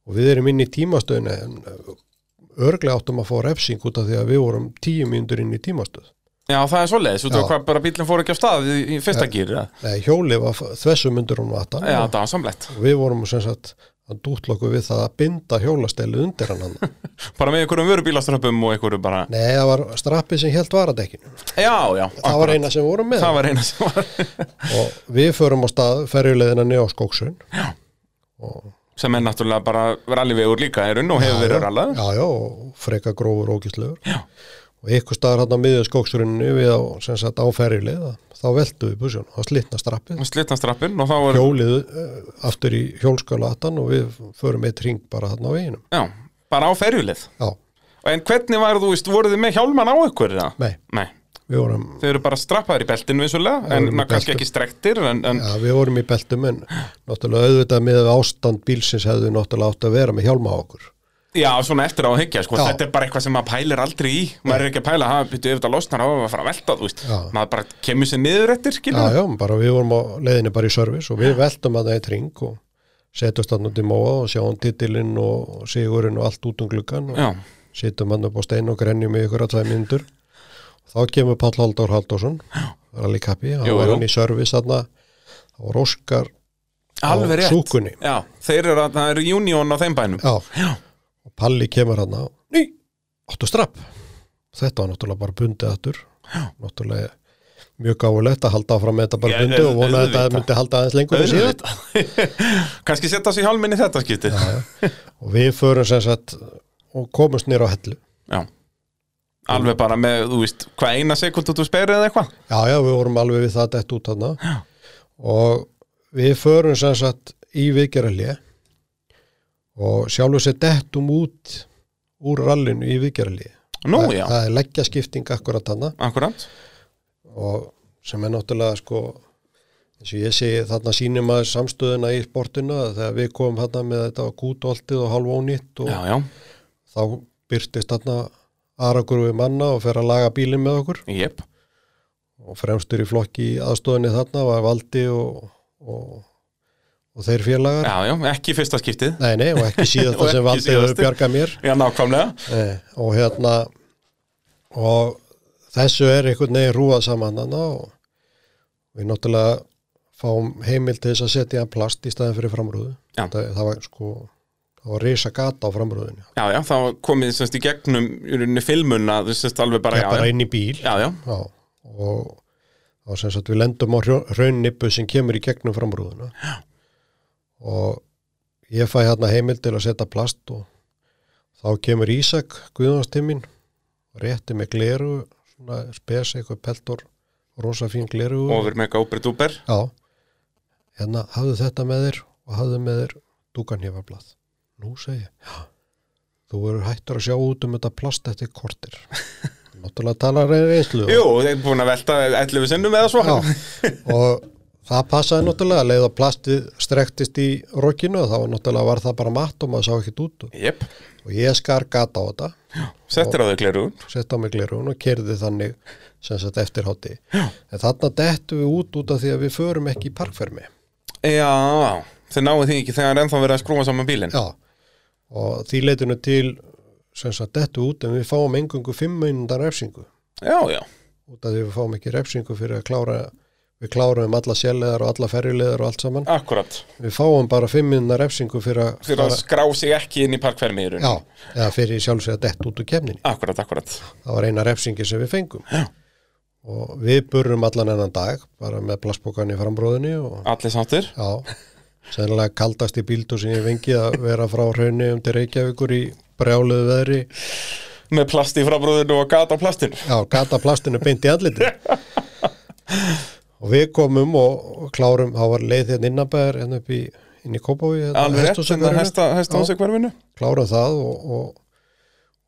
S2: og við erum inn í tímastöðinu en örglega áttum að fá refsing út af því að við vorum tíu mínútur inn í tímastöð
S1: já, Eh. það er svoleiðis, þú
S2: Já.
S1: veist hvað bara bílinn fór ekki af stað í, í fyrsta gýr Já,
S2: Nei, hjólið var þvessum undir hún vatan
S1: já
S2: og
S1: það er samlegt
S2: og við vorum sem sagt að dútlokku við það að binda hjólastelið undir hann hann
S1: Bara með einhverjum vörubílaströppum og einhverju bara
S2: Nei, það var strappið sem helt varadekkinu
S1: Já, já,
S2: það var eina sem við vorum með
S1: það var eina sem var
S2: og við förum á stað ferjuleiðina niður á skóksun
S1: sem er náttúrulega bara rallyvegur líka er unn og hefur verið rallað
S2: Já, já, og freka grófur og ógíslegur
S1: Já.
S2: og ykkur staðar hann á miðið skóksurinu við á, sem sagt, á ferjuleið þá veltu við busjón, þá slitna strappið
S1: slitna strappin og þá var
S2: hjólið eh, aftur í hjólskala atan og við förum eitt ring bara hann á veginum
S1: já, bara á ferjulið
S2: Já,
S1: en hvernig var þú veist, voruð þið með hjálman á ykkur eða?
S2: nei,
S1: Nei,
S2: við vorum
S1: þau eru bara strappaðir í beltinu vissulega, en
S2: vorum í
S1: ná, kannski
S2: beltum.
S1: ekki strektir en, en
S2: Já, við vorum í beltum en náttúrulega auðvitað með við ástand bílsins hefðu náttúrulega átt að vera með hjálma á okkur.
S1: já, svona eftir á að hyggja sko,
S2: Já.
S1: þetta er bara eitthvað sem maður pælir aldrei í maður er ekki að pæla, hafa byttu yfir að losna á að fara að velta, þú veist,
S2: Já.
S1: maður bara kemur sér niður eftir,
S2: Já,
S1: skilur
S2: já, bara við vorum á leiðinni bara í servis og við veltum að það eitt ring og setjumst hann út í móa og sjáum titilinn og sigurinn og allt út um gluggan og
S1: já,
S2: setjum hann upp á stein og grenjum í ykkur að tveið myndur. Þá kemur Páll Halldór Halldórsson, rallikappi, hann
S1: Jú,
S2: var
S1: jú.
S2: hann í servis þarna, þá var Óskar
S1: Alveg rétt.
S2: súkunni.
S1: Já, þeir eru að það er union á þeim bænum.
S2: Já,
S1: Já.
S2: og Palli kemur hann á Ný, áttu strapp Þetta var náttúrulega bara bundið aftur Já. Náttúrulega mjög gáfulegt að halda áfram með þetta bara
S1: Já,
S2: bundið og vona að
S1: auðvitað.
S2: þetta myndi halda aðeins lengur en síðan
S1: Kanski setja sig hjálminni þetta skiptið. Já.
S2: og við förum sem sagt og komumst nýr á hellu
S1: Alveg bara með, þú veist, hvað eina sekund þú sperið eða eitthvað.
S2: Já, já, við vorum alveg við það dætt út þarna Já. og við förum sem sagt í vikjaralje og sjálfur sér dettum út úr rallinu í vikjaralje
S1: Nú,
S2: það,
S1: já,
S2: það er leggja skipting akkurat þarna
S1: akkurat.
S2: og sem er náttúrulega sko eins og ég segi þarna sýnir maður samstöðuna í sportinu að þegar við komum þarna með þetta kútoltið og halvónýtt og
S1: Já, já,
S2: þá byrtist þarna aragrúi manna og fer að laga bílinn með okkur
S1: jep.
S2: og fremstur í flokki í aðstoðinni þarna var Valdi og, og, og þeir félagar
S1: Já, já, ekki í fyrsta skiptið.
S2: nei, nei, og ekki
S1: Og
S2: síðast það sem
S1: ekki
S2: Valdi hefur
S1: síðasti.
S2: bjargað mér
S1: Já, nákvæmlega.
S2: nei, og hérna og þessu er einhvern veginn rúað saman þarna og við náttúrulega fáum heimil til þess að setja hann plast í staðin fyrir framrúðu
S1: Já.
S2: það, það var sko það var risa gata á framrúðinu
S1: Já, já, þá komið semst í gegnum í rauninni filmuna, þú veist, alveg bara,
S2: það er bara
S1: já,
S2: inn í bíl
S1: já, já,
S2: Já, og þá sem sagt við lendum á hraunnipu sem kemur í gegnum framrúðuna Já. og ég fæ hérna heimild til að setja plast og þá kemur Ísak Guðjónstimmin rétti með gleru svona spes eitthvað peltor rosa fín gleru
S1: ofur með góbrið dúber.
S2: Já, hérna hafðu þetta með þér og hafðu með þér dúkanhefablað. Nú segi ég, já, þú verður hættur að sjá út um þetta plast eftir kortir. Náttúrulega talar reyni reynslu. og-
S1: Jú, þeir eru búin að velta 11 sinnum eða svo.
S2: Já, og það passaði náttúrulega að leið að plastið strektist í rokinu þá var náttúrulega var það bara matt og maður sá ekkert út úr.
S1: Jep,
S2: og ég skar gata á þetta
S1: settir á þau glerugun.
S2: sett á mig glerun og kerði þannig sem sagt eftirhátti en þarna dettu við út út af því að við förum ekki í parkfermi
S1: Já, þeir náðu því ekki þegar er ennþá verið að skrúa saman bílinn.
S2: Já, og því leitinu til sem sagt dettu út en við fáum engungu fimm mínundar refsingu
S1: Já, já,
S2: út af því við fáum ekki refsingu fyrir að klára við klárum alla sérleðar og alla ferjuleðar og allt saman
S1: akkurat.
S2: Við fáum bara fimm minna refsingu fyrir að,
S1: Fyrir að skrá sig ekki inn í parkfermiðurinn.
S2: já, eða fyrir sjálfsög að dett út úr kemninni.
S1: Akkurat, akkurat.
S2: Það var eina refsingi sem við fengum. Já. Og við burrum allan ennan dag, bara með plastbókan í frambróðinni og
S1: Allir sáttir.
S2: já, sennilega kaldast í bíldu sem ég vengi að vera frá hraunni um til Reykjavíkur í brjáluðu veðri.
S1: Með plast í frábróðinu og gata á plastinu.
S2: Já, gata plastinu beint í andliti. og við komum og, og klárum, þá var leið hérna innabæðar hérna upp í, inn í Kópaví. hérna,
S1: Alveg rétt,
S2: hesthúsakvarinu.
S1: þannig að hesta, hesta
S2: Já.
S1: hans hverfinu.
S2: klára það og, og,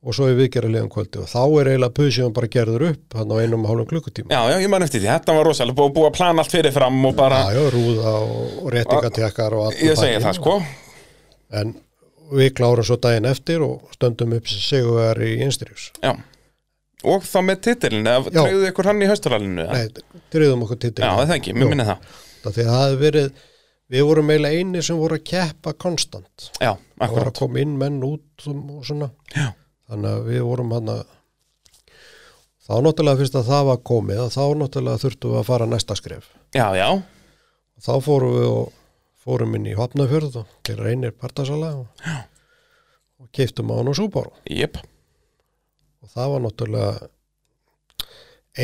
S2: og svo er viðgerða liðan kvöldi og þá er eiginlega pusið bara gerður upp hann á einum og hálfum klukkutíma.
S1: Já, já, ég man eftir því. Þetta var rosalega búið búið að plana allt fyrir fram og bara,
S2: Já, já, rúða og, og réttingatekkar og allt. um
S1: ég segi það sko.
S2: En við klárum svo daginn eftir og stöndum upp sem segjuðar í Instrius.
S1: Já. Og þá með titilin, eða
S2: Já.
S1: treyðuðu ykkur hann í hausturalinu?
S2: Nei, driðum okkur titil.
S1: Já, það ekki, mér minni það.
S2: Það því að það hefði verið, við vorum eiginlega eini sem voru að keppa konstant.
S1: Já,
S2: Það voru
S1: akkurat.
S2: að koma inn menn út og og svona.
S1: Já.
S2: Þannig að við vorum hann að þá náttúrulega fyrst að það var komið að þá náttúrulega þurftum við að fara næsta skref.
S1: Já, já,
S2: Þá fórum við og fórum inn í Hafnafjörð og til reynir partasala og, og keiftum á hann og súbáru.
S1: jip.
S2: Og það var náttúrulega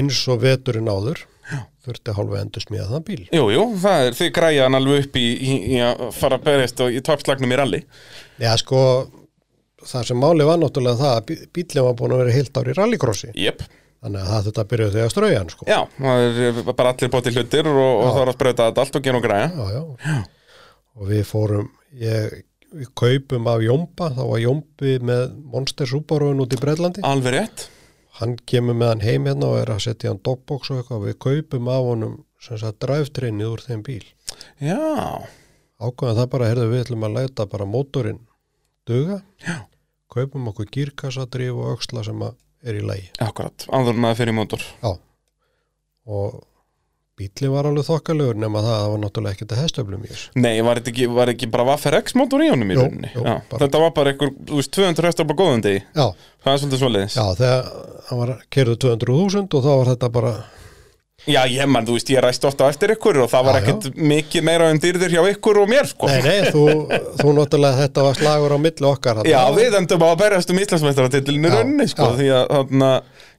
S2: eins og veturinn áður Já. þurfti hálfa endur smíða þann bíl.
S1: Jú, jú, það er, þið græja hann alveg upp í, í, í að fara að berjast og í toppslagnum í rally.
S2: Já sko, það sem máli var náttúrulega það að bí- bíllinn var búin að vera heilt ár í rallycrossi.
S1: Jip.
S2: Þannig að það þetta byrjaði því að strauja hann sko.
S1: Já, það er eh, bara allir bótið hlutir og, og það er að sprauta þetta allt og gera og græja.
S2: já, já. og við fórum ég, við kaupum af Jómba þá var Jómbi með Monster Subaruun út í Breitlandi
S1: Alveg rétt.
S2: hann kemur með hann heim hérna og er að setja í hann dogbox og eitthvað, við kaupum af honum sem sagt drivetrainnið úr þeim bíl
S1: Já,
S2: ákvæðan það bara, herðu við ætlum að læta bara mótorinn duga
S1: Já.
S2: kaupum okkur gírkassadrif og öxla sem að er í lægi
S1: akkurat, áður en að fyrir mótor.
S2: já. og bílinn var alveg þokkalegur nema það, að það var náttúrulega ekkert að hestöflum í þessu
S1: Nei, var þetta ekki, var ekki bara Vaffer X mótor í honum í
S2: Jú,
S1: rauninni?
S2: jú,
S1: Já,
S2: bara-
S1: Þetta var bara einhver, þú veist, 200 hestar bara góðum degi.
S2: já,
S1: Það er svolítið svoleiðis.
S2: Já, þegar hann var kerðu 200.000 og þá var þetta bara
S1: Já, ég mann, þú veist, ég ræst ofta á eftir ykkur og það var
S2: Já, já.
S1: ekkit mikið meira um dýrðir hjá ykkur og mér, sko.
S2: Nei, nei, þú, þú náttúrulega þetta var slagur á milli okkar þarna.
S1: Já, við endum á að berjast um Íslandsmeistaratitilinu
S2: Já,
S1: rauninni, sko,
S2: já.
S1: því að þarna,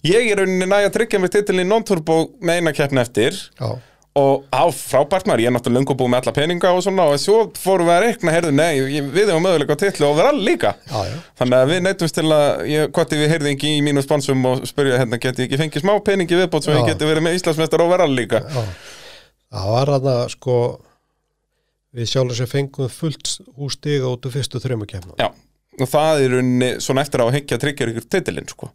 S1: ég er rauninni næg að tryggja mér titilin non-turbo með eina keppni eftir
S2: Já,
S1: og á frábært maður, ég er náttúrulega löngu búið með alla peninga og svona og svo fórum við að reikna, heyrðu, nei, ég- við hefum möguleika á titli og við erum líka.
S2: já, já.
S1: Þannig að við neytumst til að, ég, hvort við heyrði ekki í mínu sponsum og spurja hérna, geti ég ekki fengið smá peningi viðbót svo ég
S2: Já.
S1: geti verið með Íslandsmeistar og vera líka.
S2: já. Það var hann að sko við sjálfur sem fengum fullt hústiga út úr fyrstu þrjömu kemna.
S1: Já, og það er unni svona eftir á að higgja tryggja ykkur titilinn, sko.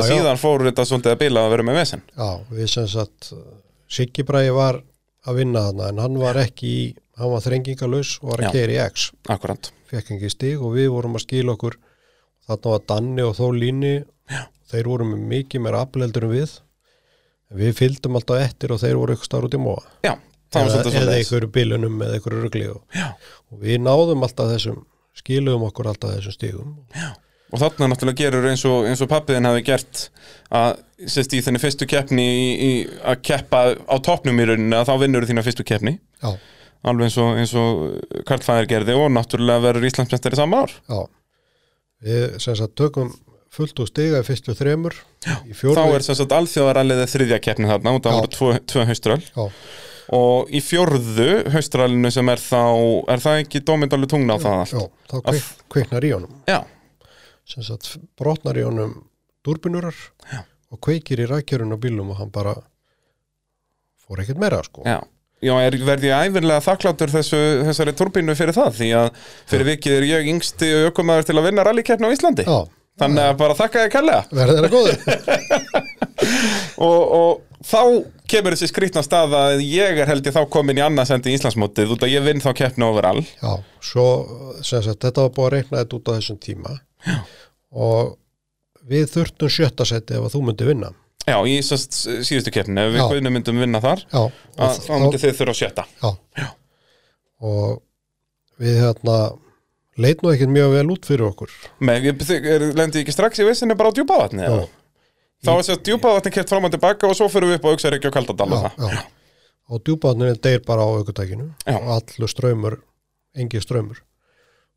S1: það
S2: já.
S1: síðan fór þetta svolítið að bila að vera með vesen.
S2: Já, við sem sagt Siggi Bræði var að vinna þarna en hann var ekki í, hann var þrengingalus og var
S1: Já.
S2: að keira í X.
S1: Akkurát.
S2: fekk ekki stig og við vorum að skila okkur þarna var Danni og Þólíni Já. þeir voru með mikið meira afleldur en við við fylgdum alltaf eftir og þeir voru ykkur starf út í móa
S1: Já, það var
S2: eða,
S1: svolítið
S2: eða
S1: svolítið.
S2: ykkur bilunum eða ykkur rugli og,
S1: Já.
S2: og við náðum alltaf þessum skiluðum okkur alltaf þessum stigum
S1: Og þarna náttúrulega gerur eins og, eins og pappiðin hafi gert að, sérst, í þenni fyrstu keppni í, í, að keppa á toppnum í rauninni að þá vinnur þína fyrstu keppni.
S2: Já.
S1: Alveg eins og, eins og Karl Fæðir gerði og náttúrulega verður Íslandsmeistari sama ár.
S2: Já. við sem sagt tökum fullt úr stiga í fyrstu þremur Já. í
S1: Þá
S2: fjórðu
S1: er sem sagt alþjóðaralliðið þriðja keppni þarna og það
S2: Já.
S1: voru tvö, tvö hauströl
S2: Já.
S1: og í fjórðu haustralinu sem er þá, er það ekki dómyndalu tungna á það allt?
S2: Já, þá kvik, kviknar í honum
S1: Já,
S2: sem sagt brotnar í honum dúrbinurar
S1: Já.
S2: og kveikir í rækjörun á bílum og hann bara fór ekkert meira sko
S1: já. Já, er, verð ég æfinlega þakklátur þessu, þessari turbínu fyrir það því að fyrir vikið er ég yngsti aukumæður til að vinna rallikeppni á Íslandi
S2: Já,
S1: þannig að bara þakka ég kallega
S2: verður þeirra góður
S1: og, og þá kemur þessi skrýtna stað að ég er held ég þá komin í annarsendi í Íslandsmótið út að ég vinn þá keppni overall
S2: Já, svo sem sagt þetta var búið að reikna þetta út á þessum tíma Já. og við þurftum sjötta seti ef að þú myndi vinna
S1: Já, í sest, síðustu keppni, ef við
S2: Já.
S1: hvernig myndum vinna þar
S2: Já, og,
S1: að, þá myndi
S2: þá-
S1: þið þurfa að sjötta
S2: já. og við hérna leit nú ekkert mjög vel út fyrir okkur
S1: Men ég- þið- er- lendi ég ekki strax í vissinni bara á djúpavatni eða?
S2: Já.
S1: Þá er þess að djúpavatni kert fram og tilbaka og svo fyrir við upp á Uxaríkja og Kaldadal og það
S2: já. og djúpaðnir deyr bara á aukutækinu
S1: Já.
S2: og allur ströymur, engi ströymur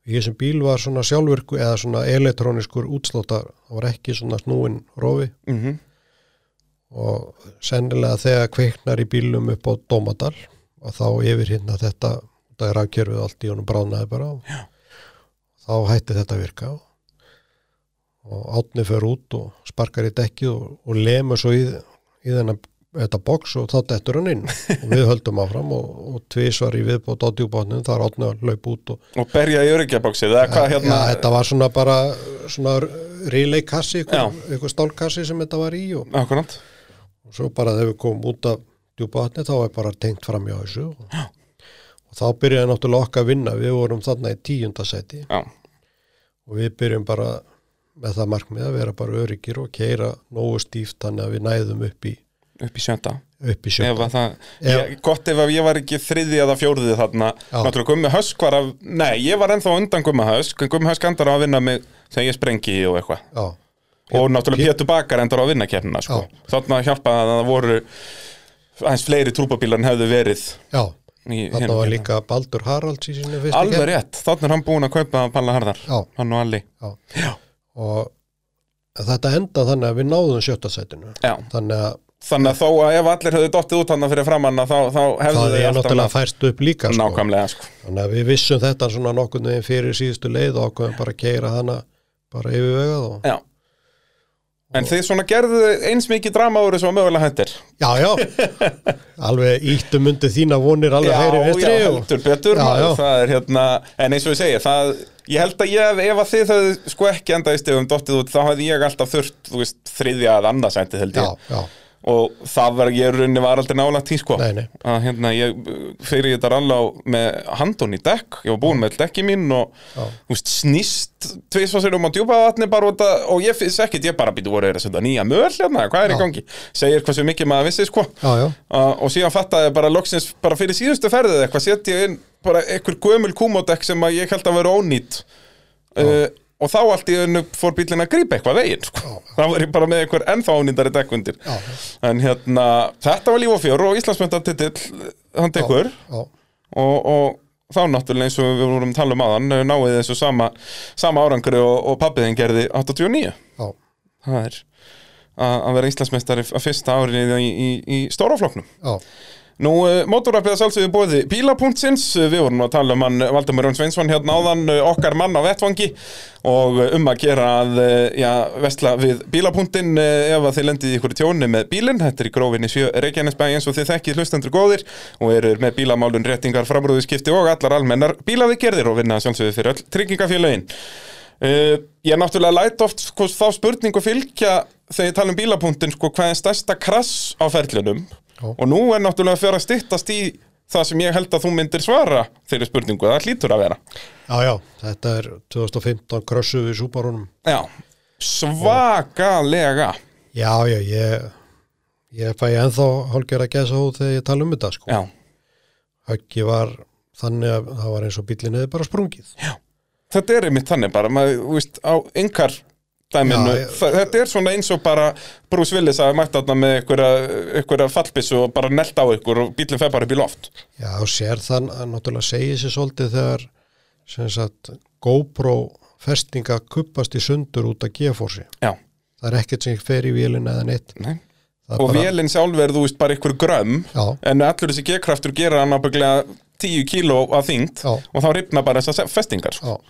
S2: ég sem bíl var svona sjálfurku eða svona elektróniskur útsláttar það var ekki svona snúin rofi
S1: mm
S2: og sennilega þegar kveiknar í bílum upp á Dómadal og þá yfir hérna þetta það er afkerfið allt í honum bránaði bara já. þá hætti þetta að virka og átni fer út og sparkar í dekkið og, og lemur svo í, í þennan þetta box og þá dettur hann inn og við höldum áfram og, og tvisvar í viðbót á djúbótnum þar átni að laupa út og
S1: Og berja í öryggjabóksið eða hvað hérna
S2: já, þetta var svona bara svona relay kassi,
S1: Já.
S2: ykkur, ykkur stálkassi sem þetta var í og
S1: Akkurant
S2: og svo bara þegar við komum út af djúpa vatni þá er bara tengt fram hjá þessu og, og þá byrjaði náttúrulega okkar að vinna við vorum þarna í tíundasæti
S1: Já,
S2: og við byrjum bara með það markmið að vera bara öryggir og keira nógu stíft þannig að við næðum upp í,
S1: upp í sjönda
S2: upp í sjö
S1: ef að það,
S2: Ef-
S1: ég, Gott ef að ég var ekki þriði eða fjórði þarna
S2: Já.
S1: Náttúrulega Gummi Hösk var af Nei, ég var ennþá á undan Gummi Hösk en Gummi Hösk endar á að vinna mig þegar ég sprengi og eitthvað
S2: Já,
S1: og náttúrulega Pétur Bakar endur á að vinna keppnina sko. þannig að hjálpa að það voru aðeins fleiri trúpabílar en hefðu verið
S2: já,
S1: í hérna
S2: þarna
S1: hinum
S2: var
S1: keppnum.
S2: líka Baldur Haralds í sinni fyrstu
S1: alveg
S2: keppni.
S1: rétt, þannig er hann búinn að kaupa Palla Harðar,
S2: Já,
S1: hann og Alli
S2: já,
S1: Já.
S2: og þetta enda þannig að við náðum sjötasætinu
S1: Já.
S2: þannig að
S1: þannig að þó að ef allir hefðu dottið út hann fyrir framanna þá, þá hefðu
S2: það
S1: þau
S2: er
S1: alltaf
S2: náttúrulega færst upp líka sko.
S1: nákvæmlega sko.
S2: Þannig að við vissum þetta svona nokkurn veginn fyrir síðustu leið og ákveðum bara að keira hana bara yfirvegað og...
S1: Já. en þið svona gerðu eins mikið drama úr þessu að mögulega hættir
S2: Já, já, alveg íttum undir þína vonir alveg hægri
S1: já,
S2: vinstri og...
S1: heldur betur
S2: Já,
S1: maður,
S2: já.
S1: það er hérna, en eins og ég segi það, ég held að ég, ef að þið höfðu sko ekki endaði stegum dottið út, þá hefði ég alltaf þurft, þú veist, þriðja að annarsæntið held
S2: Já,
S1: ég,
S2: já,
S1: og það var, ég runni var aldrei nálægt í sko,
S2: Nei, nei.
S1: að hérna, ég uh, fyrir þetta ralla á- með handun í dekk, ég var búinn með dekki mín og,
S2: Já.
S1: þú veist, snýst tvisvað um á djúpa vatni bara út að, og ég finnst ekkit, ég bara býtu voru að senda nýja möl hérna, hvað er í
S2: Já.
S1: gangi, segir hversu mikið maður vissi sko,
S2: já, já,
S1: Uh, og síðan fattaði ég bara loksins bara fyrir síðustu ferðið eða eitthvað setja ég inn bara einhver gömul kúmódekk sem að ég held að vera ónýtt uh, og þá allt í önnu fór bílinn að grípa eitthvað veginn sko. þá var ég bara með einhver ennþá ánýndari dekkundir
S2: Já.
S1: en hérna, þetta var líf og fjör og Íslandsmyndatitill hann tekur
S2: já,
S1: og, og þá náttúrulega eins og við vorum að tala um aðan náið þessu sama, sama árangri og, og pappiðin gerði 89
S2: já,
S1: það er að að vera Íslandsmeistari að fyrsta árið í, í, í stórafloknum
S2: já,
S1: Nú, uh, mótorrappið að sjálfsögðu bóði bílapunktsins, uh, við vorum að tala um hann uh, Valdimur Jón Sveinsson hérna áðan, uh, okkar mann á vettvangi og uh, um að gera að, uh, já, vestla við bílapunktin uh, ef að þið lendið í ykkur tjóni með bílinn, þetta er í grófinni sjö Reykjanesbæ eins og þið þekkið hlustendur góðir og eru með bílamálun, réttingar, framrúðuskipti og allar almennar bílaði gerðir og vinna að sjálfsögðu fyrir öll tryggingafélögin. Uh, ég náttúrulega læt oft sko, þá spurningu fylgja þegar ég tala um bílapunktin, sko, hvað er stærsta krass á ferlunum
S2: Já.
S1: og nú er náttúrulega að fyrir að styttast í það sem ég held að þú myndir svara þeirri spurningu, það hlýtur að vera
S2: já, já, þetta er 2015 krössuð við súbarunum.
S1: Já, svakalega
S2: Já, já, ég, ég fæ ennþá hálfgjör að gæsa hóð þegar ég tala um þetta, sko.
S1: Já,
S2: Höggi var þannig að það var eins og bíllinn hefði bara sprungið.
S1: þetta er einmitt þannig bara maður, þú veist, á yngar dæminu,
S2: Já, ég-
S1: Þa- þetta er svona eins og bara Bruce Willis að mæta þarna með einhverja, einhverja fallbissu og bara nelda á ykkur og bílinn fer bara upp í loft
S2: Já, þú sér þann að náttúrulega segja sér svolítið þegar sem sagt GoPro festinga kuppast í sundur út af G-forsi.
S1: Já,
S2: Það er ekkert sem fer í vélina eða neitt.
S1: nei
S2: Það er
S1: Og
S2: bara-
S1: vélinn sjálf er, þú veist, bara einhver grömm
S2: Já,
S1: en allur þessi G-kraftur gera hann ábygglega 10 kíló að þyngd
S2: Já.
S1: og þá ripna bara þessar se- festingar sko.
S2: já.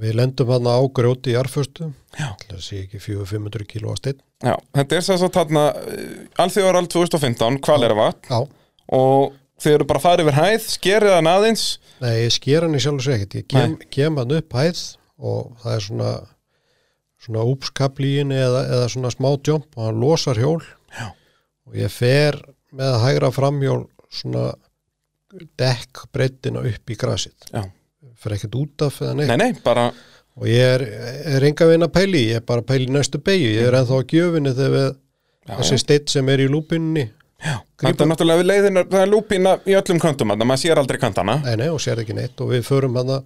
S2: Við lendum hann á grjóti í jarföstu.
S1: Já.
S2: Það sé ekki 400-500 kíló að steinn.
S1: Já, þetta er þess að þarna eh, alþjóðarall 2015, Hvaleravatn
S2: Já.
S1: og þið eru bara farið yfir hæð, skerið hann aðeins
S2: Nei, ég sker hann í sjálf og sér ekkert. Ég kem, kem hann upp hæð og það er svona svona úpskaplíin eða, eða svona smá jump og hann losar hjól
S1: Já.
S2: og ég fer með hægra framhjól svona dekk breyttina upp í grasið
S1: Já.
S2: fer ekkert út af eða neitt
S1: Nei, nei, bara
S2: og ég er, er enga veginn að pæli ég er bara að pæli næstu beigju ég er ennþá að gjöfinni þegar við,
S1: Já,
S2: þessi steitt sem er í lúpinni
S1: Þetta er náttúrulega við leiðin, það er lúpina í öllum kantum þannig að maður sér aldrei kantana
S2: Nei, nei, og sér ekki neitt og við förum hann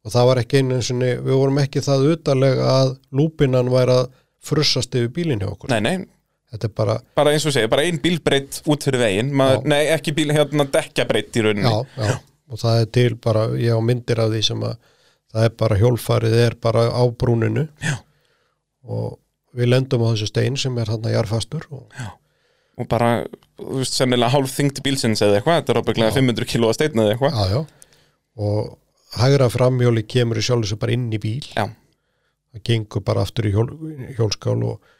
S2: og það var ekki einu sinni, við vorum ekki það utalega að lúpinan væri að frussast yfir bílinn hjá okkur.
S1: Nei, nei,
S2: Þetta er bara,
S1: bara eins og segja, bara ein bílbreytt út fyrir veginn maður,
S2: Já.
S1: Nei, ekki bíl, hérna dekkjabreytt í
S2: já,
S1: rauninni
S2: já, og það er til bara, ég á myndir af því sem að það er bara hjólfarið er bara á brúninu
S1: Já.
S2: og við lendum á þessu stein sem er hann að jarfastur og já,
S1: og bara, þú veist, sennilega hálf þyngd bílsins eða eitthvað, þetta er ábygglega 500 kilo að steina eða eitthvað
S2: já, og hægra framhjóli kemur í sjálf þessu bara inn í bíl
S1: Já,
S2: það gengur bara aftur í hjól, hjólskál og,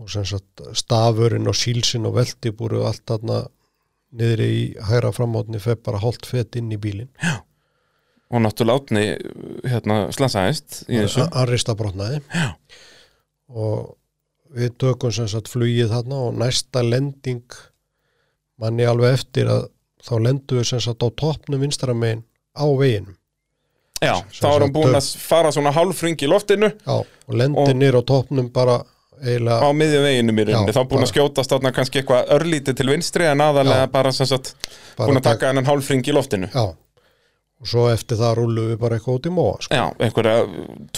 S2: og sem sagt stafurinn og sílsinn og veltibúru og allt þarna niðri í hæra framátni fer bara hálft fett inn í bílinn
S1: og náttúrulega átni hérna, slasaðist í þessu
S2: hann rista brotnaði
S1: Já.
S2: og við tökum sem sagt flugið þarna og næsta lending manni alveg eftir að þá lendum við sem sagt á toppnum vinstra megin á veginum
S1: Já, þá er hann búin að fara svona hálfring í loftinu
S2: Já, og lendir
S1: Og-
S2: nýr á toppnum bara eiginlega
S1: á miðjum veginum í rauninni,
S2: Já,
S1: þá búin
S2: bara-
S1: að skjótast þarna kannski eitthvað örlítið til vinstri en aðalega
S2: Já.
S1: bara sem sagt
S2: bara
S1: búin að taka hennan hálfring í loftinu
S2: Já, og svo eftir það rúlu við bara eitthvað út í móa sko.
S1: Já, einhverja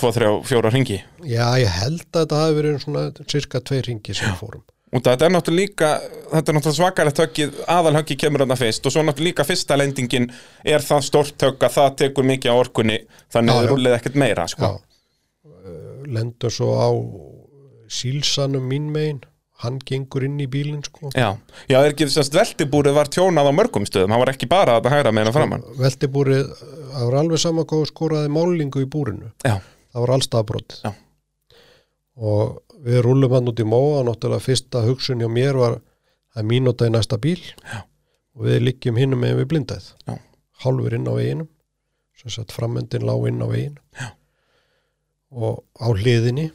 S1: 2, 3, 4 ringi
S2: Já, ég held að þetta hafi verið svona cirka tvei ringi sem við fórum.
S1: og þetta er náttúrulega líka þetta er náttúrulega svakalegt höggið, aðalhöggið kemur þarna fyrst og svo náttúrulega líka fyrsta lendingin er það stórt högg að það tekur mikið á orkunni þannig
S2: Já,
S1: að
S2: já.
S1: rúlið ekkert meira
S2: Já.
S1: sko.
S2: Lendur svo á sílsanum mín megin, hann gengur inn í bílinn sko.
S1: Já, já, er ekki þess að veltibúrið var tjónað á mörgum stöðum, hann var ekki bara að hægra meina framann
S2: Veltibúrið, það var alveg sama hvað þú skoraði málingu í búrinu.
S1: Já,
S2: Það var allstafbrotið.
S1: Já.
S2: Og við rúlum hann út í móa, náttúrulega fyrsta hugsun hjá mér var að mínúta í næsta bíl
S1: Já.
S2: og við liggjum hinum megin við blindæð.
S1: Já.
S2: Hálfur inn á veginum, sem sagt framöndin lá inn á vegin
S1: Já.
S2: og á hliðinni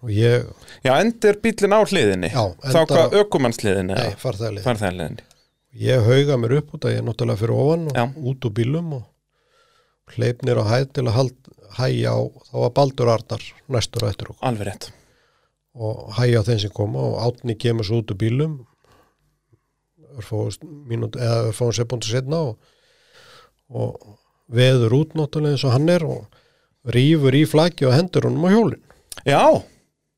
S2: og ég,
S1: já endur bílinn á hliðinni
S2: já,
S1: Þá hvað aukumannsliðinni
S2: nei, farþæðlið.
S1: farþæðarliðinni
S2: Ég hauga mér upp út að ég er náttúrulega fyrir ofan og
S1: Já.
S2: út úr bílum og hleypnir á hæð til að hald, hæja á, þá var Baldur Arnar næstur á eftir okkur
S1: Alveg rétt
S2: og hæja á þeim sem koma og átni kemur svo út úr bílum örfáðust mínút eða örfáðum sekúndur setna og, og veður út náttúrulega eins og hann er og, rýfur í flaggi og hendur honum á hjólinn
S1: Já,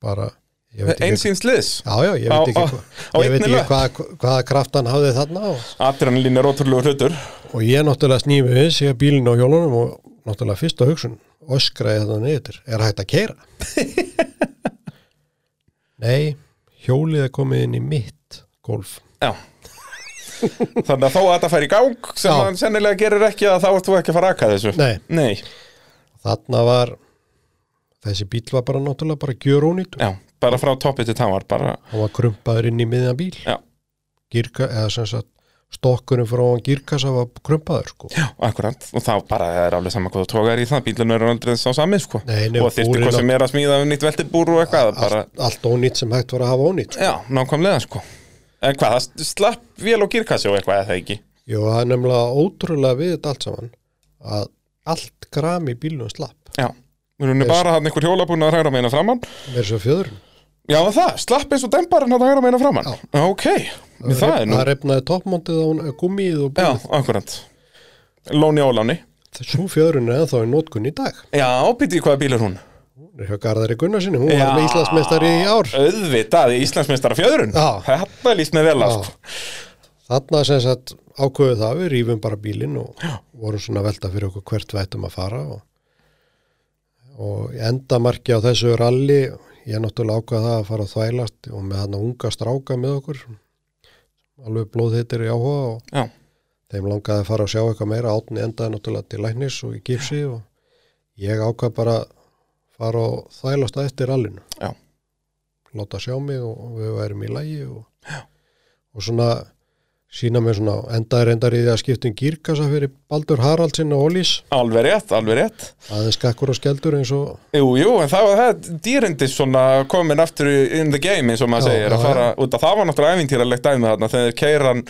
S2: bara, ég veit ekki
S1: einsýns liðs
S2: já, já, ég
S1: Á-
S2: veit ekki,
S1: á-
S2: hva,
S1: á
S2: ég veit
S1: einni
S2: ekki
S1: löpp.
S2: hvað, hvaða kraft hann hafði þarna og,
S1: Adrenalín er ótrúlega hlutur
S2: og ég náttúrulega snými við sé bílinn á hjólunum og náttúrulega fyrsta hugsun öskraði þetta niður, er hægt að keira nei hjólið er komið inn í mitt golf
S1: Já Þannig að þó að þetta fær í gang sem
S2: Já.
S1: hann sennilega gerir ekki að þá ert þú ekki að fara að aka þessu
S2: nei,
S1: Nei,
S2: þarna var þessi bíl var bara náttúrulega bara gjörónýtt
S1: já, bara frá toppi til támar bara,
S2: hann var krumpaður inn í miðjan bíl
S1: Já.
S2: Gírka, eða sem sagt stokkurinn frá hann gírkassa var krumpaður sko.
S1: já, akkurat og þá bara er alveg saman hvað þú tókar í það bílun er aldrei sá sami, sko
S2: Nei, nei,
S1: og þyrfti
S2: búrið
S1: hvað sem er að smíða um nýtt veltibúr og eitthvað bara,
S2: allt, allt ónýtt sem hægt var að hafa ónýtt sko.
S1: já, nákvæmlega, sko En hvað, það slapp vél og girkassi og eitthvað eða ekki
S2: Jú, það er nefnilega ótrúlega við þetta allt saman að allt gram í bílnum slapp
S1: Já, við erum
S2: Yes.
S1: bara hann einhver hjólabúna að hægra meina framann
S2: með þessu fjöðurinn
S1: Já, það, slapp eins og dembarinn að hægra meina framann Ok, það, er nú
S2: Það repnaði toppmóndið á hún- gúmmíið og
S1: Já,
S2: búið
S1: akkurat Lóni óláni
S2: Svo fjöðurinn er ennþá í nótkun í dag
S1: Já, býtið hvaða bíl er hún?
S2: Hún er hjá Garðari Gunnarsinni, hún
S1: Já.
S2: var með Íslandsmeistari í ár
S1: Auðvitað, Íslandsmeistar af fjöðrun
S2: Já.
S1: Þetta líst með vel að sko.
S2: Þarna sem sagt ákveðu það við rýfum bara bílinn og vorum svona að velta fyrir okkur hvert við ættum að fara og, og endamarki á þessu ralli ég náttúrulega ákveða það að fara að þvælast og með hann unga stráka með okkur alveg blóðheitir í áhuga og
S1: Já,
S2: þeim langaði að fara að sjá eitthvað meira átni endaði náttúrulega til læknis og í gipsi og ég ákveða bara að fara að þvælast að eftir rallinu
S1: já,
S2: láta sjá mig og við værum í lægi og, og svona sína mér svona endaði reyndar í því að skipta um gírkassa fyrir Baldur Haraldsin og Ólís
S1: alveg rétt, alveg rétt
S2: aðeins skakkur og skeldur eins og
S1: Jú, jú, en það var það dýrindi svona komin aftur í- in the game eins og maður
S2: Já,
S1: segir að
S2: já,
S1: fara út að það var náttúrulega ævintýralegt dæmi þarna þegar keiran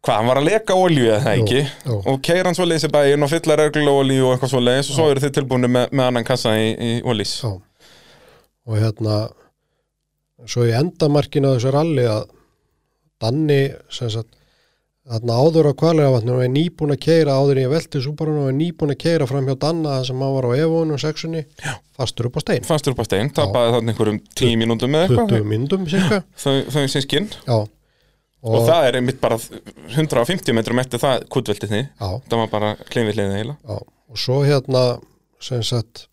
S1: hvað, hann var að leka olíu eða
S2: Jú,
S1: ekki
S2: jú.
S1: og keiran svo leysi bæinn og fylla reglulega olíu og eitthvað svo leys og svo eru þið tilbúinu með, með annan kassa í, í olís
S2: já. og hérna svo í endamarkinu á þessu ralli að Danni sem sagt þarna áður á kvalega vatnum er nýbúin að keira áður í velti súbarun og er nýbúin að keira fram hjá Danna þar sem hann var á evónu og sexunni fastur upp á stein
S1: fannst upp á stein, tapaði þannig einhverjum 10 mínúndum með eitthvað
S2: 20 myndum cirka
S1: þau, þau sínskinn
S2: já.
S1: og, það er einmitt bara 150 metrum eftir það kútveldið þið
S2: já,
S1: það var bara klinvið hliðið heila
S2: Já, og svo hérna sem sagt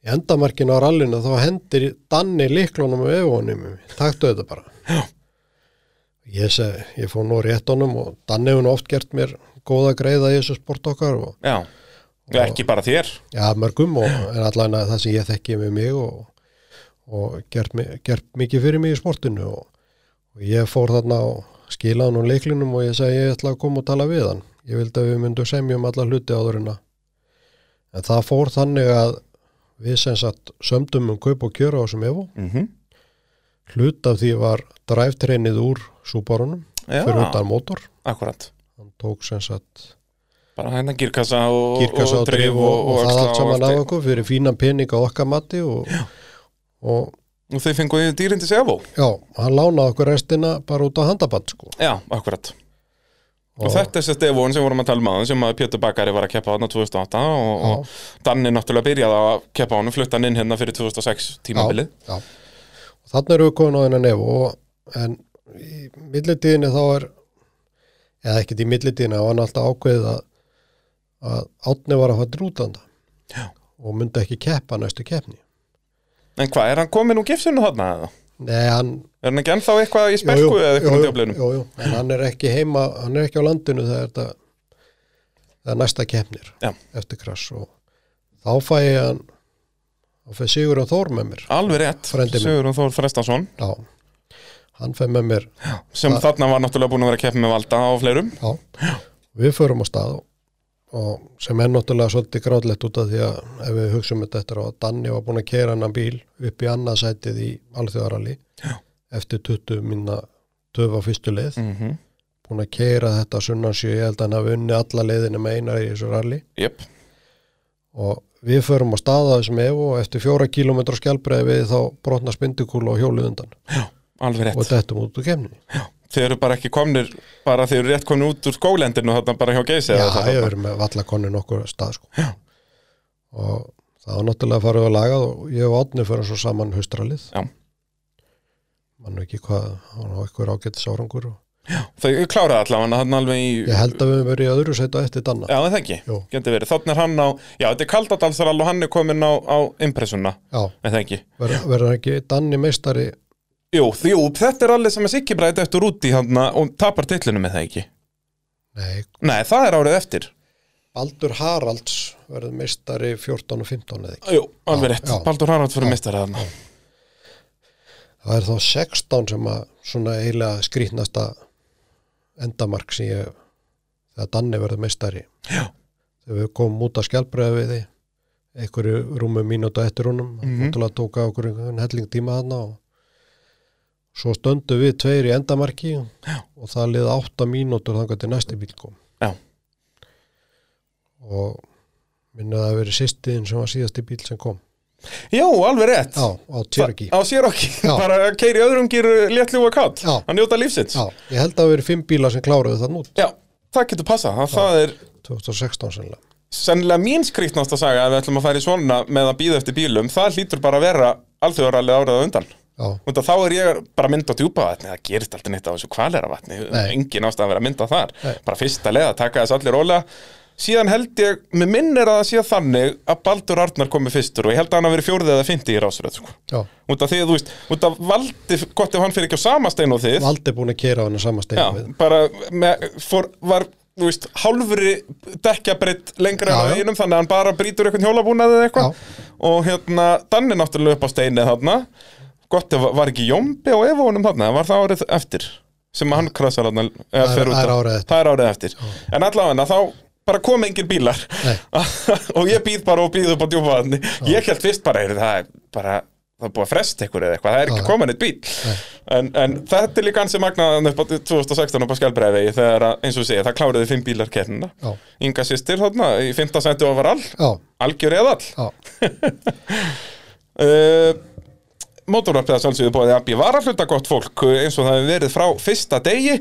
S2: í endamarkinu á rallinu þá hendir Danni líklunum og evónum taktu þetta bara Já. ég segi, ég fór nú rétt honum og Danni hefur nú oft gert mér góða greiða í þessu sport okkar og
S1: já, og ekki bara þér
S2: ja, mörgum og en allan að það sem ég þekki með mig og, og gert, mi- gert mikið fyrir mig í sportinu og, og ég fór þarna og skilaði hann úr leiklinum og ég sagði ég ætla að koma og tala við hann ég vildi að við myndum semja um alla hluti áður en að en það fór þannig að við sem sagt sömdum um kaup og kjöra á þessum evo
S1: mm
S2: hlut af því var dræftreinið úr súbarunum fyrir
S1: já,
S2: utan mótor
S1: akkurat
S2: hann tók sem sagt
S1: bara hérna girkassa og,
S2: kirkasa og drif og, og, það allt saman af okkur fyrir fínan pening á okkar mati og, og
S1: og þau fenguðu dýrindi sefó
S2: já, hann lánaði okkur restina bara út á handaband sko.
S1: já, akkurat Og þetta er þessi evón sem vorum að tala um aðan sem að Pétur Bakari var að keppa þarna 2008 og, og Danni náttúrulega byrjaði á að keppa honum, flutta hann inn hérna fyrir 2006 tímabilið.
S2: já, já. og þannig erum við komin á þennan nef og en í millitíðinni þá er eða ekkert í millitíðinni þá var hann alltaf ákveðið að, að átni var að fara til útlanda
S1: Já.
S2: og myndi ekki keppa næstu keppni
S1: En hvað, er hann komin úr gifsinu þarna eða?
S2: Nei, hann,
S1: Er hann ekki ennþá eitthvað í
S2: jú, jú,
S1: sperku eða
S2: jú,
S1: eitthvað á
S2: jú,
S1: djöflinum?
S2: jú, jú, en hann er ekki heima hann er ekki á landinu þegar þetta það er næsta keppnir
S1: Já.
S2: eftir krass og þá fæ ég hann og fæ Sigurðan Þór með mér
S1: Alveg rétt,
S2: Frændi minn.
S1: Sigurðan Þór Frestason
S2: Já, hann fæði með mér já.
S1: sem þarna var náttúrulega búin að vera að keppa með Valda og fleirum
S2: Við förum á stað og, og sem er náttúrulega svolítið gráðlegt út af því að ef við hugsaum þetta eftir á að Danni var búin að keira hann bíl upp í annað sætið í alþjóðaralli eftir 20 minna töfa fyrstu leið,
S1: mm -hmm.
S2: búin að keira þetta sunnansjö, ég held að hann hafi unni alla leiðinu með einar í þessu ralli
S1: Jöp,
S2: og við förum á staða þessum ef og eftir fjóra kilometra skjálbreið við þá brotna spindikúla og hjólið undan
S1: alveg rétt
S2: og dettum út úr kemni.
S1: Þeir eru bara ekki komnir, bara þeir eru rétt komnir út úr skólendinu þarna bara hjá geysi
S2: Já,
S1: eða það
S2: ég
S1: þarna.
S2: verið með vallakonni nokkur stað sko. og það var náttúrulega farið að laga og ég og Átni fyrir svo saman haustralið
S1: Já.
S2: mann veit ekki hvað, hann var eitthvað ágættis árangur og
S1: Þau kláraði allavega hann alveg í
S2: ég held að við höfum verið í öðru sæti og eftir danna
S1: Já, það ekki,
S2: Jú.
S1: getur verið Þannig er hann á, já, þetta er Kaldadalsarall og hann er komin á, á impressuna,
S2: já,
S1: er það ekki
S2: verður verður ekki danni meistari
S1: Jú, því- jú, þetta er allir sem er sikki bræði eftir út í hann og tapar titlunum með það ekki
S2: nei,
S1: Nei, það er árið eftir
S2: Baldur Haralds verður meistari 14 og 15 eða ekki
S1: Jú, alveg
S2: Já,
S1: rétt,
S2: já.
S1: Baldur Harald fyrir mistari þarna
S2: það er þá 16 sem að svona eiginlega skrýtnasta endamark sem ég þegar Danni verður meistari
S1: Já.
S2: þegar við komum út að skjálbreiða við því einhverju rúmu mínútu eftir honum mm
S1: Mhm.
S2: -hmm. náttúrulega tók á okkur einhvern helling tíma þarna og svo stöndu við tveir í endamarki Já. og það liði 8 mínútur þangar til næsti bíl kom
S1: Já.
S2: og minna það að verið sýstiðin sem var síðasti bíl sem kom
S1: Jú, alveg rétt
S2: Já, á Tjörgi
S1: Á Sérokki,
S2: Já.
S1: bara að keiri öðrum eh, gýr léttljúa kátt
S2: Já.
S1: að njóta lífsins
S2: Já, ég held að það hafi verið fimm bílar sem kláruðu þann út
S1: Já, það getur passað, það, það er
S2: 2016 sennilega.
S1: sennilega mín skrýtnasta saga ef við ætlum að fara í svona með að býða eftir bílum það hlýtur bara að vera alþjóðarallið árið á undan
S2: Já,
S1: og þá er ég bara mynd á djúpa vatni það gerist aldrei neitt á þessu kvalera vatni
S2: Nei.
S1: engin ástæð að vera mynd á þar
S2: Nei.
S1: bara fyrsta leið að taka þess allir rólega síðan held ég, með minnir að það sé þannig að Baldur Arnar komi fyrstur og ég held að hann hafi verið fjórðið eða fyndi í rásröð sko.
S2: já.
S1: út af því að þú veist, út af valdi gott ef hann fyrir ekki á sama stein og þið
S2: Valdi búin að kera á hennar sama
S1: Já,
S2: steinu við.
S1: bara með, fór, var þú veist, hálfri dekkjabritt lengra
S2: Já,
S1: á
S2: já.
S1: einum þannig að hann bara brýtur einhvern hjólabúnað eða
S2: Já.
S1: eitthvað og hérna, Danni náttúrulega upp á steini þarna gott ef var ekki Jómbi á Evónum þarna, var það árið eftir sem að hann krasar þarna eða,
S2: Það er-
S1: fer út
S2: það er
S1: af.
S2: árið eftir.
S1: það er árið eftir. en allavega þá bara kom engir bílar
S2: Nei.
S1: og ég býð bara og býð upp á djúpaðanni ég held fyrst bara, heyrðu, það er bara það er búið að fresta ykkur eða eitthvað, það er ekki
S2: Já.
S1: komin eitt bíl en, en þetta er líka ansi magnaðan upp á 2016 upp á Skelbreiðvegi þegar að, eins og segja, það kláruði fimm bílar kernina
S2: Já.
S1: Inga sýstir þarna, í fimmta senti overall
S2: Já,
S1: algjör eða all
S2: já,
S1: uh, Mótorvarpiða sjálfsögðu bóðið að býja varahluta gott fólk uh, eins og það hefur verið frá fyrsta degi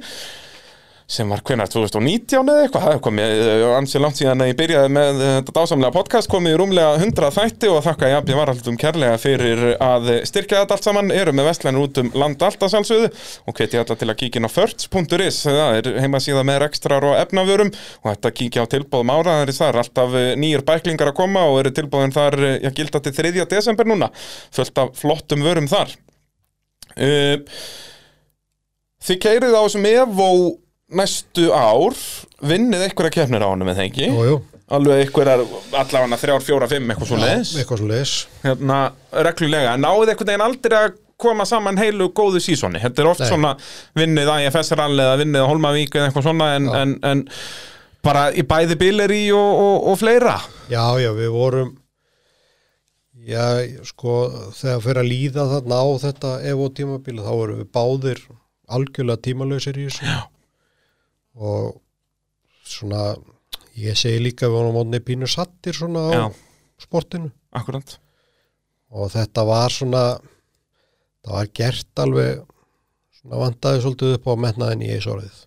S1: sem var hvenar 2019 eða eitthvað, það hefur komið uh, ansi langt síðan að ég byrjaði með uh, þetta dásamlega podcast komið í rúmlega 100 þætti og þakka ég að býja varahlutum kærlega fyrir að styrkja þetta allt saman, eru með vestlænir út um land allt að sjálfsögðu og hveti ég alla til að kíkja inn á förts.is það er heimasíða með rekstrar og efnavörum og þetta kíkja á tilbóðum áraðaris þar alltaf eh, nýjir bæklingar að koma og eru tilbóðin þar, eh, já, gilda til 3. desember núna, fullt af flottum vörum þar uh, Þið keirið á þessum Evo næstu ár vinnið einhverja keppnir á honum eða ekki
S2: jú, jú.
S1: alveg einhverjar, allavega þrjár, fjóra, fimm eitthvað svo leiðis
S2: Já, Eitthvað svo leis.
S1: hérna, reglulega, náðið einhvern veginn aldrei að koma saman heilu góðu sísoni þetta er oft
S2: Nei.
S1: svona vinnið IFS-rall eða vinnið á Holmavík eða eitthvað svona en, en, en bara í bæði bíleri og, og, og fleira
S2: Já, já, við vorum, já, sko, þegar fyrir að líða þarna á þetta EVO tímabili þá vorum við báðir algjörlega tímalausir í þessu. Já. Og svona, ég segi líka við vorum mótni pínu sattir svona á
S1: Já.
S2: sportinu.
S1: akkurat,
S2: og þetta var svona það var gert alveg svona vandaði svolítið upp á metnaðin í eins orðið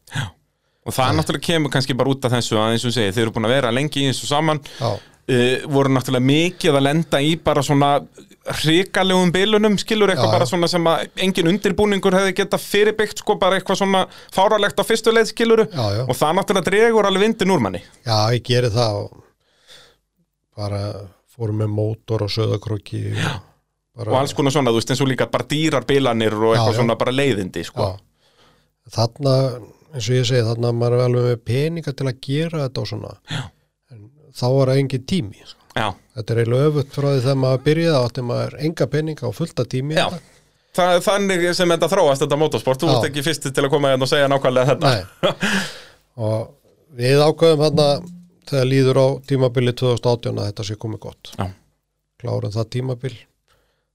S1: og það náttúrulega kemur kannski bara út af þessu að eins og segið, þið eru búin að vera lengi eins og saman
S2: já,
S1: uh, voru náttúrulega mikið að lenda í bara svona hrikalegum bilunum skilur eitthvað
S2: Já, já.
S1: bara svona sem að engin undirbúningur hefði geta fyrirbyggt sko bara eitthvað svona fáralegt á fyrstu leið skiluru
S2: Já, já.
S1: og það náttúrulega dregur alveg vindin úr manni
S2: já, ég geri það og bara fórum með mótor og söðakróki já,
S1: og alls konar svona, þú veist, eins og líka bara dýrar bilanir og eitthvað
S2: Já, já.
S1: svona bara leiðindi sko.
S2: já. þarna, eins og ég segi þarna maður er alveg með peninga til að gera þetta og svona já. en þá var það engin tími sko.
S1: já,
S2: þetta er eiginlega öfutt frá því þegar maður byrjaði þá átti maður enga peninga og fullta tími í
S1: já.
S2: þetta.
S1: Þa, þannig sem þetta þróast þetta motorsport, þú
S2: Já.
S1: ert ekki fyrst til að koma hérna og segja nákvæmlega þetta
S2: Nei. og við ákveðum hann þegar líður á tímabili 2018 að þetta sé komið gott
S1: Já.
S2: klárum það tímabil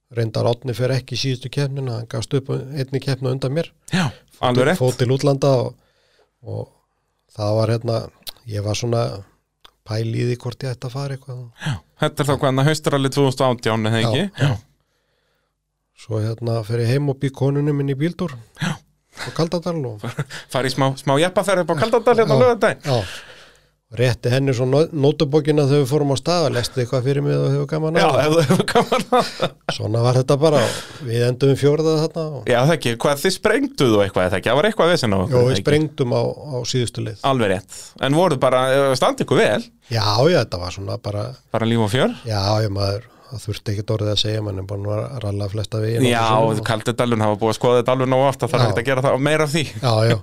S2: reyndar átni fer ekki í síðustu keppnina hann gafst upp einni keppna undan mér
S1: já, alveg rétt
S2: fótt til útlanda og, og það var hérna ég var svona pæli í því hvort ég ætti að fara eitthvað
S1: þetta er þá hérna, hvernig hausturalli 2018 eða ekki
S2: já. svo hérna fer ég heim og bygg konunum minn í bíldur já. og kaldadal og
S1: farið smá, smá jeppaferð upp á Kaldardal hérna á
S2: Já.
S1: lögadaginn
S2: Já, rétti henni svo nótubókina þegar við fórum á stað og lesti eitthvað fyrir mig og hefur gaman
S1: Já,
S2: að
S1: ef þú hefur gaman að
S2: svona var þetta bara og við endum fjórða þarna og,
S1: Já, það ekki, hvað þið sprengduð og eitthvað, eða ekki, það var eitthvað vesinn á ykkur,
S2: og
S1: eða
S2: við
S1: ekki?
S2: sprengdum á, á síðustu lið
S1: Alveg rétt, en voruð bara, eh, standi ykkur vel
S2: já, já, þetta var svona bara
S1: Bara líf og fjör
S2: já, já, maður, það þurfti ekki orðið að segja mann en bara nú að ralla flesta við
S1: Já, kaldið dalun hafa búið að skoða þetta alveg nóg oft að það er
S2: Já.
S1: ekkert að gera það meira af því
S2: já, já,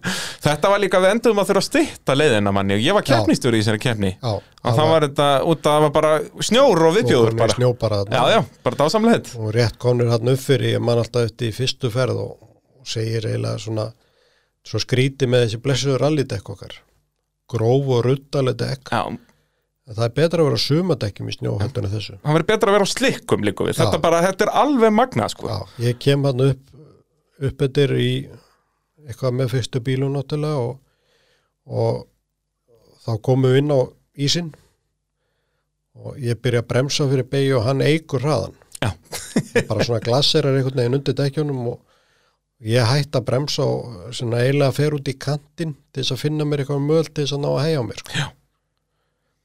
S1: Þetta var líka við enduðum að þurfa að stytta leiðina manni og ég var keppnistur í þessari keppni
S2: já
S1: og það var þetta út að það var bara snjór og viðbjóður
S2: komnir
S1: bara
S2: snjó bara
S1: Já,
S2: þarna
S1: já, bara dásamleitt
S2: og rétt konur hann upp fyrir ég man alltaf eftir í fyrstu ferð og, og segir eiginlega svona svo skríti með þessi blessuður rallydekk okkar gróf og ruttaleg dekk
S1: Já, það
S2: það er betra að vera á sumadekkjum í snjó heldur en þessu
S1: verður betra að vera á slikkum líka við
S2: Já.
S1: Þetta bara, þetta er alveg magna sko
S2: Já, ég kem hann upp upp eftir í eitthvað með fyrstu bílum náttúrulega og, og þá komum við inn á ísinn og ég byrja að bremsa fyrir beigju og hann eigur hraðan
S1: Já.
S2: bara svona glaserar einhvern veginn undir dekkjónum og ég hætti að bremsa og svona eiginlega fer út í kantinn til þess að finna mér eitthvað um möl til þess að ná að hægja á mér sko.
S1: Já.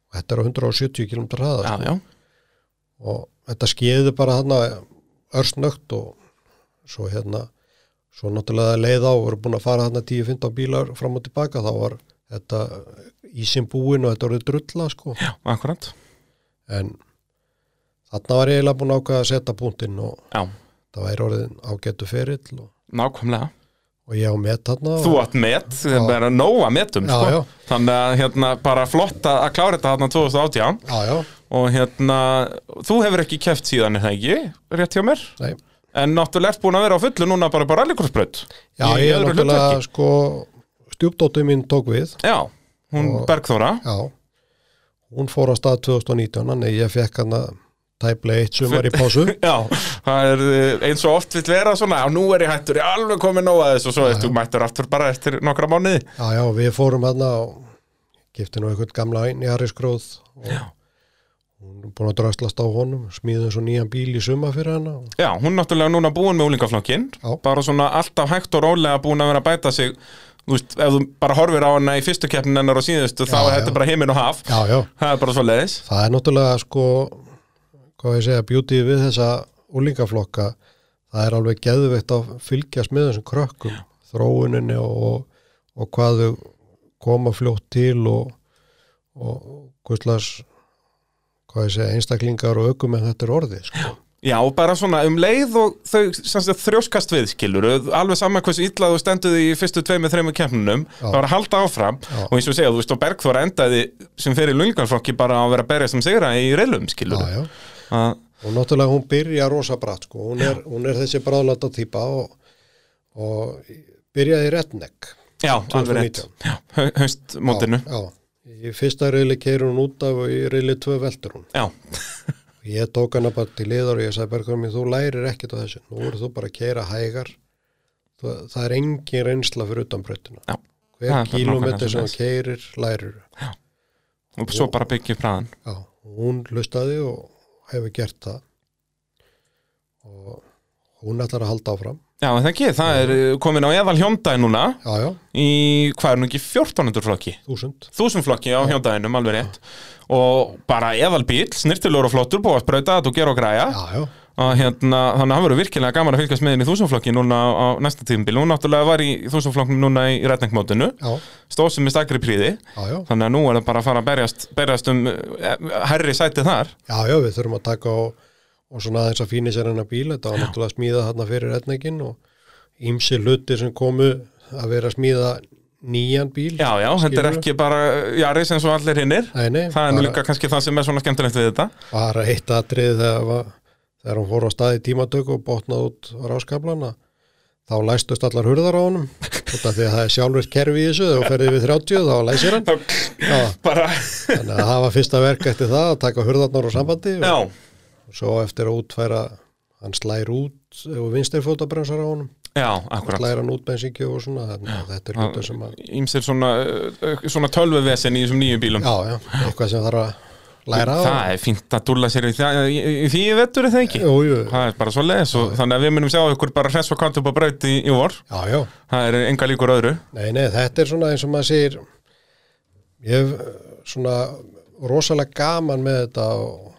S2: og þetta er á 170 km hraða
S1: Já, já,
S2: og þetta skeiði bara hann örsnögt og svo hérna svo náttúrulega leið á, voru búin að fara hann 10-15 bílar fram og tilbaka þá var þetta ísinn búin og þetta voru drulla sko
S1: já, akkurat
S2: en þarna var ég eiginlega búin að ákveða að setja punktinn og
S1: Já,
S2: það væri orðin ágætu ferill og,
S1: nákvæmlega
S2: og ég á met þarna
S1: Þú
S2: og,
S1: átt met, það er að nóa metum
S2: Já,
S1: sko.
S2: já.
S1: Þannig að hérna bara flott að að klára þetta þarna 2018
S2: Já, já,
S1: og hérna, þú hefur ekki keft síðan er það ekki, rétt hjá mér
S2: nei
S1: en náttúrulega ert búin að vera á fullu núna bara bara rallykursbraut
S2: Já,
S1: Í
S2: ég er
S1: öðru
S2: náttúrulega
S1: hlutverki.
S2: sko stjúpdóttu mín tók við
S1: Já, hún
S2: Og-
S1: Bergþóra
S2: Já, hún fór á stað 2019 en ég fekk hann að tæplega eitt sumar í pásu
S1: Já, það er eh, eins og oft vill vera svona, já nú er ég hættur, ég er alveg komin nóga þess og svo eftir mættur aftur bara eftir nokkra mánuði
S2: Já, já, við fórum hann og gifti nú einhvern gamla einn í Harrisgróð og
S1: Já.
S2: hún er búin að dröslast á honum, smíðum svo nýjan bíl í sumar fyrir hana og
S1: Já, hún náttúrulega núna búin með úlingaflokkinn
S2: Já.
S1: bara svona alltaf hægt og rólega búin að vera að bæta sig þú veist, ef þú bara horfir á hana í fyrstu keppnin hennar og síðustu, þá er
S2: já.
S1: þetta bara heiminn og haf
S2: Já, já,
S1: það er bara svo leiðis
S2: það er náttúrulega sko, hvað ég segja, beauty við þessa úlingaflokka það er alveg geðveikt að fylgjast með þessum krökkum, þróuninni og, og hvað þau koma fljótt til og, og hvistlas hvað ég segja, einstaklingar og ökum en þetta er orðið, sko.
S1: Já, bara svona um leið og þau sem sagt, þrjóskast við, skilur alveg saman hversu illa þú stendur í fyrstu tveimur, þreimur keppnunum, það var að halda áfram
S2: Já.
S1: og eins og segja, þú veist, og Bergþóra endaði sem fyrir lungarflokki bara að vera að berja sem sigra í reilum, skilur
S2: Já, já.
S1: Að-
S2: og náttúrulega hún byrja rosa bratt sko, hún er, hún er þessi bráðlata típa og, og byrjaði í rettnekk
S1: Já, alveg rétt
S2: 2019.
S1: Já, hau- haustmótinu
S2: Já, í fyrsta reyli keir hún út af og í reyli tvö veldur hún
S1: Já,
S2: ég tók hana bara til liðar og ég sagði Bergur mér, þú lærir ekkit á þessu nú eru þú bara að keira hægar það, það er engin reynsla fyrir utan breytina
S1: já, Það er bara
S2: hver
S1: nákvæmlega
S2: kílómetri sem hún
S1: svoleiðis.
S2: keirir lærir
S1: og svo bara byggja upp hraðan
S2: Já, hún hlustaði og hefur gert það og hún ætlar að halda áfram
S1: Já, en það ekki, það er uh, komin á eðal hjóndæði núna
S2: já, já,
S1: í, hvað er nú ekki, 1400 flokki
S2: þúsund
S1: þúsundflokki á hjóndæðinum, alveg rétt og bara eðalbíl, snirtilur og flottur búið að sprauta að þú gera og græja
S2: Já, já,
S1: og hérna, þannig að hann verður virkilega gaman að fylgjast með henni í þúsundflokki núna á næsta tímbil hún náttúrulega var í þúsundflokknum núna í rætningmótinu,
S2: já,
S1: stóð sem er stakri príði
S2: já, já,
S1: þannig að nú er það bara að fara að berjast, berjast um eh, herri sæti þar
S2: já, já, við þurfum að taka og, og svona aðeins að fíni sér hennar bíl, þetta var náttúrulega smíða þarna fyrir etningin og ímsi hluti sem komu að vera að smíða nýjan bíl.
S1: já, já, þetta er
S2: Skilurðu?
S1: ekki bara jari sem svo allir hinnir
S2: Nei, nei,
S1: það er nú
S2: bara-
S1: líka kannski það sem er svona skemmtilegt við þetta
S2: bara eitt atrið þegar, var, þegar hún fór á staði tímatöku og botnaði út ráskablana þá læstust allar hurðar á honum út af því að það er sjálfur kerfi í þessu þegar hún ferði við 30 þá læsir hann já,
S1: bara,
S2: þannig að það var fyrsta verk eftir það að taka hurðarnar á sambandi og,
S1: já,
S2: og svo eftir að útfæra hann slær út og vinstir fótabremsar á honum
S1: já, akkurat
S2: slær hann út bensingi og svona þannig að þetta er hlutur sem að
S1: ímsir svona, eh, svona tölvuvesen í þessum nýju bílum
S2: já, já, eitthvað sem þarf að læra á
S1: það er fínt að dúlla sér í, það, í, í því ég vettur er það ekki
S2: jú, jú,
S1: það er bara svo leðis og þannig að við munum sjá ykkur bara hress og kant upp á braut í, í vor
S2: já, já
S1: það er enga líkur öðru
S2: nei, nei, þetta er svona eins og maður segir ég hef eh, svona rosalega gaman með þetta og,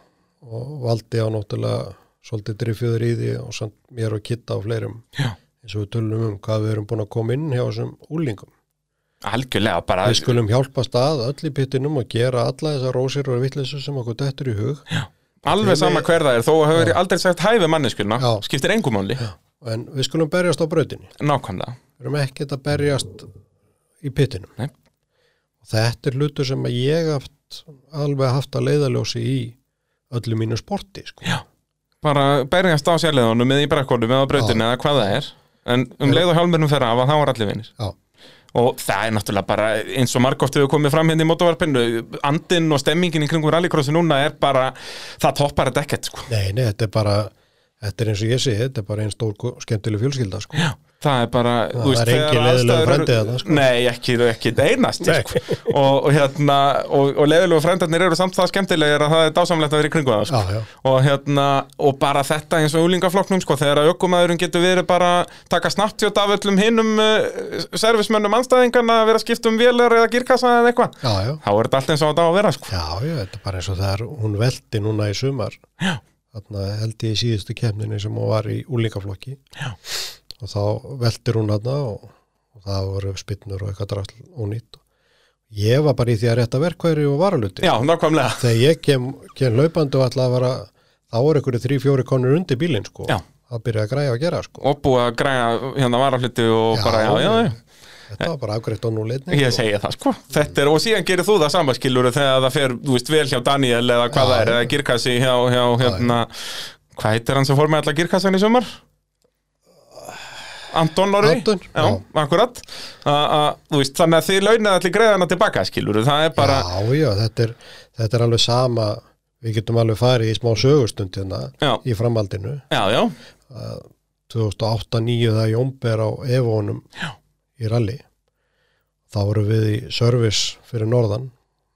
S2: og valdi á náttúrulega svolítið drifjöður í því og samt mér og kitta og fleirum
S1: Já.
S2: eins og við tölum um hvað við erum búin að koma inn hjá þessum úlingum.
S1: algjörlega bara
S2: Við skulum hjálpast að öll í pittinum og gera alla þessar rósir og vitleysu sem okkur dettur í hug
S1: alveg sama hver það er þó að hefur aldrei sagt hæfi manneskjulna
S2: Já.
S1: skiptir engum máli,
S2: en við skulum berjast á brautinni.
S1: nákvæmlega
S2: Við erum ekkert að berjast í pittinum.
S1: Nei.
S2: Og þetta er hlutur sem að ég haft alveg haft að leiðaljósi í öllu mínu sporti, sko.
S1: Já. bara berjast á sérleðunum eða í brekkunum eða á brautinu eða hvað það er en um leið og hjálmurnum fer af að þá er allir vinnir
S2: Já,
S1: og það er náttúrulega bara eins og margóft hefur komið fram hérna í mótavarpinu andinn og stemmingin í kringum rallycrossi núna er bara, það toppar þetta ekkert sko.
S2: nei, nei, þetta er bara, þetta er eins og ég sé, þetta er bara einn stór ko- skemmtileg fjölskylda, sko. Já.
S1: það er bara,
S2: Það er engin
S1: þegar
S2: leiðilegur
S1: aðstæður eru-
S2: frændi þarna, sko.
S1: nei, ekki, ekki einast sko. og, og hérna, og, og leiðilegu frændarnir eru samt það skemmtilegir að það er dásamlegt að vera í kringum það sko.
S2: Já, já,
S1: og hérna, og bara þetta eins og úlingaflokknum, sko, þegar að ökumæðurinn getur verið bara taka snapptjótt af öllum hinnum uh, servismönnum anstæðingarna að vera að skipta um vélar eða girkassa eða eitthvað
S2: já, já,
S1: þá er þetta allt eins og þetta á að vera, sko
S2: já, já, þetta er bara eins og það er, hún veldi núna í sumar.
S1: Já.
S2: Þarna held ég í síðustu kemninni sem hún var í úlingaflokki.
S1: Já.
S2: Og þá veldir hún þarna og, og það voru spinnur og eitthvað drasl ónýtt. Ég var bara í því að rétta verkværi og varaluti.
S1: Já, nákvæmlega
S2: þegar ég kem, kem laupandi og ætla að vara þá er einhverju þrjú, fjóri konur undir bílinn sko.
S1: Já.
S2: það byrja að græja að gera sko.
S1: og búið að græja hérna varafluti og
S2: Já.
S1: bara, já, já, já,
S2: þetta var bara afgreitt á núleitni
S1: ég segi það, sko þetta er, og síðan gerir þú það sambaskilur þegar það fer, þú veist, vel hjá Daniel eða hvað
S2: Já,
S1: það er,
S2: já.
S1: eða girkassi hjá, hjá, hérna hvað heitir hann sem fór með alla girkassan í sumar? Anton Norri?
S2: Anton,
S1: já,
S2: já.
S1: akkurat a, a, þú veist, þannig að þið launað allir greiðana tilbaka, skilur, það er bara
S2: já, já, þetta er, þetta er alveg sama við getum alveg farið í smá sögustund hérna
S1: Já.
S2: í framhaldinu
S1: já, já,
S2: 2008-2009 það Jónber á Evónum í rally þá voru við í service fyrir norðan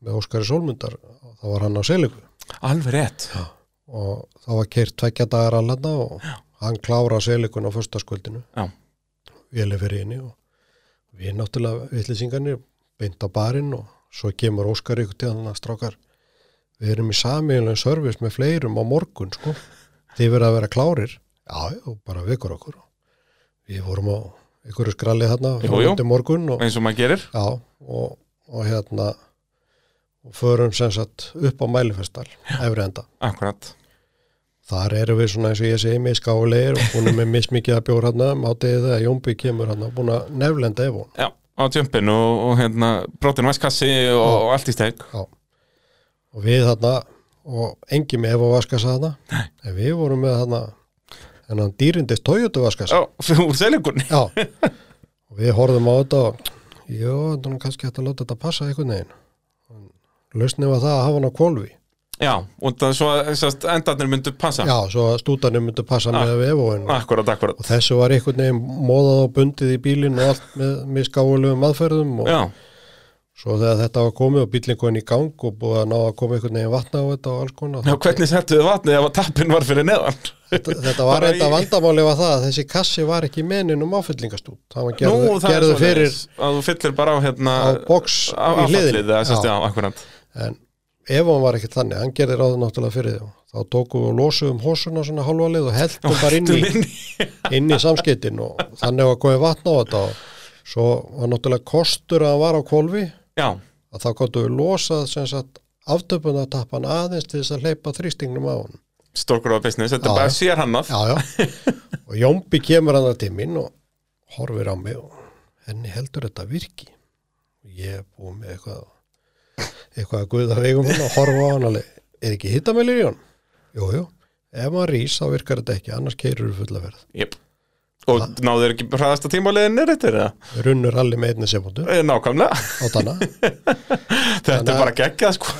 S2: með Óskari Sólmundar og þá var hann á Seliku
S1: alveg rétt
S2: og þá var keirt tveggja dagar allanna og hann klára selikun á föstaskvöldinu
S1: Já.
S2: vélið fyrir henni og við náttúrulega vitlisingarnir beint á barinn og svo kemur Óskar ykkur til þannig að strákar við erum í samíðlega service með fleirum á morgun sko, þið verða að vera klárir já, já, og bara vekur okkur við vorum á ykkur skralið þarna
S1: Jú, jú.
S2: undir morgun og,
S1: eins og maður gerir,
S2: já, og, og hérna og förum sem sagt upp á mælifestal, efri enda
S1: akkurat
S2: Þar erum við svona eins og ég segi með skáleir og hún er með mismikið að bjóra hann um átegið þegar Jónby kemur hann og búin að neflenda ef hún.
S1: já, á tjömpin og, og hérna, brotin væskassi og, og allt í steg
S2: Já. Og við þarna og engi með ef hún vaskast þarna. Nei. En við vorum með þarna en hann dýrindist Toyota vaskast.
S1: Já, úr selingunni
S2: Já. og við horfðum á þetta og jú, þannig er kannski hægt að láta þetta passa einhvern veginn. Lausnið var það að hafa hann á kvolfi.
S1: Já, og það svo að sest, endarnir myndu passa
S2: Já, svo að stútanum myndi passa með ef hún.
S1: Akkurat, akkurat
S2: og þessu var einhvern veginn móðað og bundið í bílinn og allt með, með skáulegum aðferðum og
S1: Já,
S2: svo þegar þetta var komið og bílinn komin í gang og búið að ná að koma einhvern veginn vatna á þetta og alls konar
S1: Já hvernig settu þið vatnið ef að tappin var fyrir neðan?
S2: þetta, þetta var
S1: Bara
S2: reynda
S1: í-
S2: vandamáli var það að þessi kassi var ekki mennin um áfyllingastút það var gerð,
S1: Nú, það er
S2: gerðu
S1: svo
S2: fyrir
S1: leiðis, að þú fyllir bara á hérna
S2: á box
S1: á
S2: í hliðin
S1: áfallið eða sérst, já, akkurat
S2: en ef hann var ekkert þannig, hann gerði ráðið náttúrulega fyrir því þá tókum við og losuðum hósuna svona halva leið og heldum bara inn í inn í samskiptin og þannig var komið vatna á þetta og svo var náttúrulega kostur að hann var á kvolfi
S1: Já,
S2: að þá gáttu við losað sem sagt aftöpunatappan aðeins til þess að hleypa þrýstingnum á hann.
S1: stórgróða business, þetta
S2: Já,
S1: er bara
S2: já.
S1: sér hann að
S2: Já, já. og Jómbi kemur hann til mín og horfir á mig og henni heldur þetta virki. Ég er búið með eitthvað eitthvað að guða vegum hann og horfa á hann alveg. Er ekki hittamælir í hann? Jú, jú. Ef maður rís þá virkar þetta ekki, annars keirur við fulla verð.
S1: Jep Og náðu þeir ekki hraðasta tímáliðin er þetta eða?
S2: Runnur allir með einni semundu
S1: Eh, Nákvæmlega,
S2: á tanna,
S1: þetta er
S2: Þannig að-
S1: bara geggjað sko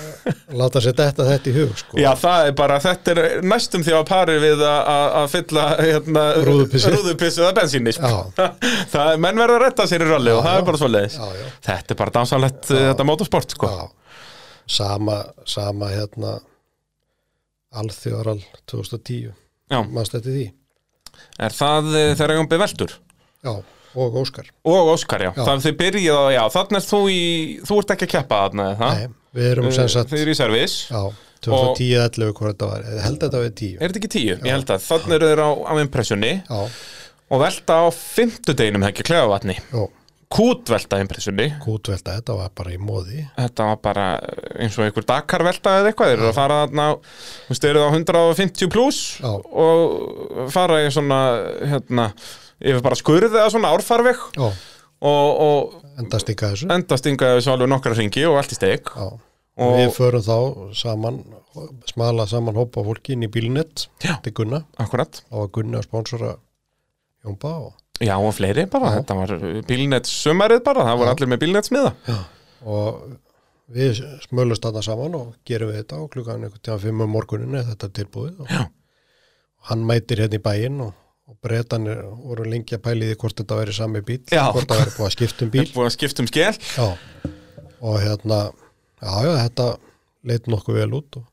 S2: láta sér þetta þetta í hug sko.
S1: Já, það er bara, þetta er næstum því að pari við að- að að fylla hérna,
S2: Rúðupissið.
S1: rúðupissið að bensínni sko.
S2: Já.
S1: það er, menn verða að retta sér í ralli og það
S2: já.
S1: er bara svoleiðis
S2: Já, já.
S1: þetta er bara dásalett þetta motorsport sko.
S2: Já, sama, sama hérna alþjóral 2010
S1: Já.
S2: mannst þetta því
S1: er það eh, þegar eigum við veldur
S2: já, og Óskar
S1: og Óskar, já,
S2: Já.
S1: Það, þið byrjaði, já Eh, þannig er þú í þú ert ekki að keppa þarna eða það?
S2: Nei, Við erum sem sagt,
S1: Þið eru í servis
S2: já, 2010-11 hvort þetta var, ég held að þetta var 10.
S1: Er þetta ekki tíu? Ég held að þannig eru þeir á, á impressjunni
S2: Já,
S1: og velta á fimmtudeginum hekki klefavatni
S2: já,
S1: Kút velta impressjunni
S2: kútvelta, þetta var bara í móði.
S1: Þetta var bara eins og einhver Dakar velta eða eitthvað Þeir eru að fara þarna, á- þú veist, þeir eru á 150 pluss
S2: Já.
S1: og fara í svona, hérna, yfir bara skurði eða svona árfarveg
S2: Já,
S1: og, og
S2: enda stikka þessu.
S1: enda stingaði þessu alveg nokkra ringi og allt í steg
S2: Já,
S1: Og-
S2: við förum þá saman, smala saman hópa fólki inn í bílnett
S1: Já.
S2: til Gunna
S1: Akkurat,
S2: og Gunna að sponsora Jónba og,
S1: já og fleiri bara, þetta var bílnett sumarið bara, það voru allir með bílnett smiða
S2: og við smölust þarna saman og gerum við þetta og klukkan einhvern tíma fimm um morguninni þetta er tilbúið og,
S1: Já.
S2: og hann mætir hérna í bæinn og, og breytanir voru lengi að pæli því hvort þetta væri sami bíl,
S1: Já.
S2: hvort það væri búið að skipta um bíl
S1: Búið að skipta um skell
S2: Já, og hérna, já, já, þetta leit nokkuð vel út og,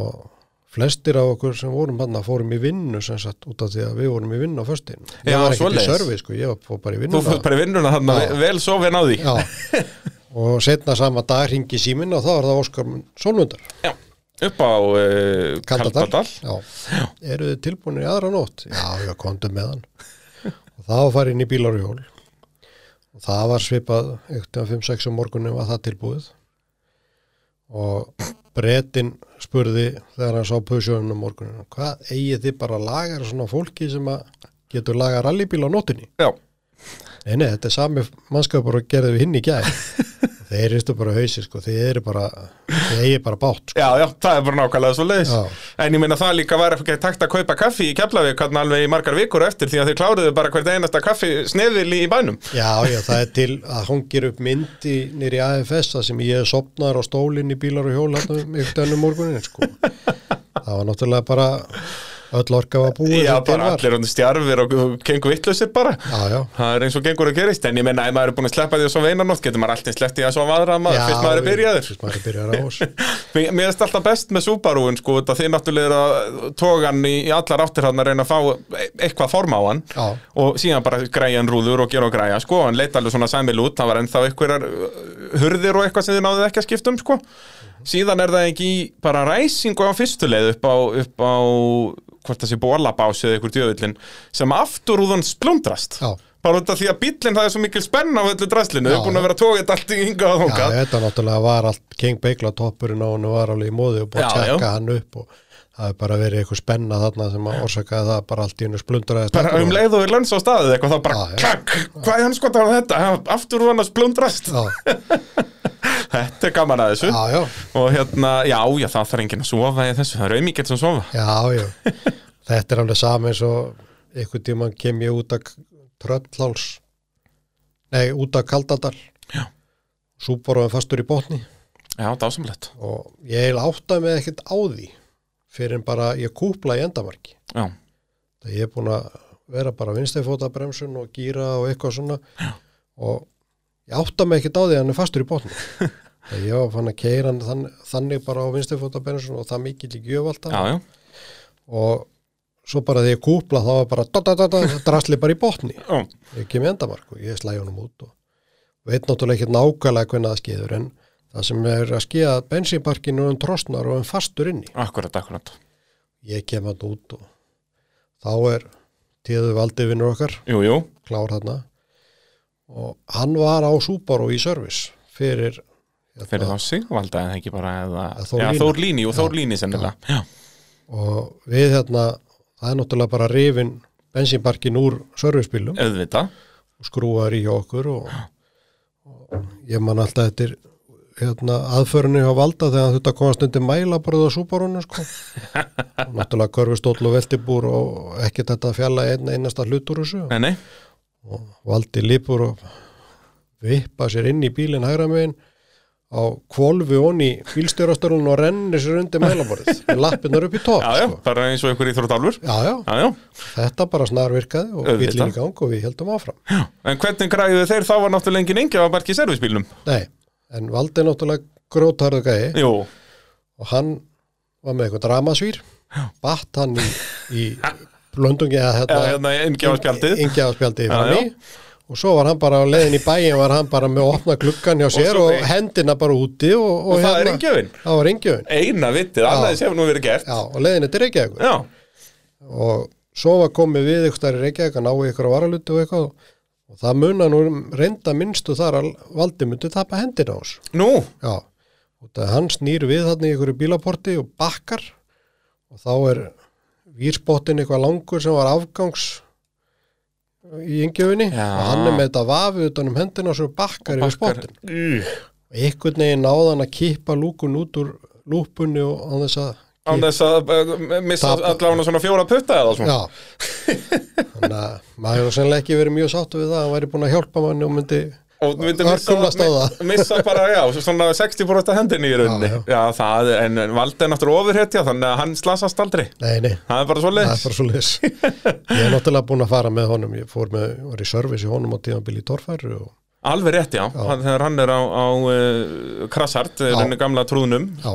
S2: og flestir af okkur sem vorum hann fórum í vinnu sem sagt út af því að við vorum í vinnu á föstin.
S1: Já,
S2: Ég var ekkert
S1: svoleiðis.
S2: í servi, sko, ég var fór bara í
S1: Þú
S2: vinnu.
S1: fótt bara í vinnuna þarna,
S2: Já.
S1: vel sofið náði
S2: Já, og setna sama dag ringi síminn og þá er það Óskar Sólmundar.
S1: Já, upp á uh,
S2: Kaldadal.
S1: Kaldadal
S2: Já. Eru þið tilbúinir í aðra nótt? Já, já, komdu með hann. Og það var farið inn í bílar og hjól. Og það var svipað 1.5-6 um morgunni var það tilbúið. Og brettin spurði þegar hann sá pusjóðum um morguninu, hvað eigið þið bara að lagar svona fólki sem að getur lagar rallybíl á nóttunni?
S1: Já,
S2: Nei, nei, þetta er sami mannskapur og gerðum við hinn í gæð. Þeir eru bara hausi, sko, þeir eru bara, þeir eigið bara bát, sko.
S1: já, já, það er bara nákvæmlega svo leiðis
S2: Já.
S1: En ég meina það líka var ekki takt að kaupa kaffi í Keflavík hvernig alveg í margar vikur á eftir því að þið kláruðu bara hvert einasta kaffi sneðil í bænum
S2: Já, já, það er til að hongir upp myndi nýri AFS það sem ég sopnar á stólinn í bílar og hjól hérna um ykkur ennum morgunin, sko. Það var náttúrulega bara öll orka var búið
S1: Já,
S2: sem til
S1: bara
S2: var.
S1: allir hann stjarfir og og gengur vittlausir bara
S2: Já, já,
S1: Það er eins og gengur að gerist, en ég meina ef maður er búin að sleppa því að sofa einan nótt, getur maður alltaf sleppt því að sofa aðra maður,
S2: já.
S1: fyrst maður er byrjaður
S2: Fyrst maður er byrjaður á oss.
S1: Mér mér finnst alltaf best með Subaru-un sko, þetta þið náttúrulega eru að toga hann í í allar áttir hann að reyna að fá e- eitthvað form á hann
S2: Já,
S1: og síðan bara græja hann rúður og gera og græja sko, hann leita alveg svona sæmil út, það var ennþá einhverjar uh, hurðir og eitthvað sem þið náðuð ekki að skipta um sko. síðan er það ekki í bara ræsingu á fyrstu leið upp á, upp á hvort það sé bólabás eða einhver djöfullin sem afturúðan splundrast
S2: Já.
S1: bara út af því að bíllinn það er svo mikil spenna á öllu dræslinu, þau er
S2: Já.
S1: búin að vera að toga þetta allt í ynga og
S2: já,
S1: þóka
S2: þetta náttúrulega var allt King Beigla toppurinn á hann var alveg í móði og búið að
S1: Já, já.
S2: tjekka hann upp og það er bara verið eitthvað spenna þarna sem að orsakaði það bara allt í hennu splunduraðist.
S1: bara um leið og við lönns á staðið eitthvað þá bara
S2: Já, já.
S1: klakk, hvað er hann sko skotar á um þetta aftur hann að splundrast
S2: Já,
S1: þetta er gaman að þessu
S2: já, já.
S1: og hérna, já, já, það þarf enginn að sofa í þessu, það er auðmikið sem sofa
S2: Já, já. Þetta er alveg sami eins og einhvern tímann kem ég út að tröllháls. Nei, út að kaldadal. Já. Súboróðum fastur í botni
S1: já, dásamlegt,
S2: og ég heil áttaði með ekkert á því fyrir en bara ég kúpla í endamarki.
S1: já,
S2: Það ég er búin að vera bara vinstæfótabremsun og gýra og eitthvað svona Já. og ég áttaði með ekkert á því að hann er fastur í botni. Það ég var fann að keira hann þann, þannig bara á vinstæfótabremsun og það mikil í gjöf alltaf
S1: já, já
S2: og svo bara þegar ég kúpla þá var bara da, da, da, da, drasli bara í botni
S1: já,
S2: ég kem í endamark og ég slæði honum út og veit náttúrulega ekki nákvæmlega hvernig það skeiður en það sem er að skeiða bensínparkinu um trostnar og um fastur inni
S1: akkurat, akkurat
S2: ég kem hann út og þá er tíðu valdi vinnur okkar
S1: jú, jú,
S2: klár þarna og hann var á Subaru í servis fyrir, hérna,
S1: fyrir þá Sigvalda eða ekki bara eða,
S2: Eða
S1: já, Þór
S2: Þór Líni.
S1: Líni, jú, Þór Líni sennilega já,
S2: og við hérna það er náttúrulega bara rifin bensínparkin úr servisbílum
S1: auðvita
S2: og skrúar í hjá okkur og, og ég man alltaf eftir hérna, aðförinu hjá Valda þegar þetta komast undir mæla bara á súbarunum sko. og náttúrulega körfustóll og veltibúr og ekki þetta fjalla einn einasta hlut úr þessu
S1: nei, nei,
S2: og Valdi lípur og vippa sér inn í bílinn hægra megin á kvolfi onni bílstjórastörlun og rennir sér undir mælaborðið með lappinnar upp í top
S1: já, já,
S2: sko.
S1: bara eins og einhver í Þróttálfur
S2: já, já,
S1: já, já,
S2: þetta bara snar virkaði og
S1: Auðvitað.
S2: bílinn í gang og við heldum áfram
S1: já, en hvernig græðu þeir þá var náttúrulega enginn engi að barki í servisbílnum
S2: Nei, en Valdi er náttúrulega grótarðu gæi
S1: jú,
S2: og hann var með eitthvað dramasvír batt hann í, í blöndungi eða
S1: eða hérna engi á spjaldið
S2: ingjafaspjaldið
S1: Já,
S2: fram í og svo var hann bara á leiðin í bæin var hann bara með að opna gluggan hjá sér
S1: svo-
S2: og, hendina bara úti og, og, hérna-
S1: Og það er Reykjavík.
S2: það var ringjöfin
S1: Eina vitið, annað þess hefur nú verið gert.
S2: já, og leiðin þetta er Reykjavík
S1: Já.
S2: og svo var komið við ykkur í Reykjavík að ná í ykkur að varalutu og eitthvað og það muna nú um reynda minnstu þar að valdi myndi tapa hendina á þessu
S1: Nú,
S2: Já, og það hann snýr við þarna í einhverju bílaporti og bakkar og þá er výrspottin eitthvað langur sem var afgangs í yngjöfunni
S1: Já.
S2: og hann er með þetta vafi utan um hendina og svo bakkar yfir
S1: bakkar.
S2: spottin.
S1: Ú,
S2: Og einhvern veginn náði hann að kippa lúkun út úr lúpunni og án þess að
S1: Án þess að uh, missa
S2: Tapa.
S1: allavega svona fjóra putta eða svona.
S2: Já, þannig að maður hefur sennilega ekki verið mjög sáttu við það, hann væri búin að hjálpa manni og myndi,
S1: og þú myndir
S2: Örkumlast á
S1: missa,
S2: það.
S1: missa bara, já, svona 60% af hendinni í rauninni já,
S2: Já,
S1: það, er- en, en Valdi er náttúrulega ofurhetja þannig að hann slasast aldrei
S2: nei, nei,
S1: það er bara svo
S2: það er
S1: leiðis
S2: bara svo leis. Ég er náttúrulega búin að fara með honum, ég fór með, var í service í honum á tíðanbili í Torfæru og
S1: alveg rétt, já, Hann, þegar hann er á, á uh, krassart, henni gamla trúðnum
S2: Já,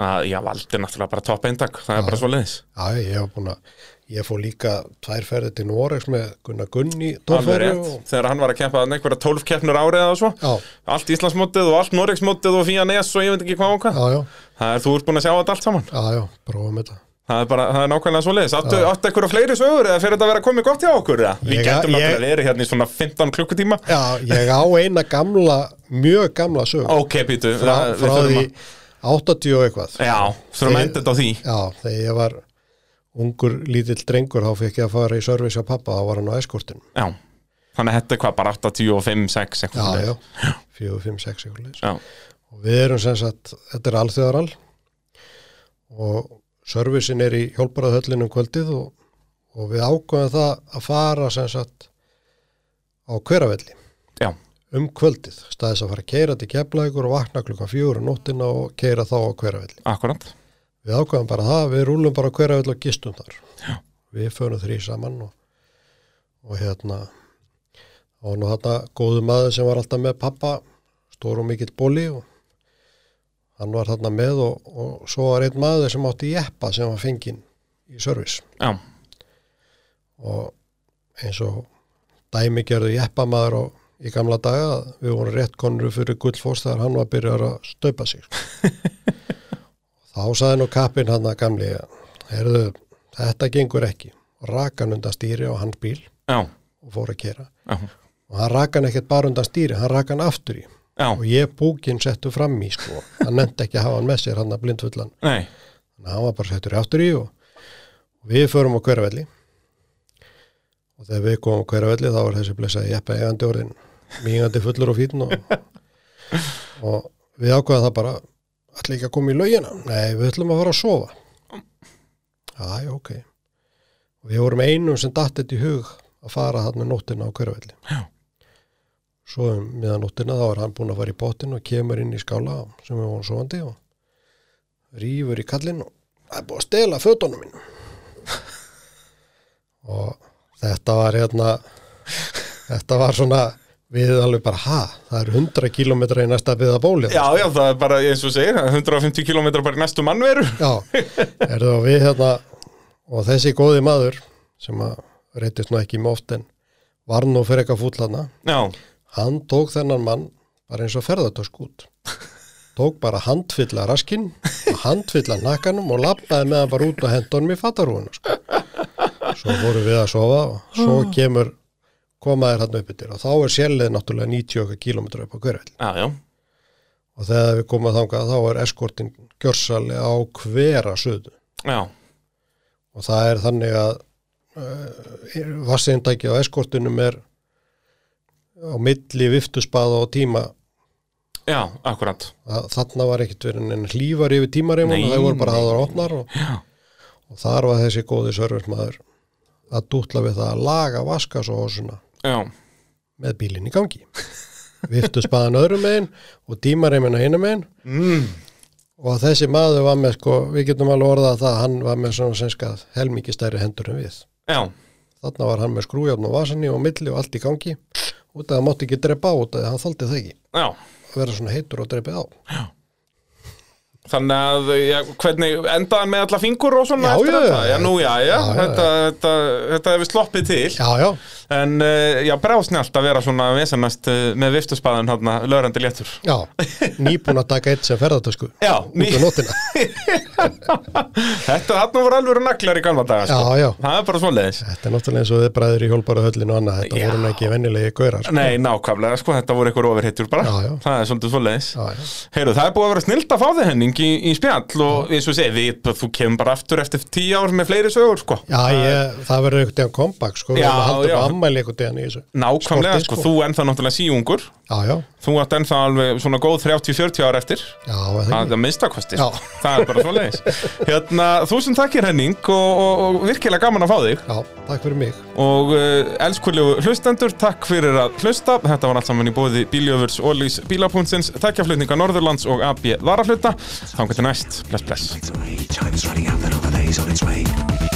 S1: að, já, Valdi er náttúrulega bara topp eintak það er bara svo leiðis
S2: já ég hef búin að ég fór líka tvær ferði til Noregs með Gunnar Gunni
S1: alveg
S2: Torfæri
S1: rétt,
S2: og,
S1: þegar hann var að keppa þarna einhverja 12 keppnur árið eða svo
S2: Já,
S1: allt Íslandsmótið og allt Noregsmótið og Fía Nes og ég veit ekki hvað og hvað
S2: já, já,
S1: það er, þú ert búin að sjá þetta allt saman
S2: já, já, prófum þetta
S1: Það er bara, það er nákvæmlega svo leiðis Áttu, áttu eitthvað fleiri sögur eða fyrir þetta að vera komið gott hjá okkur eða? Við getum
S2: Ég- ég-
S1: náttúrulega verið hérna í svona 15 klukkutíma
S2: Já, ég á eina gamla, mjög gamla sög
S1: Ok, Pítu,
S2: frá,
S1: það- við
S2: frá
S1: þurfum
S2: því 80 og eitthvað
S1: að Já, þurfum að enda þetta á því
S2: Já, þegar ég var ungur lítill drengur þá fekk ég að fara í service á pappa þá var hann á eskortinu
S1: Já, þannig að þetta er hvað, bara 85, 6
S2: Já,
S1: eitthvað
S2: já, 4, 5, 6 eitthvað leis
S1: já
S2: og við erum sem sagt, þetta er alþjóðaral og servicin er í hjálparðahöllinum kvöldið og, og við ákveðum það að fara sem sagt á hveravelli
S1: Já,
S2: um kvöldið, staðis að fara að keira til keflækur og vakna klukkan fjögur og nóttina og keira þá á hveravelli.
S1: akkurat
S2: Við ákveðum bara það, við rúlum bara á hveravelli og gistum þar.
S1: Já.
S2: Við förum þrý saman og, og hérna og nú þarna góðu maður sem var alltaf með pappa, stór og mikill bóli og hann var þarna með og, og svo var einn maður sem átti jeppa sem var fenginn í servis
S1: Já,
S2: og eins og dæmi gerðu jeppa maður og í gamla daga að við vorum rétt konur fyrir gullfoss þegar hann var að byrja að stöpa sig þá saði nú kappin hann að gamli herðu, þetta gengur ekki og rak hann undan stýri á hans bíl
S1: já,
S2: og fór að kera
S1: já,
S2: og hann rak hann ekkert bara undan stýri, hann rak hann aftur í
S1: já
S2: og ég búkinn settu fram í sko hann nefndi ekki að hafa hann með sér hann að blindfullan
S1: Nei,
S2: þannig að hann var bara settur í aftur í og, og við förum á hverjavelli og þegar við komum á hverjavelli þá var þessi blessaði jeppa eigandi orðin mýgandi fullur og fín og, og við ákveða það bara allir ekki að koma í laugina nei, við ætlum að fara að sofa
S1: Mm.
S2: aðja, ok og við vorum einum sem datt þetta í hug að fara þarna nóttina á hverjavelli
S1: Já.
S2: svo um miðan nóttina þá er hann búin að fara í bóttin og kemur inn í skála sem við vorum sofandi og rýfur í kallinn og það er búið að stela fötunum minn og þetta var hérna þetta var svona við alveg bara ha, það eru 100 kilometra í næsta byða bóli
S1: já, já, það er bara eins og þú segir 150 km bara í næstu mannveru
S2: já er það við hérna og þessi góði maður sem að reytist nú ekki með oft en var nú fyrir eitthvað fúllana
S1: Já,
S2: hann tók þennan mann bara eins og ferðartösk út tók bara handfylla raskinn og handfylla nakkanum og lappaði með hann bara út og henda honum í fattarúinu sko. svo vorum við að sofa og svo kemur komaðir hann upp yfir og þá er sérleið náttúrulega 90 okkar kílómetra upp á hverjall
S1: já, já,
S2: og þegar við komum að þangað þá er eskortin gjörsali á hvera suðu
S1: já
S2: og það er þannig að uh, vassindæki á eskortinum er á milli viftuspaða og tíma
S1: Já, akkurat
S2: að þarna var ekkit verið en hlýfar yfir tímareimun
S1: Nei,
S2: og það voru bara
S1: nei,
S2: aðra opnar og,
S1: Já,
S2: og þar var þessi góði servicemaður að dútla við það að laga vaska svo hásuna
S1: já,
S2: með bílinn í gangi viftu spaðan öðrum megin og tímareimina hinum megin
S1: mm,
S2: og að þessi maður var með sko, við getum alveg orðað það að hann var með svona senska helmingi stærri hendur en við
S1: já,
S2: þarna var hann með skrújafn og vasanni og milli og allt í gangi út að það mátti ekki drepa á út að hann þoldi það ekki
S1: já
S2: að vera svona heitur og dreipið á
S1: Þannig að, já, hvernig, endaðan með alla fingur og svona
S2: Já,
S1: eftir
S2: já,
S1: þetta?
S2: já.
S1: Já, nú, já, já,
S2: Já, já,
S1: þetta, þetta, þetta hefur sloppið til.
S2: Já, já,
S1: En, eh, já, bráðsnjált að vera svona vesennast eh, með viftuspaðan hérna, lögrandi léttur.
S2: já, nýbúin að taka eitt sem ferðartösku
S1: Já,
S2: út um á nótina.
S1: þetta þarna voru alveg naklar í gamla daga, sko.
S2: Já, já.
S1: Það er bara svoleiðis.
S2: Þetta er náttúrulega eins og þið bræður í hjólbarahöllinu og annað, þetta
S1: Já.
S2: voru nú ekki venjulegi gaurar. sko.
S1: Nei, nákvæmlega, sko, þetta voru eitthvað ofurhittur bara.
S2: Já, já.
S1: Það er svolítið svoleiðis.
S2: Já, já.
S1: Heyrðu, það er búið að vera snild að fá þig henning í, í spjall og eins og ég segi, við, þú kemur bara aftur eftir tíu ár með fleiri sögur, sko.
S2: Já, ég, það verður einhvern tíðan kompakt, sko, við
S1: Já,
S2: erum að halda
S1: já.
S2: upp ammæli einhvern tíðan í þessu.
S1: Nákvæmlega,
S2: Skortið,
S1: sko,
S2: sko.
S1: þú ennþá náttúrulega síungur
S2: Já, já,
S1: Þú átt ennþá alveg svona góð 30-40 ára eftir
S2: já, er það
S1: Það
S2: ekki.
S1: er minnstakosti,
S2: Já.
S1: það er bara svo leiðis Hérna, þúsund takkir Henning og, og, og virkilega gaman að fá þig
S2: Já, takk fyrir mig.
S1: og uh, elskulegu hlustendur, takk fyrir að hlusta þetta var allt saman í bóði Bíljöfurs, Ólís, Bílapúntsins takkjaflutninga Norðurlands og AB Varafluta þangar til næst, bless bless
S3: Three times running out, another day's on its way.